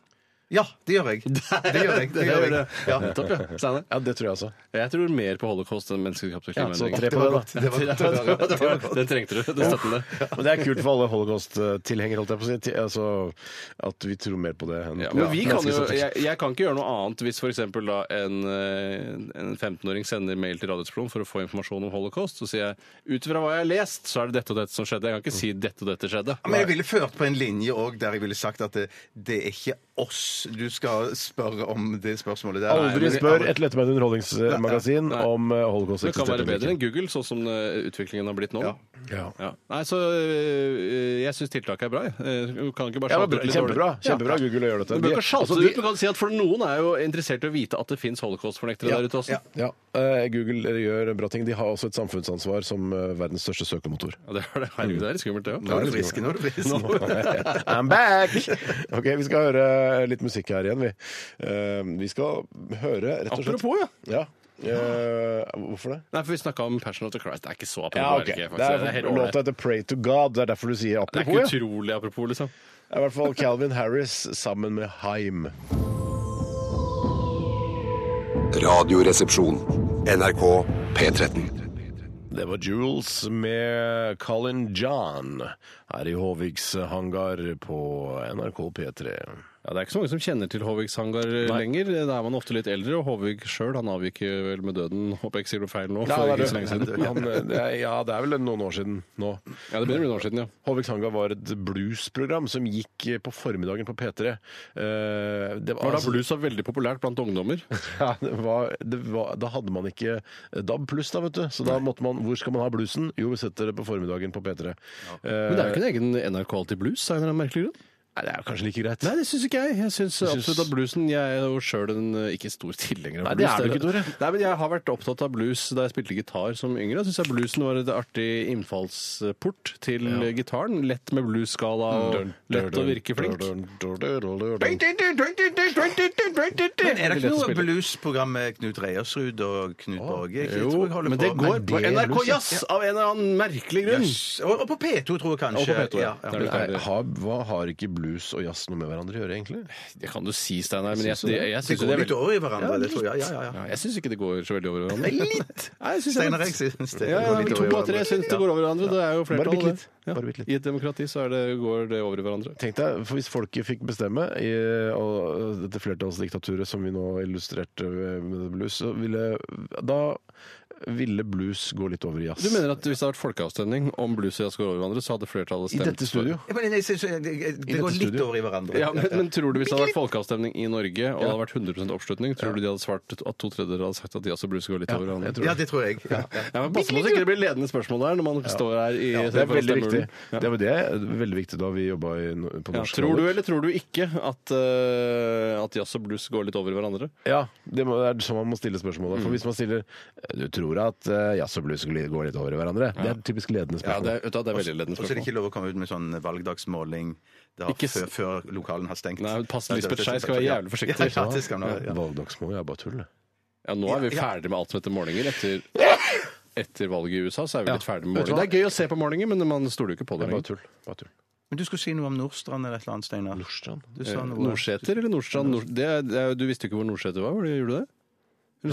A: ja, det gjør
C: [laughs]
A: jeg. Det gjør jeg. Det gjør jeg. Ja.
C: Nettopp, ja. Steinar.
B: Ja, det tror jeg også.
C: Jeg tror mer på holocaust enn menneskeskapte
B: Ja, så
C: klimaendringer.
B: tre på det, da.
C: [laughs]
A: Det var godt å høre.
C: Det var- Den trengte du. Den støtten det.
B: [laughs] Men det er kult for alle holocaust-tilhengere, holdt jeg på å si. Ti- Altså, at vi tror mer på det enn
C: Ja, men vi kan jo,
B: menneskeskapte-
C: jeg, jeg kan ikke gjøre noe annet hvis f.eks. en, eh, en 15-åring sender mail til Radiosploen for å få informasjon om holocaust. Så sier jeg ut fra hva jeg har lest, så er det dette og dette som skjedde. Jeg kan ikke si dette og dette skjedde.
A: Men jeg ville ført på en linje òg der jeg ville sagt at det, det er ikke oss du skal spørre om det spørsmålet der.
B: Aldri
A: Nei, men-
B: spør et lettemeid underholdningsmagasin
C: Nei.
B: om eh, holocaust.
C: Det kan
B: eksisterte
C: være
B: eller ikke.
C: bedre enn Google, sånn som eh, utviklingen har blitt nå.
A: Ja.
B: Ja.
C: Ja. Nei, så øh, jeg syns tiltaket er bra. jeg. Eh, Du kan ikke bare
B: Ja, det var bra.
C: sjalte ut litt
B: Kjempebra.
C: dårlig.
B: Kjempebra Google å gjøre dette.
C: Du bør
B: De-
C: ikke sjalte
B: altså,
C: det
B: de-
C: ut, men kan si at for noen er jo interessert i å vite at det fins holocaust-fornektere der ute også.
A: ja.
C: Ja.
B: Ja, eh, Google gjør bra ting. De har også et samfunnsansvar som eh, verdens største
C: [laughs]
B: søkemotor.
C: det er det. Herregud, det er litt skummelt, det
A: Nå er du
C: òg.
A: frisk. Nå er du frisk.
B: I'm back! Ok, Vi skal høre litt musikk her igjen, vi. Eh, Vi skal høre rett og slett
C: Apropos, ja.
B: Ja. Eh, Hvorfor det?
C: Nei, for vi snakka om Passion of the Christ. Det er ikke så apropos.
B: Ja, ok.
C: er det
B: Det
C: ikke, faktisk.
B: er
C: helt
B: låta
C: ålreit.
B: heter 'Pray to God'. Det er derfor du sier
C: det er ikke
B: apropos. ja.
C: utrolig apropos, liksom.
B: Det er i hvert fall Calvin Harris sammen med Haim.
D: Radioresepsjon. NRK P13.
B: Det var Jules med Colin John her i Håviks hangar på NRK P3.
C: Ja, det er ikke så mange som kjenner til Håvigs hangar eh, lenger. Da er man ofte litt eldre, og Håvig sjøl avgikk jo vel med døden. Håper jeg ikke sier noe feil nå.
B: Ja,
C: for ikke
B: det
C: så lenge
B: er, [laughs]
C: siden.
B: det. Han, eh, det er, ja, det er vel noen år siden nå.
C: Ja, det begynner å bli noen år siden, ja.
B: Håviks hangar var et bluesprogram som gikk eh, på formiddagen på P3. Eh, Det
C: Var da
B: altså-
C: blues var veldig populært blant ungdommer?
B: [laughs] Ja, det var, det var, da hadde man ikke eh, DAB pluss, da, vet du. Så da måtte man Hvor skal man ha bluesen? Jo, vi setter det på formiddagen på P3. Eh,
C: Men det er jo ikke en egen NRK Alltid Blues av en eller annen merkelig grunn.
B: nei, det er jo kanskje like greit.
C: Nei, det syns ikke jeg. Jeg synes
B: syns-
C: absolutt at bluesen Jeg er jo sjøl en eh, ikke stor tilhenger
B: Nei,
C: av
B: det
C: blues.
B: er du ikke, Tore.
C: Nei, men jeg har vært opptatt av blues da jeg spilte gitar som yngre. Syns jeg bluesen var et artig innfallsport til eh, gitaren. Lett med bluesskala og lett å virke flink.
A: Men er det ikke
C: Lett å
A: noe
C: spille.
A: bluesprogram med Knut Reiersrud og Knut Borge? Jeg
C: Jo,
A: tror jeg holder
C: men det
A: på.
C: går på
A: det er
C: NRK
A: blues, ja.
C: Jazz av en eller annen merkelig grunn.
A: Yes. Og, og på P2, tror jeg kanskje.
C: Og på P2, ja.
A: Ja,
C: Der er det.
A: ja.
B: Nei, har, hva har ikke blues og jazz noe med hverandre å gjøre, egentlig?
C: Det kan du si, Steinar, men jeg,
B: Syns du det?
C: jeg, jeg
A: Det
C: syns jo
A: går
C: det
A: litt
C: er veldig
A: over i hverandre, det tror jeg. Ja, ja, ja.
C: ja, Jeg syns ikke det går så veldig over hverandre.
A: Litt!
C: Nei, jeg synes det er
A: Steinar,
C: litt-
A: jeg syns det
C: Ja, ja,
A: går
C: men
A: litt
C: to
A: over i
C: av tre
A: hverandre.
C: syns det går over hverandre. Det er jo flertallet.
B: bitte litt.
C: det. Ja.
B: Bare bitte litt.
C: I et demokrati så er det, går det over i hverandre.
B: Tenk deg, for Hvis folket fikk bestemme, i, og dette flertallsdiktaturet som vi nå illustrerte med blues, så ville, da ville blues gå litt over i jazz.
C: Du mener at hvis det hadde vært folkeavstemning om blues og jazz går over hverandre, så hadde flertallet
B: I
C: stemt
B: dette studio?
A: Ja, men jeg synes, det, det, det går litt
B: studio.
A: over i
C: for-
A: hverandre.
C: Ja, men, men tror du hvis det hadde vært folkeavstemning i Norge, og det hadde vært 100 oppslutning, tror du de hadde svart at to tredjedeler hadde sagt at jazz og blues går litt over hverandre?
B: jeg tror
A: Ja, det tror jeg. Ja, ja.
C: Ja, men Pass på så ikke det blir ledende spørsmål der når man står her i
B: Det er veldig viktig.
C: stemmeurnen. Ja.
B: Det var det veldig viktig da vi jobba i- på
C: Ja,
B: norsk.
C: tror du
B: radio.
C: eller tror du ikke at, eh, at jazz og blues går litt over hverandre?
B: Ja, det må- det er sånn man må stille spørsmålet.
C: Mm.
B: For hvis man stiller Du tror at eh, jazz og blues gli- går litt over i hverandre? Det er et typisk ledende
C: Ja,
B: spørsmål.
C: det, er- vet du hva, det er veldig
A: Og
C: ledende
A: så er det
C: spørsmål.
A: ikke lov å komme ut med sånn valgdagsmåling det har
C: Ikke s-
A: før, før lokalen har stengt.
C: Nei, men pass,
A: det-
C: Lisbeth
A: det-
C: Schei skal være jævlig forsiktig.
A: Ja, Ja, det skal hun være.
B: Ja. Valgdagsmål er bare tull. det.
C: Ja, nå er vi
A: Ja, ja.
C: ferdig med alt som heter målinger. Etter, etter valget i USA så er vi litt ferdig med
B: Vet du
C: målinger. Det
B: hva?
C: er gøy å se på målinger, men man stoler jo ikke på det
B: Bare
C: lenger.
B: tull. Bare tull.
A: Men du skulle si noe om Nordstrand eller et eller annet, Steinar.
B: Nordstrand?
A: Du
C: Eh,
A: sa noe.
C: Nordseter eller Nordstrand? Nord det, er- det, er- du visste jo ikke hvor Nordseter var, var det, gjorde du det? Eller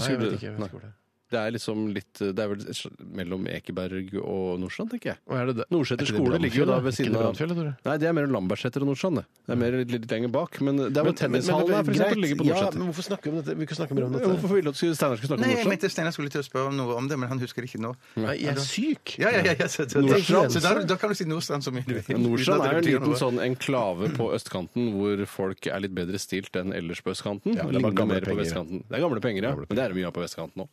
B: Nei, jeg
C: skulle
B: vet
C: du-
B: ikke. Jeg vet
C: Nei.
B: ikke hvor det er.
C: Det er liksom litt Det er vel et sl- mellom Ekeberg og Nordstrand, tenker jeg.
B: Og er det det? Er
C: Nordseter
B: ikke det
C: skole ligger jo da
B: Brannfjell, da? Ikke
C: ved siden
B: det
C: av
B: Brannfjellet, tror jeg.
C: Nei, det er mer Lambertseter og Nordstrand, det. Det er mer litt, litt lenger bak. Men det er hvor tennishallen er, for eksempel, ligger på
B: Ja,
C: Nordseter.
B: men hvorfor snakker vi om dette? Vi kan snakke mer om dette.
C: Hvorfor ville du at Steinar skulle snakke
A: Nei,
C: om
A: jeg
C: Nordstrand?
A: mente Steinar skulle til å spørre om noe om det, men han husker det ikke nå.
B: Nei, jeg er syk.
A: Ja, ja, ja, ja, så, så,
C: Nordstrand.
A: så da, da kan du si Nordstrand så mye du vil.
C: Nordstrand
A: uten at
C: er
A: det
C: jo
A: betyr
C: en liten
A: noe.
C: sånn enklave på østkanten hvor folk er litt bedre stilt enn ellers på østkanten.
B: Ja, det er bare
C: Ligner
B: gamle
C: mer på
B: penger.
C: vestkanten. Det er gamle penger, ja. Men det er det mye av på vestkanten òg.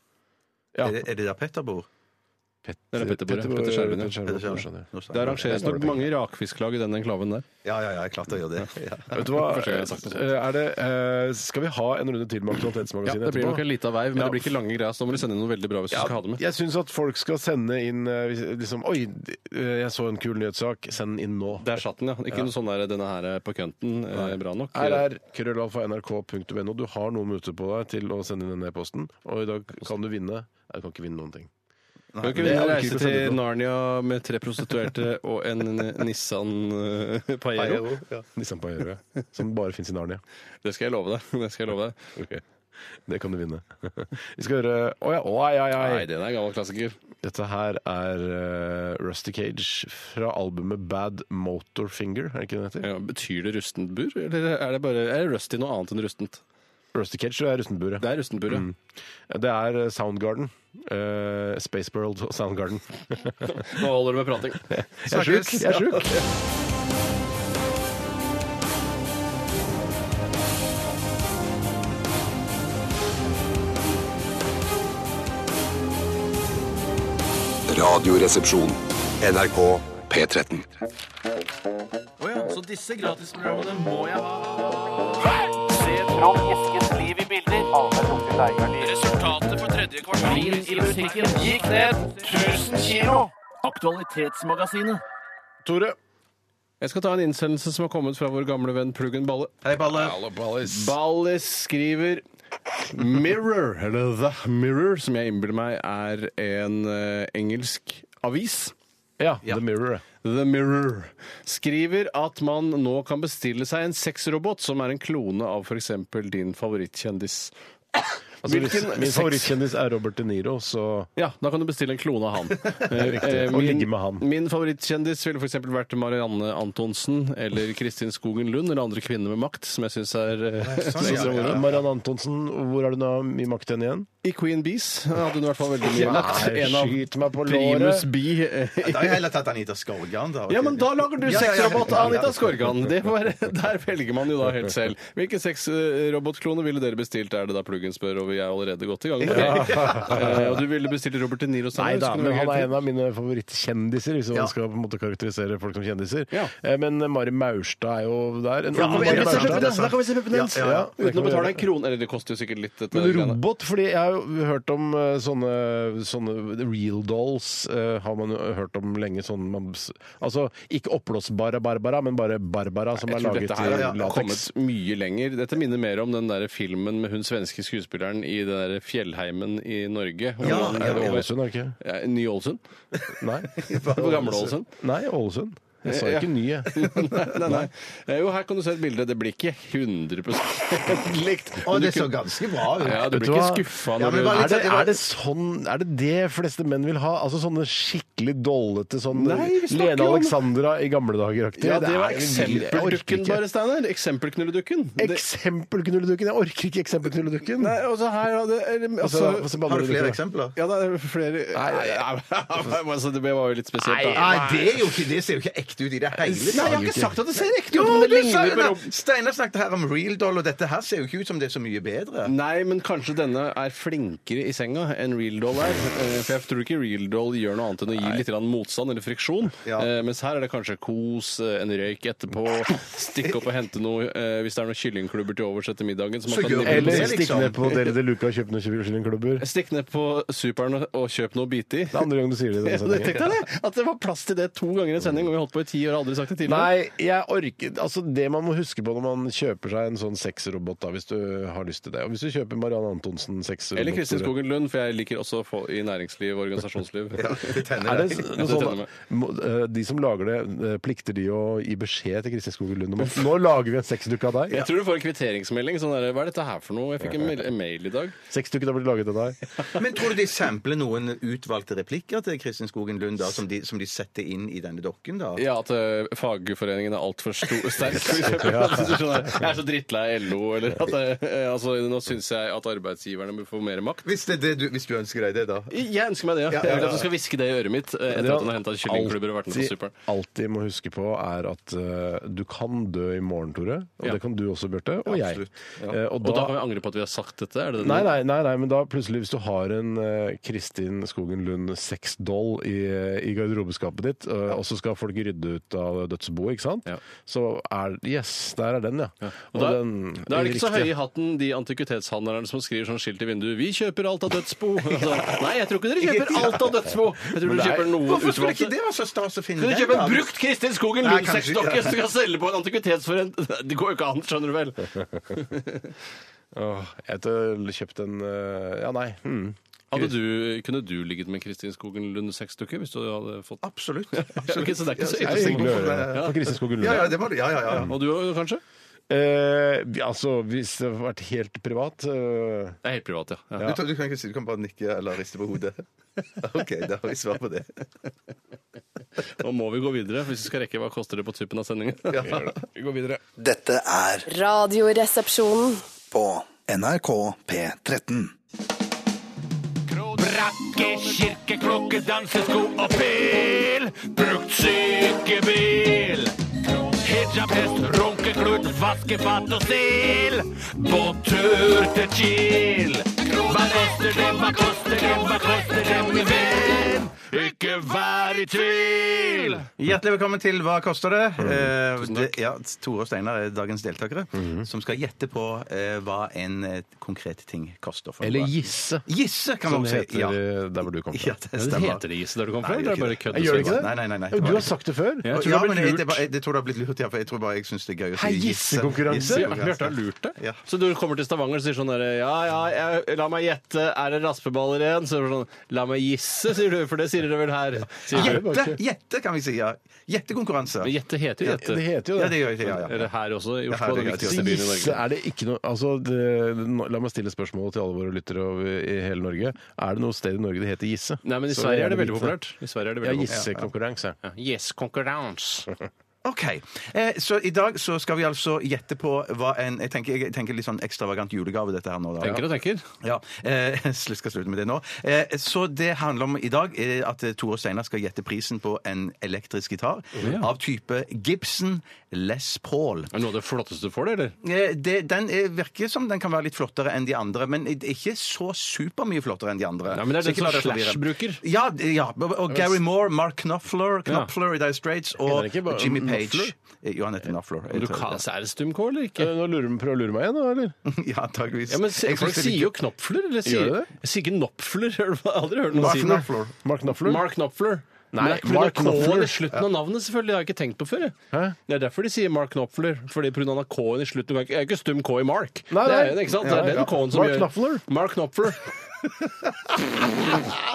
A: er, det, er det der Petter bor?
C: Det er Petter, Petter, Petter Skjerven, ja.
B: Petter
A: sånn?
B: Skjerven.
C: Det arrangeres nok mange rakfisklag i den enklaven der.
A: Ja, ja, ja, jeg klarte å gjøre det. Ja.
B: Vet du hva?
C: Første gang jeg har sagt noe sånt.
B: Er det, eh, skal vi ha en runde til med
C: Ja,
B: Aktualitetsmagasinet
C: det blir nok en lita veiv, men
B: Ja.
C: det blir ikke lange greier, så da må du sende inn noe veldig bra hvis du skal ha det med.
B: Jeg syns at folk skal sende inn eh, hvis- liksom Oi, d- eh, jeg så en kul nyhetssak. Send den inn nå.
C: Der satt den, ja. Ikke noe sånn der 'denne her er på kønten' eh, bra nok.
B: rr.nrk.no. Du har noen minutter på deg til å sende inn den e-posten, og i dag kan du vinne. Nei, du kan ikke vinne noen ting. [laughs]
C: Kan ikke
B: det
C: vi
B: er jo
C: reise
B: kult å sende
C: til
B: på.
C: Narnia med tre prostituerte og en eh, Nissan eh, Pajero?
B: Nissan Pajero, ja. Som bare fins i Narnia. [laughs]
C: Det skal jeg love deg. Det skal jeg love deg.
B: Ok. Det kan du vinne. [laughs] Vi skal høre Å ja, oi, oi,
C: Nei,
B: oi.
C: den er en gammel klassiker.
B: Dette her er eh, Rusty Cage fra albumet Bad Motorfinger, er det ikke det det heter?
C: Ja, betyr det rustent bur, eller er det bare er rusty noe annet enn rustent?
B: Rusty Cage er rustenburet.
C: Det er rustent bur, ja.
B: Mm. Det er eh, Soundgarden. Eh, Space World og Soundgarden.
C: [laughs] Nå holder det med prating.
B: Jeg er sjuk! Jeg
C: [laughs]
B: er sjuk.
D: Radioresepsjon. NRK P13.
H: Så disse gratisprogrammene må jeg ha. Resultatet på tredje kvartal i musikken gikk ned 1000 kilo. Aktualitetsmagasinet.
B: Tore.
C: Jeg skal ta en innsendelse som har kommet fra vår gamle venn Pluggen Balle.
A: Hei, Balle.
C: Ballis skriver Mirror, eller The Mirror, som jeg innbiller meg er en eh, engelsk avis.
B: Ja, The Mirror.
C: The Mirror skriver at man nå kan bestille seg en sexrobot som er en klone av f.eks. din favorittkjendis.
B: Altså, hvis
C: Hvilken
B: min
C: sex-
B: favorittkjendis er Robert De Niro, så
C: Ja, da kan du bestille en klone
B: [laughs]
C: av han.
B: riktig.
C: Eh, eh,
B: Og ligge med han.
C: Min favorittkjendis ville f.eks. vært Marianne Antonsen eller Kristin Skogen Lund eller andre kvinner med makt, som jeg syns er eh,
A: Sånn,
C: synes
B: ja,
C: er moro.
B: Mariann Antonsen, hvor er du nå i makten igjen?
C: I Queen Bees hadde hun i hvert fall veldig mye
B: Nei,
C: makt. En av
B: skyt meg på
C: primus
B: låret.
C: bee. eh,
A: Da har jeg heller tatt Anita Skorgan, da.
C: Ja, men da lager du
A: Ja, ja, ja, ja.
C: sexrobot av Anita
A: Ja.
C: Skorgan. Det var, der velger man jo da helt selv. Hvilken sexrobotklone ville dere bestilt, er det da pluggen spør, og vi er allerede godt i gang. med det. Eh, Og du ville bestilt Robert De Niro
B: Nei
C: Sanders?
B: da,
C: kunne
B: men
C: vi
B: han
C: helt-
B: er en av mine favorittkjendiser, hvis man
A: Ja.
B: skal på en måte karakterisere folk som kjendiser.
C: Ja.
B: Eh, Men Mari Maurstad er jo der. En
C: Ja,
B: ung
C: men
B: Mari
C: jeg vil se
B: Maurstad.
C: puppen hennes, da kan vi se puppen
A: Ja,
C: hennes.
A: ja,
B: ja. Det
C: Uten
B: kan
C: å
B: vi gjøre.
C: betale en krone. Eller det koster jo sikkert litt. dette
B: Men
C: greiene.
B: robot, fordi jeg har jo hørt om eh, sånne, sånne real dolls eh, har man jo hørt om lenge. Sånn, man, altså ikke oppblåsbare Barbara, men bare Barbara som
C: Jeg
B: er
C: tror
B: laget
C: dette her
B: i
C: har kommet
B: lateks.
C: mye lenger. Dette minner mer om den der filmen med hun svenske skuespilleren i den der fjellheimen i
A: Ja,
C: Norge. Hun-
A: ja,
C: er det over-
B: Ålesund, er det ikke?
C: Ja, Ny-Ålesund? [laughs]
B: Nei.
C: På Gamle Ålesund?
B: Nei, [laughs] Ålesund. Jeg sa
C: Ja.
B: ikke ny, jeg.
C: [laughs] nei, nei, nei. Eh, Jo, her kan du se et bilde. Det blir ikke 100 likt.
A: Å,
C: men du
A: det så
C: kunne-
A: ganske bra ut.
C: [laughs] Ja, du
B: Vet du
C: blir ikke
B: hva?
C: skuffa
A: Ja,
C: når
A: men
C: du
A: bare-
B: Er det, er det sånn Er det det fleste menn vil ha? Altså sånne skikkelig dollete sånn
C: Nei, vi snakker
B: Lene
C: om-
B: Alexandra i gamle dager-aktig?
C: ja, det var
B: er- jeg orker
C: eksempeldukken,
B: ikke.
C: bare, Steinar. Eksempelknulledukken. Det-
B: Eksempelknulledukken? Jeg orker ikke eksempelknulledukken.
C: Nei, altså her er det- er det- altså-
B: Og så- og så banner
A: Har du
B: ikke,
A: flere
B: da.
A: eksempler?
C: Ja, det er flere Nei, altså, Det var jo litt spesielt, da.
A: Nei, det, er jo ikke, det ser jo ikke ekte ut i det hele
C: Nei, jeg har
A: tatt.
C: ikke sagt at det ser ekte
A: Jo,
C: ut, men det
A: du sa
C: ligner
A: jo
C: på
A: det.
C: Rob.
A: Steinar snakket her om real doll, og dette her ser jo ikke ut som det er så mye bedre.
C: Nei, men kanskje denne er flinkere i senga enn Real Doll er. Eh, For jeg tror ikke Real Doll gjør noe annet enn å gi litt grann motstand eller friksjon.
A: Ja.
C: Eh, Mens her er det kanskje kos, eh, en røyk etterpå, stikke opp og hente noe eh, hvis det er noen kyllingklubber til overs etter middagen. Så
A: Så
C: man kan
A: gjør
C: nibble
A: vi
C: på
B: Eller
A: Det,
C: det.
B: stikk
A: liksom.
B: ned på Deli de Luca og kjøp noen kyllingklubber. Det
C: Stikk ned på superen og kjøp noe å bite i.
B: er andre gang du sier det i denne
C: Ja, det
A: sånn
C: [laughs]
B: sendingen.
C: tenkte jeg det! At det var plass til det to ganger i en sending, og vi holdt på i ti år, har aldri sagt det tidligere.
B: Nei, jeg orker Altså, det man må huske på når man kjøper seg en sånn sexrobot, da, hvis du har lyst til det. Og hvis du kjøper Marianne Antonsen sexrobot
C: Eller Kristin Skogen Lund, for jeg liker også å få i næringsliv og
A: [laughs]
C: organisasjonsliv.
A: Det tenner
B: Er
A: deg.
B: det noe
C: det tenner
B: sånn,
C: meg.
B: må- eh, de som lager det, eh, plikter de å gi beskjed til Kristin Skogen Lund om at nå lager vi en sexdukke av deg?
C: Jeg tror du får en kvitteringsmelding. sånn der, Hva er dette her for noe? Jeg fikk en mail, en mail i dag.
B: Sexdukken har blitt laget av deg.
A: Men tror du de sampler noen utvalgte replikker til Kristin Skogen Lund da, som, de, som de setter inn i denne dokken? da?
C: Ja, at eh, fagforeningen er altfor sto- sterk. For eksempel. [laughs] Altså, du skjønner, jeg er så drittlei LO, eller at eh, altså, Nå syns jeg at arbeidsgiverne bør få mer makt.
A: Hvis, det, er det du, hvis du ønsker deg det, da.
C: Jeg ønsker meg det, ja. Jeg vil at du skal hviske det i øret mitt eh, etter at hun har henta kyllingklubber og vært med på
B: Alltid-
C: Super'n.
B: alltid må huske på, er at eh, du kan dø i morgen, Tore. Og
C: Ja.
B: det kan du også, Bjarte. Og jeg. Eh, og
C: Og da kan
B: da
C: vi angre på at vi har sagt dette? Er det det?
B: Nei, nei, nei, nei, men da plutselig hvis du har en eh, Kristin Skogen Lund sexdoll i, i garderobeskapet ditt, eh, og så skal folk rydde ut av dødsboet, ikke sant?
C: Ja.
B: Så er Yes, der er den, ja.
C: Og da,
B: den-
C: da er det ikke så
B: riktige.
C: høye i hatten de antikvitetshandlerne som skriver sånn skilt i vinduet 'Vi kjøper alt av dødsbo'. [laughs] Altså, nei, jeg tror ikke dere kjøper alt av dødsbo. Jeg tror dere kjøper noe
A: Hvorfor skulle ikke
C: utvalgte.
A: det være så stas å finne
C: Kan du
A: den,
C: kjøpe
A: da?
C: en brukt Kristin Skogen
A: Nei, kanskje ikke.
C: Lund-seksdokke som du kan selge på en antikvitetsforent? [laughs] Det går jo ikke an, skjønner du vel.
B: Åh, jeg har kjøpt en eh, Ja, nei. Hmm.
C: [laughs] Hadde du, kunne du ligget med Kristin Skogen Lund-seksdokke hvis du hadde fått
A: Absolutt.
C: Ja, ok, så det er ikke så
B: Det
C: ille.
B: er hyggelig å høre. Fra Kristin Skogen Lund.
A: Ja, ja, det må du. Ja, ja, ja.
C: Og du også, kanskje?
B: Eh, vi- altså, hvis det hadde vært helt privat eh,
C: Det er helt privat, ja. ja.
A: Du, tar- du kan ikke si du kan bare nikke eller riste på hodet. [laughs] OK, da har vi svar på det.
C: Nå må vi gå videre hvis vi skal rekke hva koster det på tuppen av sendingen. [laughs] Vi går videre.
F: Dette er
E: Radioresepsjonen.
F: på NRK P13.
H: Brakke, kirkeklokke, dansesko og pil. Brukt sykebil. Hijabhest, runkeklut, vaskefat og stil. På tur til Kiel. Hva koster det, hva koster det, hva koster det, min venn? Ikke vær i tvil!
A: Hjertelig velkommen til Hva koster det? Eh, det ja, Tore og Steinar er dagens deltakere, som skal gjette på eh, hva en eh, konkret ting koster. For
B: Eller
A: noe.
B: gisse,
A: Gisse, kan
B: som
A: man
B: det
A: si.
B: heter
A: Ja.
B: eh, der hvor du kom fra.
A: ja, det
C: Men
A: stemmer.
C: Heter det Gisse der du kom fra?
A: Nei,
C: eller er det
A: gjør
C: bare
A: ikke
C: kødd?
A: det.
B: Gjør det ikke det?
A: Nei, nei, nei, nei,
B: Jo,
A: det
B: du
A: var
B: har
A: ikke.
B: sagt det før.
C: Jeg tror
A: Ja,
C: det ble
A: men jeg,
C: lurt.
A: det er bare- jeg, jeg tror det har blitt lurt, ja, for jeg tror bare jeg syns det er gøy å
B: Hei,
A: si gisse.
B: gissekonkurranse.
C: Ja, Bjarte har lurt det.
A: Ja.
C: Så du kommer til Stavanger og sier sånn der, Ja, ja, jeg, la meg gjette. Er det raspeballer igjen? Så er det sånn La meg gjisse, sier du. For det sier dere vel her. Sier du.
A: Gjette, gjette, kan vi si. ja. Gjettekonkurranse.
C: Men gjette heter jo
B: Det
C: gjette.
B: heter jo
A: Ja,
B: det.
A: det gjør jeg. Ja, ja.
C: Eller her også, i
A: Ja, her
C: Oslo.
A: er det
C: Den
A: greit.
C: viktigste
B: Så
C: byen i
B: Gisse
C: Norge.
B: er det ikke noe altså, det, nå- La meg stille spørsmålet til alle våre lyttere over i hele Norge. Er det noe sted i Norge det heter Gisse?
C: Nei, men i
B: Så
C: Sverige er det
B: gjerne
C: veldig
B: vite.
C: populært. I Sverige er det
B: Ja,
C: veldig populært.
B: gissekonkurranse.
C: Ja. Yes, konkurranse.
A: OK. Eh, så i dag så skal vi altså gjette på hva en Jeg tenker, jeg tenker litt sånn ekstravagant julegave, dette her nå. Da.
C: Tenker og tenker.
A: Ja, eh, [laughs] sl- skal slutte med det nå. Eh, så det handler om i dag eh, at eh, Tore Steinar skal gjette prisen på en elektrisk gitar av type Gibson Les Paul.
C: Er det noe av det flotteste du får, det, eller?
A: Eh, det, den eh, virker som den kan være litt flottere enn de andre, men i- ikke så supermye flottere enn de andre.
C: Ja, men det er
A: Så
C: den
A: ikke la
C: som
A: deg forvirre.
C: Slash bruker.
A: Ja, d- ja, og- og Gary Moore, Mark Knopfler,
C: Ja.
A: Knopfler i Dire Straits
B: Heter
A: og
B: det ikke bare
A: Jimmy
B: Knopfler?
A: Page. Eh, Jo, han heter Knopfler. Jeg
C: Men Du
A: tror
C: kan,
A: det.
C: altså, er det stum K, eller ikke?
B: Eh, Nå lurer, prøver du å lure meg igjen, nå, eller?
A: [laughs] Ja, antageligvis.
C: Ja, men
A: Jeg
C: se-
A: synes
C: Folk
A: det er
C: sier
A: litt-
C: jo knopfler. Eller sier,
B: Gjør de
C: Jeg sier ikke knopfler. [laughs] Jeg har aldri hørt noen
A: Mark
C: si det.
A: Knopfler.
B: Mark Knopfler?
C: Mark Knopfler.
B: Nei,
C: Mark,
B: Mark Knopfler.
C: K-en i slutten av navnet, selvfølgelig. Det har jeg ikke tenkt på før. jeg.
B: Hæ?
C: Det er derfor de sier Mark Knopfler. Fordi pga. K-en i slutten. Du kan ikke- Det er ikke stum K i Mark.
B: Nei,
C: Det er,
B: nei.
C: ikke sant? Det
B: Ja,
C: er
B: ja.
C: den K-en som
B: Mark
C: gjør
B: Knopfler.
C: Mark [laughs] Knopfler.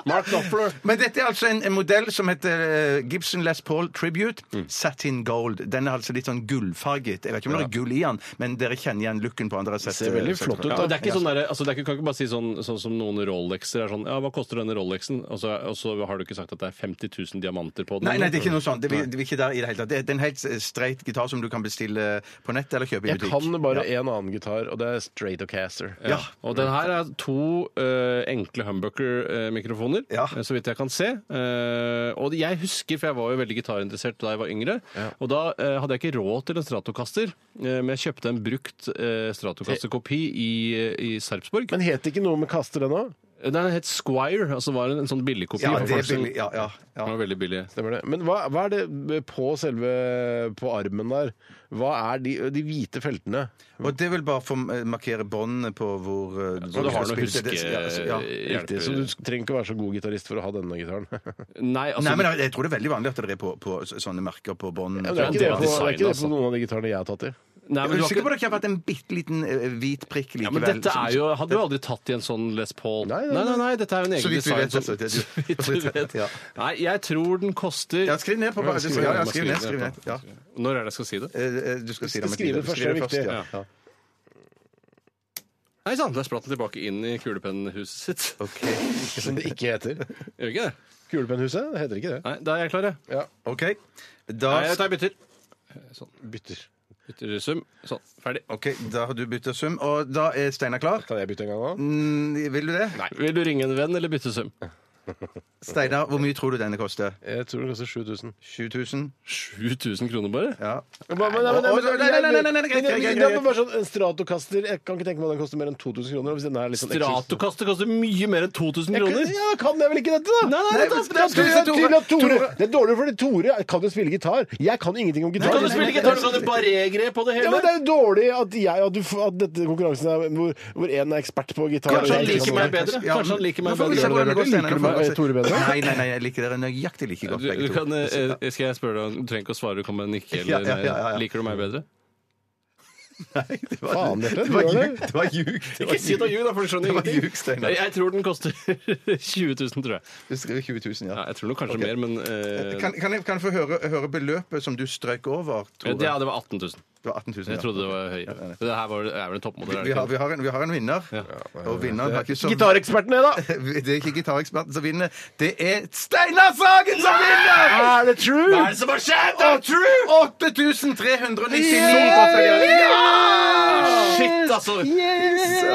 C: Mark Knopfler.
A: Men dette er altså en, en modell som heter eh, Gibson Les Paul Tribute
C: Mm.
A: Satin Gold. Den er altså litt sånn gullfarget. Jeg vet ikke om det er gull i den, men dere kjenner igjen looken på den. Dere har sett, eh,
B: Ser veldig
A: sett-
B: flott ut,
C: Ja,
B: da.
C: men det er ikke sånn der, altså det er ikke, kan ikke bare si sånn, sånn som noen Rolexer er sånn Ja, hva koster denne Rolexen? Og så, og så har du ikke sagt at det er 50 000 diamanter på den.
A: Nei, nei, det er ikke noe sånt. Det er, det er ikke der i det hele tatt. Det er- Det er en helt eh, streit gitar som du kan bestille på nett eller kjøpe i
B: Jeg
A: butikk.
B: kan bare én annen gitar, og det er Stratocaster.
C: Ja. Og den her er to eh, enkle humbucker-mikrofoner,
A: Ja.
C: så vidt jeg kan se. Eh, og jeg husker, for jeg var jo veldig gitarinteressert da jeg var yngre, og da eh, hadde jeg ikke råd til en Stratocaster, eh, men jeg kjøpte en brukt eh, Stratocaster-kopi i, i Sarpsborg.
B: Men het det ikke noe med kaster ennå?
C: Nei, Den het Squire, altså var en, en sånn billigkopi.
A: Ja,
C: fra
A: det er
C: Clarkson.
A: billig. Ja, ja, ja.
C: Den var veldig billig.
B: Stemmer det. Men hva, hva er det på selve på armen der? Hva er de, de hvite feltene?
A: Og det vil bare få eh, markere båndene på hvor eh,
C: Så
A: hvor
C: du har
A: skal
C: noe
A: spille. Det- det- ja, altså, ja.
B: Riktig, så du trenger ikke å være så god gitarist for å ha denne gitaren. [laughs] Ja,
C: Nei, altså,
A: Nei, men jeg tror det er veldig vanlig at det er på, på sånne merker på bånd.
B: men det, er
C: en
B: ikke
C: del
B: det,
C: av
B: på, det er
C: designet,
B: ikke det
C: altså.
B: på noen av de gitarene jeg har tatt i.
C: nei,
A: Jeg
C: men
A: er
C: du har
A: sikker på
C: ikke
A: at det ikke har vært en bitte liten eh, hvit prikk likevel.
C: ja, men dette er jo, hadde du aldri tatt i en sånn Les Paul. Nei, nei, nei, dette er jo en
A: Så
C: egen
A: vidt vi
C: design.
A: vet, altså, det-
C: så vidt vi vet.
A: Ja.
C: Nei, jeg tror den koster
A: Ja, skriv ned på ja, skriv, ja, skriv ned. Skriv ned. Ja.
C: Når er det jeg skal si det?
A: Eh, eh, Du skal si det med
B: Skriv det først,
A: Skriv
B: det er viktig.
A: ja. Ja.
C: Nei sann, der spratt den tilbake inn i kulepennhuset sitt.
A: Ok.
B: Som det ikke heter.
C: Gjør ikke det?
B: Kulepennhuset heter ikke det.
C: Nei, da er jeg klar, jeg.
B: Ja,
A: OK. Da,
C: Nei, jeg tar bytter.
B: bytter.
C: Bytter sum. Sånn, ferdig.
A: ok, da har du bytta sum, og da er Steinar klar.
B: Kan jeg bytte en gang nå?
A: Mm, Vil du det?
C: Nei. Vil du ringe en venn eller bytte sum?
A: Steinar, hvor mye tror du denne koster?
B: Jeg tror det koster 7000.
A: 7000?
C: 7000 kroner bare?
A: Ja.
B: Nei, nei, nei,
A: Å, å, nei, nei, nei, nei, nei, nei, greit, greit, greit, greit.
B: Bare sånn, en Stratocaster Jeg kan ikke tenke meg at den koster mer enn 2000 kroner. og Hvis den er litt sånn ekstra-
C: Stratokaster koster mye mer enn 2000
B: Jeg
C: kroner.
B: kan- Ja, kan jeg vel ikke dette, da?
C: Nei, nei, nei,
B: men-
C: det er
B: det er
A: Tore.
B: tydelig at Tore Det er dårlig fordi Tore kan jo spille gitar. Jeg kan ingenting om gitar.
C: Kan du spille gitar, så kan du barré-grep på det
B: Ja, men
C: hele?
B: Det er jo dårlig at, jeg, at, du, f- at dette konkurransen er hvor, hvor en er ekspert på gitar.
C: Kanskje han
B: og en er
C: liker
B: ikke sånn.
C: meg bedre?
A: Ja,
C: Kanskje han liker meg
A: nå får vi se
C: bedre?
A: hvordan det går, Steinar.
B: Liker du meg- Tore bedre?
A: Nei, nei, nei, jeg liker dere nøyaktig like godt,
C: Du, du
A: begge to.
C: kan, eh, eh, skal jeg spørre deg, du trenger ikke å svare, du kan med en nikke eller
A: Ja, ja, ja, ja.
C: nei. Liker du meg bedre?
A: Nei, det var-
B: Faen, Bjarte,
A: det
B: du
A: var
B: gjør
A: ljug.
B: det.
A: Det var ljug. Det var
C: Ikke si det er ljug, da, for du skjønner
A: Det var ljug,
C: ingenting.
A: Steinar.
C: Nei, Jeg tror den koster [laughs] 20 000, tror jeg.
A: Du skrev 20 000, ja.
C: Ja, jeg tror nok kanskje mer, men eh,
A: Kan, kan, jeg, kan jeg få høre, høre beløpet som du strøk over, Tore?
C: ja, det var 18 000.
A: Det var 18 000. ja.
C: Jeg trodde det var høyere. Det her var, er vel en toppmodell? er
A: Vi
C: det
A: har,
C: ikke?
A: vi, har en, vi har en vinner, og vinneren har ikke som
B: Gitareksperten er, da!
A: [laughs] Det er ikke gitareksperten som vinner, det er Steinar Sagen som vinner!
B: Er det true?
C: Hva er det som har skjedd?
A: 8399 kroner!
C: Shit, altså!
A: Ah,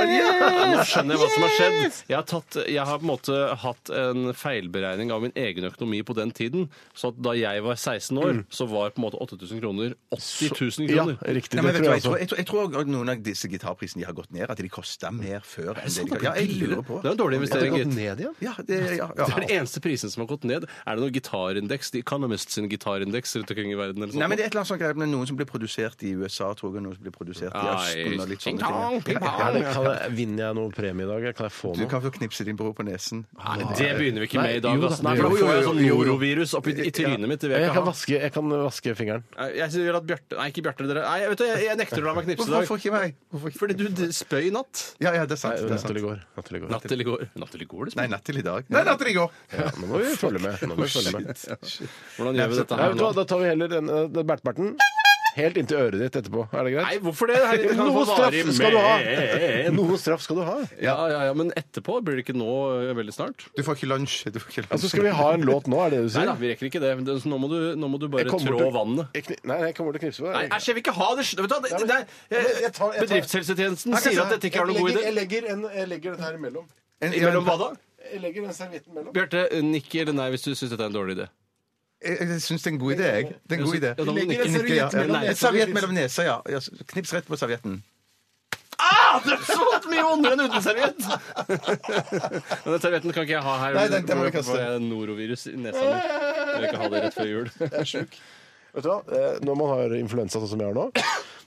A: Ja!
C: Nå skjønner jeg hva som har skjedd. Jeg har, tatt, jeg har på en måte hatt en feilberegning av min egen økonomi på den tiden. Så at da jeg var 16 år,
A: Mm.
C: så var på en måte 8000 kroner 80 000
B: Ja,
C: kroner.
B: riktig.
A: Nei, men vet du
B: Det tror
A: hva,
B: jeg
A: jeg, tror,
B: også.
A: jeg, tror, jeg tror at noen av disse gitarprisene de har gått ned, at de kosta mer før enn det de
C: sant,
A: kan. Ja, jeg lurer på.
C: Det er en dårlig investering, gitt.
B: ned igjen?
A: Ja, det, ja, ja.
C: Det er den eneste prisen som har gått ned. Er det noen gitarindeks? The Economist sin gitarindeks rundt omkring i verden? eller sånt?
A: Nei, men det er et eller annet sånt greit med noen som blir produsert i USA, tror jeg, og noen som blir produsert i
C: Nei,
A: Østen og litt sånne
C: ping-pong,
A: ting. Ja,
B: Er
A: ja,
B: det,
A: ja.
B: kan jeg, vinner jeg noe premie i dag? Kan jeg få
A: Du
B: noe?
A: kan få knipse din bror på nesen.
C: Nei, det begynner vi ikke
B: Nei,
C: med i dag.
B: jo da,
C: ass. Nei,
B: det
C: for
A: gjør
C: da
A: vi.
C: får jeg
A: Jo,
C: sånn
A: jo, jo, jo.
C: norovirus oppi i trynet mitt. Det vil jeg
B: Jeg
C: ikke
B: kan
C: ha.
B: vaske, jeg kan vaske fingeren.
C: Nei, Jeg sier at Bjarte Nei, ikke Bjarte. Dere. Nei, vet du, jeg, jeg nekter å la meg knipse i
A: Hvorfor
C: dag.
A: får ikke meg? Hvorfor ikke?
C: Fordi du d- spøy i natt.
A: Ja, ja, det er sant.
B: Nei,
A: Det er
B: Natt til
A: sant.
B: i går. Natt til i går.
C: Natt til i går. Natt til i går, det
A: Nei, natt til i dag. Nei, natt til i går!
B: Ja, nå må vi følge med. Nå må vi følge med.
C: Hvordan gjør vi dette
B: Nei,
C: her
B: vet du
C: nå?
B: hva, da tar vi heller den, eh, den bertberten helt inntil øret ditt etterpå. Er det greit?
C: Nei, hvorfor det? Her, kan
B: Noe
C: få varig
B: straff skal du ha.
C: men.
B: Noe straff skal du ha.
C: Ja, ja, ja, men etterpå? Blir det ikke nå eh, veldig snart?
A: Du får ikke lunsj. Du får ikke lunsj.
B: Altså, skal vi ha en låt nå, er det det du
C: Nei
B: sier?
C: da, vi rekker ikke det. Men det- så Nå må du, nå må du bare
B: Jeg kommer
C: trå
B: bort og-
C: vannet.
B: Jeg kni- Nei, nei, jeg kommer bort og knipser på
C: Nei,
B: deg.
C: æsj, jeg vil ikke ha det! Vet du, hva, det,
B: men-
C: det, er- eh,
B: men jeg tar- jeg tar-
C: Bedriftshelsetjenesten sier at dette ikke er noen god
B: Jeg legger-
C: idé.
B: Jeg legger, en, jeg legger den her imellom.
A: En-
C: Mellom hva da?
B: Jeg legger den servietten imellom.
C: Bjarte, nikk eller nei hvis du syns dette er en dårlig [laughs] idé.
A: Jeg, jeg syns det er en god idé, jeg. Det er en god idé.
C: Ja, da må du
B: Legger
C: nikke.
B: en
C: nikke, ja.
B: serviett mellom
C: Nei.
A: En serviett mellom nesa, ja. ja. Knips rett på servietten.
C: Ah, det er så mye vondere enn uten [laughs] serviett! Denne servietten kan ikke jeg ha her.
A: Nei, den- den må vi kaste.
C: Får jeg norovirus i nesa mi. Jeg vil ikke ha det rett før jul.
B: Vet du hva? Eh, Når man har influensa sånn som jeg har nå,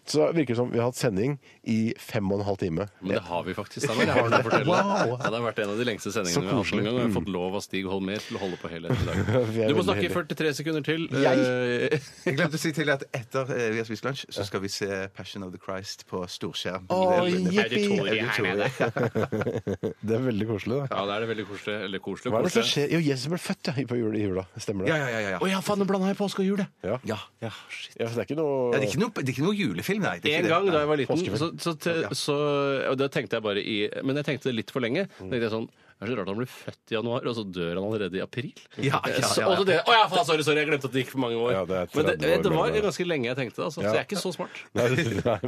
B: så virker det som vi har hatt sending i fem og en halv time.
C: [laughs] Men det har vi faktisk. Steinar. Jeg har noe å fortelle deg. Ja, det har vært en av de lengste sendingene vi har hatt noen gang. Og vi har fått lov av Stig Holmer til å holde på
B: [laughs]
C: hele ettermiddagen.
B: Mm. Vi er
C: Du må
B: veldig
C: snakke i
B: heldige.
C: 43 sekunder til.
B: Jeg?
C: Eh, [laughs]
A: Jeg glemte å si til at etter eh, vi har spist lunsj, så skal vi se Passion of the Christ på storskjerm. Det er- det er- Auditoriet.
B: [laughs] Det er veldig koselig, da.
C: Ja, da er det veldig koselig. Eller koselig,
B: Hva er det som
C: koselig.
B: skjer? Jo, Jesus ble født ja, på jul, i jula. Stemmer det?
A: Ja, ja, ja. ja, ja.
C: Å ja, faen, nå blanda jeg påske og jul, jeg.
A: ja.
C: Ja, shit.
B: Ja, for det er ikke noe
A: Ja, det, er ikke noe, det er ikke noe julefilm, nei. Det er
C: En
A: ikke det.
C: gang da jeg var liten,
B: Påskefilm.
C: så, så, te- så og det tenkte jeg bare i Men jeg tenkte det litt for lenge. Da tenkte jeg sånn det er så rart han blir født i januar, og så dør han allerede i april.
A: Ja, ja, ja,
C: Så-
A: ja.
C: og så det, å ja, faen, sorry, sorry, jeg glemte at det gikk for mange år.
B: Ja, det er 30
C: Men det, det,
B: år
C: var
B: mellom.
C: ganske lenge jeg tenkte det, altså.
B: Ja.
C: så jeg er ikke så smart.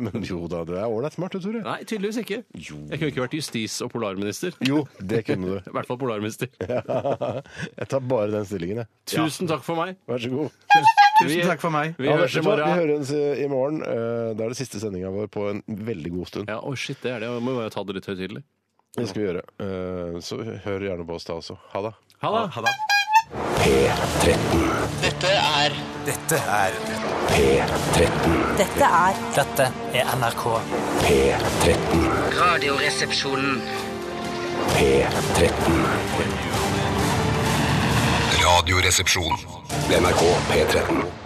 B: Nei, men jo da, du er ålreit smart, du, Tore.
C: Nei, tydeligvis ikke. Jeg kunne ikke vært justis- og polarminister. I
B: Jo, det kunne du. [laughs]
C: hvert fall polarminister.
B: Jeg tar bare den stillingen, jeg.
C: Tusen takk for meg.
B: Vær så god.
A: Tusen takk for meg.
C: Vi
B: Ja,
C: høres
B: vet
C: i
B: du hva? vi
C: morgen.
B: høres i morgen. Eh, Det er det siste sendinga vår på en veldig god stund.
C: Ja, å shit, det er det. Jeg må bare ta det litt høytidelig.
B: Det skal vi gjøre. Eh, Så hør gjerne på oss da også. Ha det.
C: Ha det!
A: Ha det.
D: P13. Dette er
I: Dette er Dette er NRK.
D: Dette er P13.
I: Radioresepsjonen.
D: P13. P13. Radioresepsjon. NRK P13.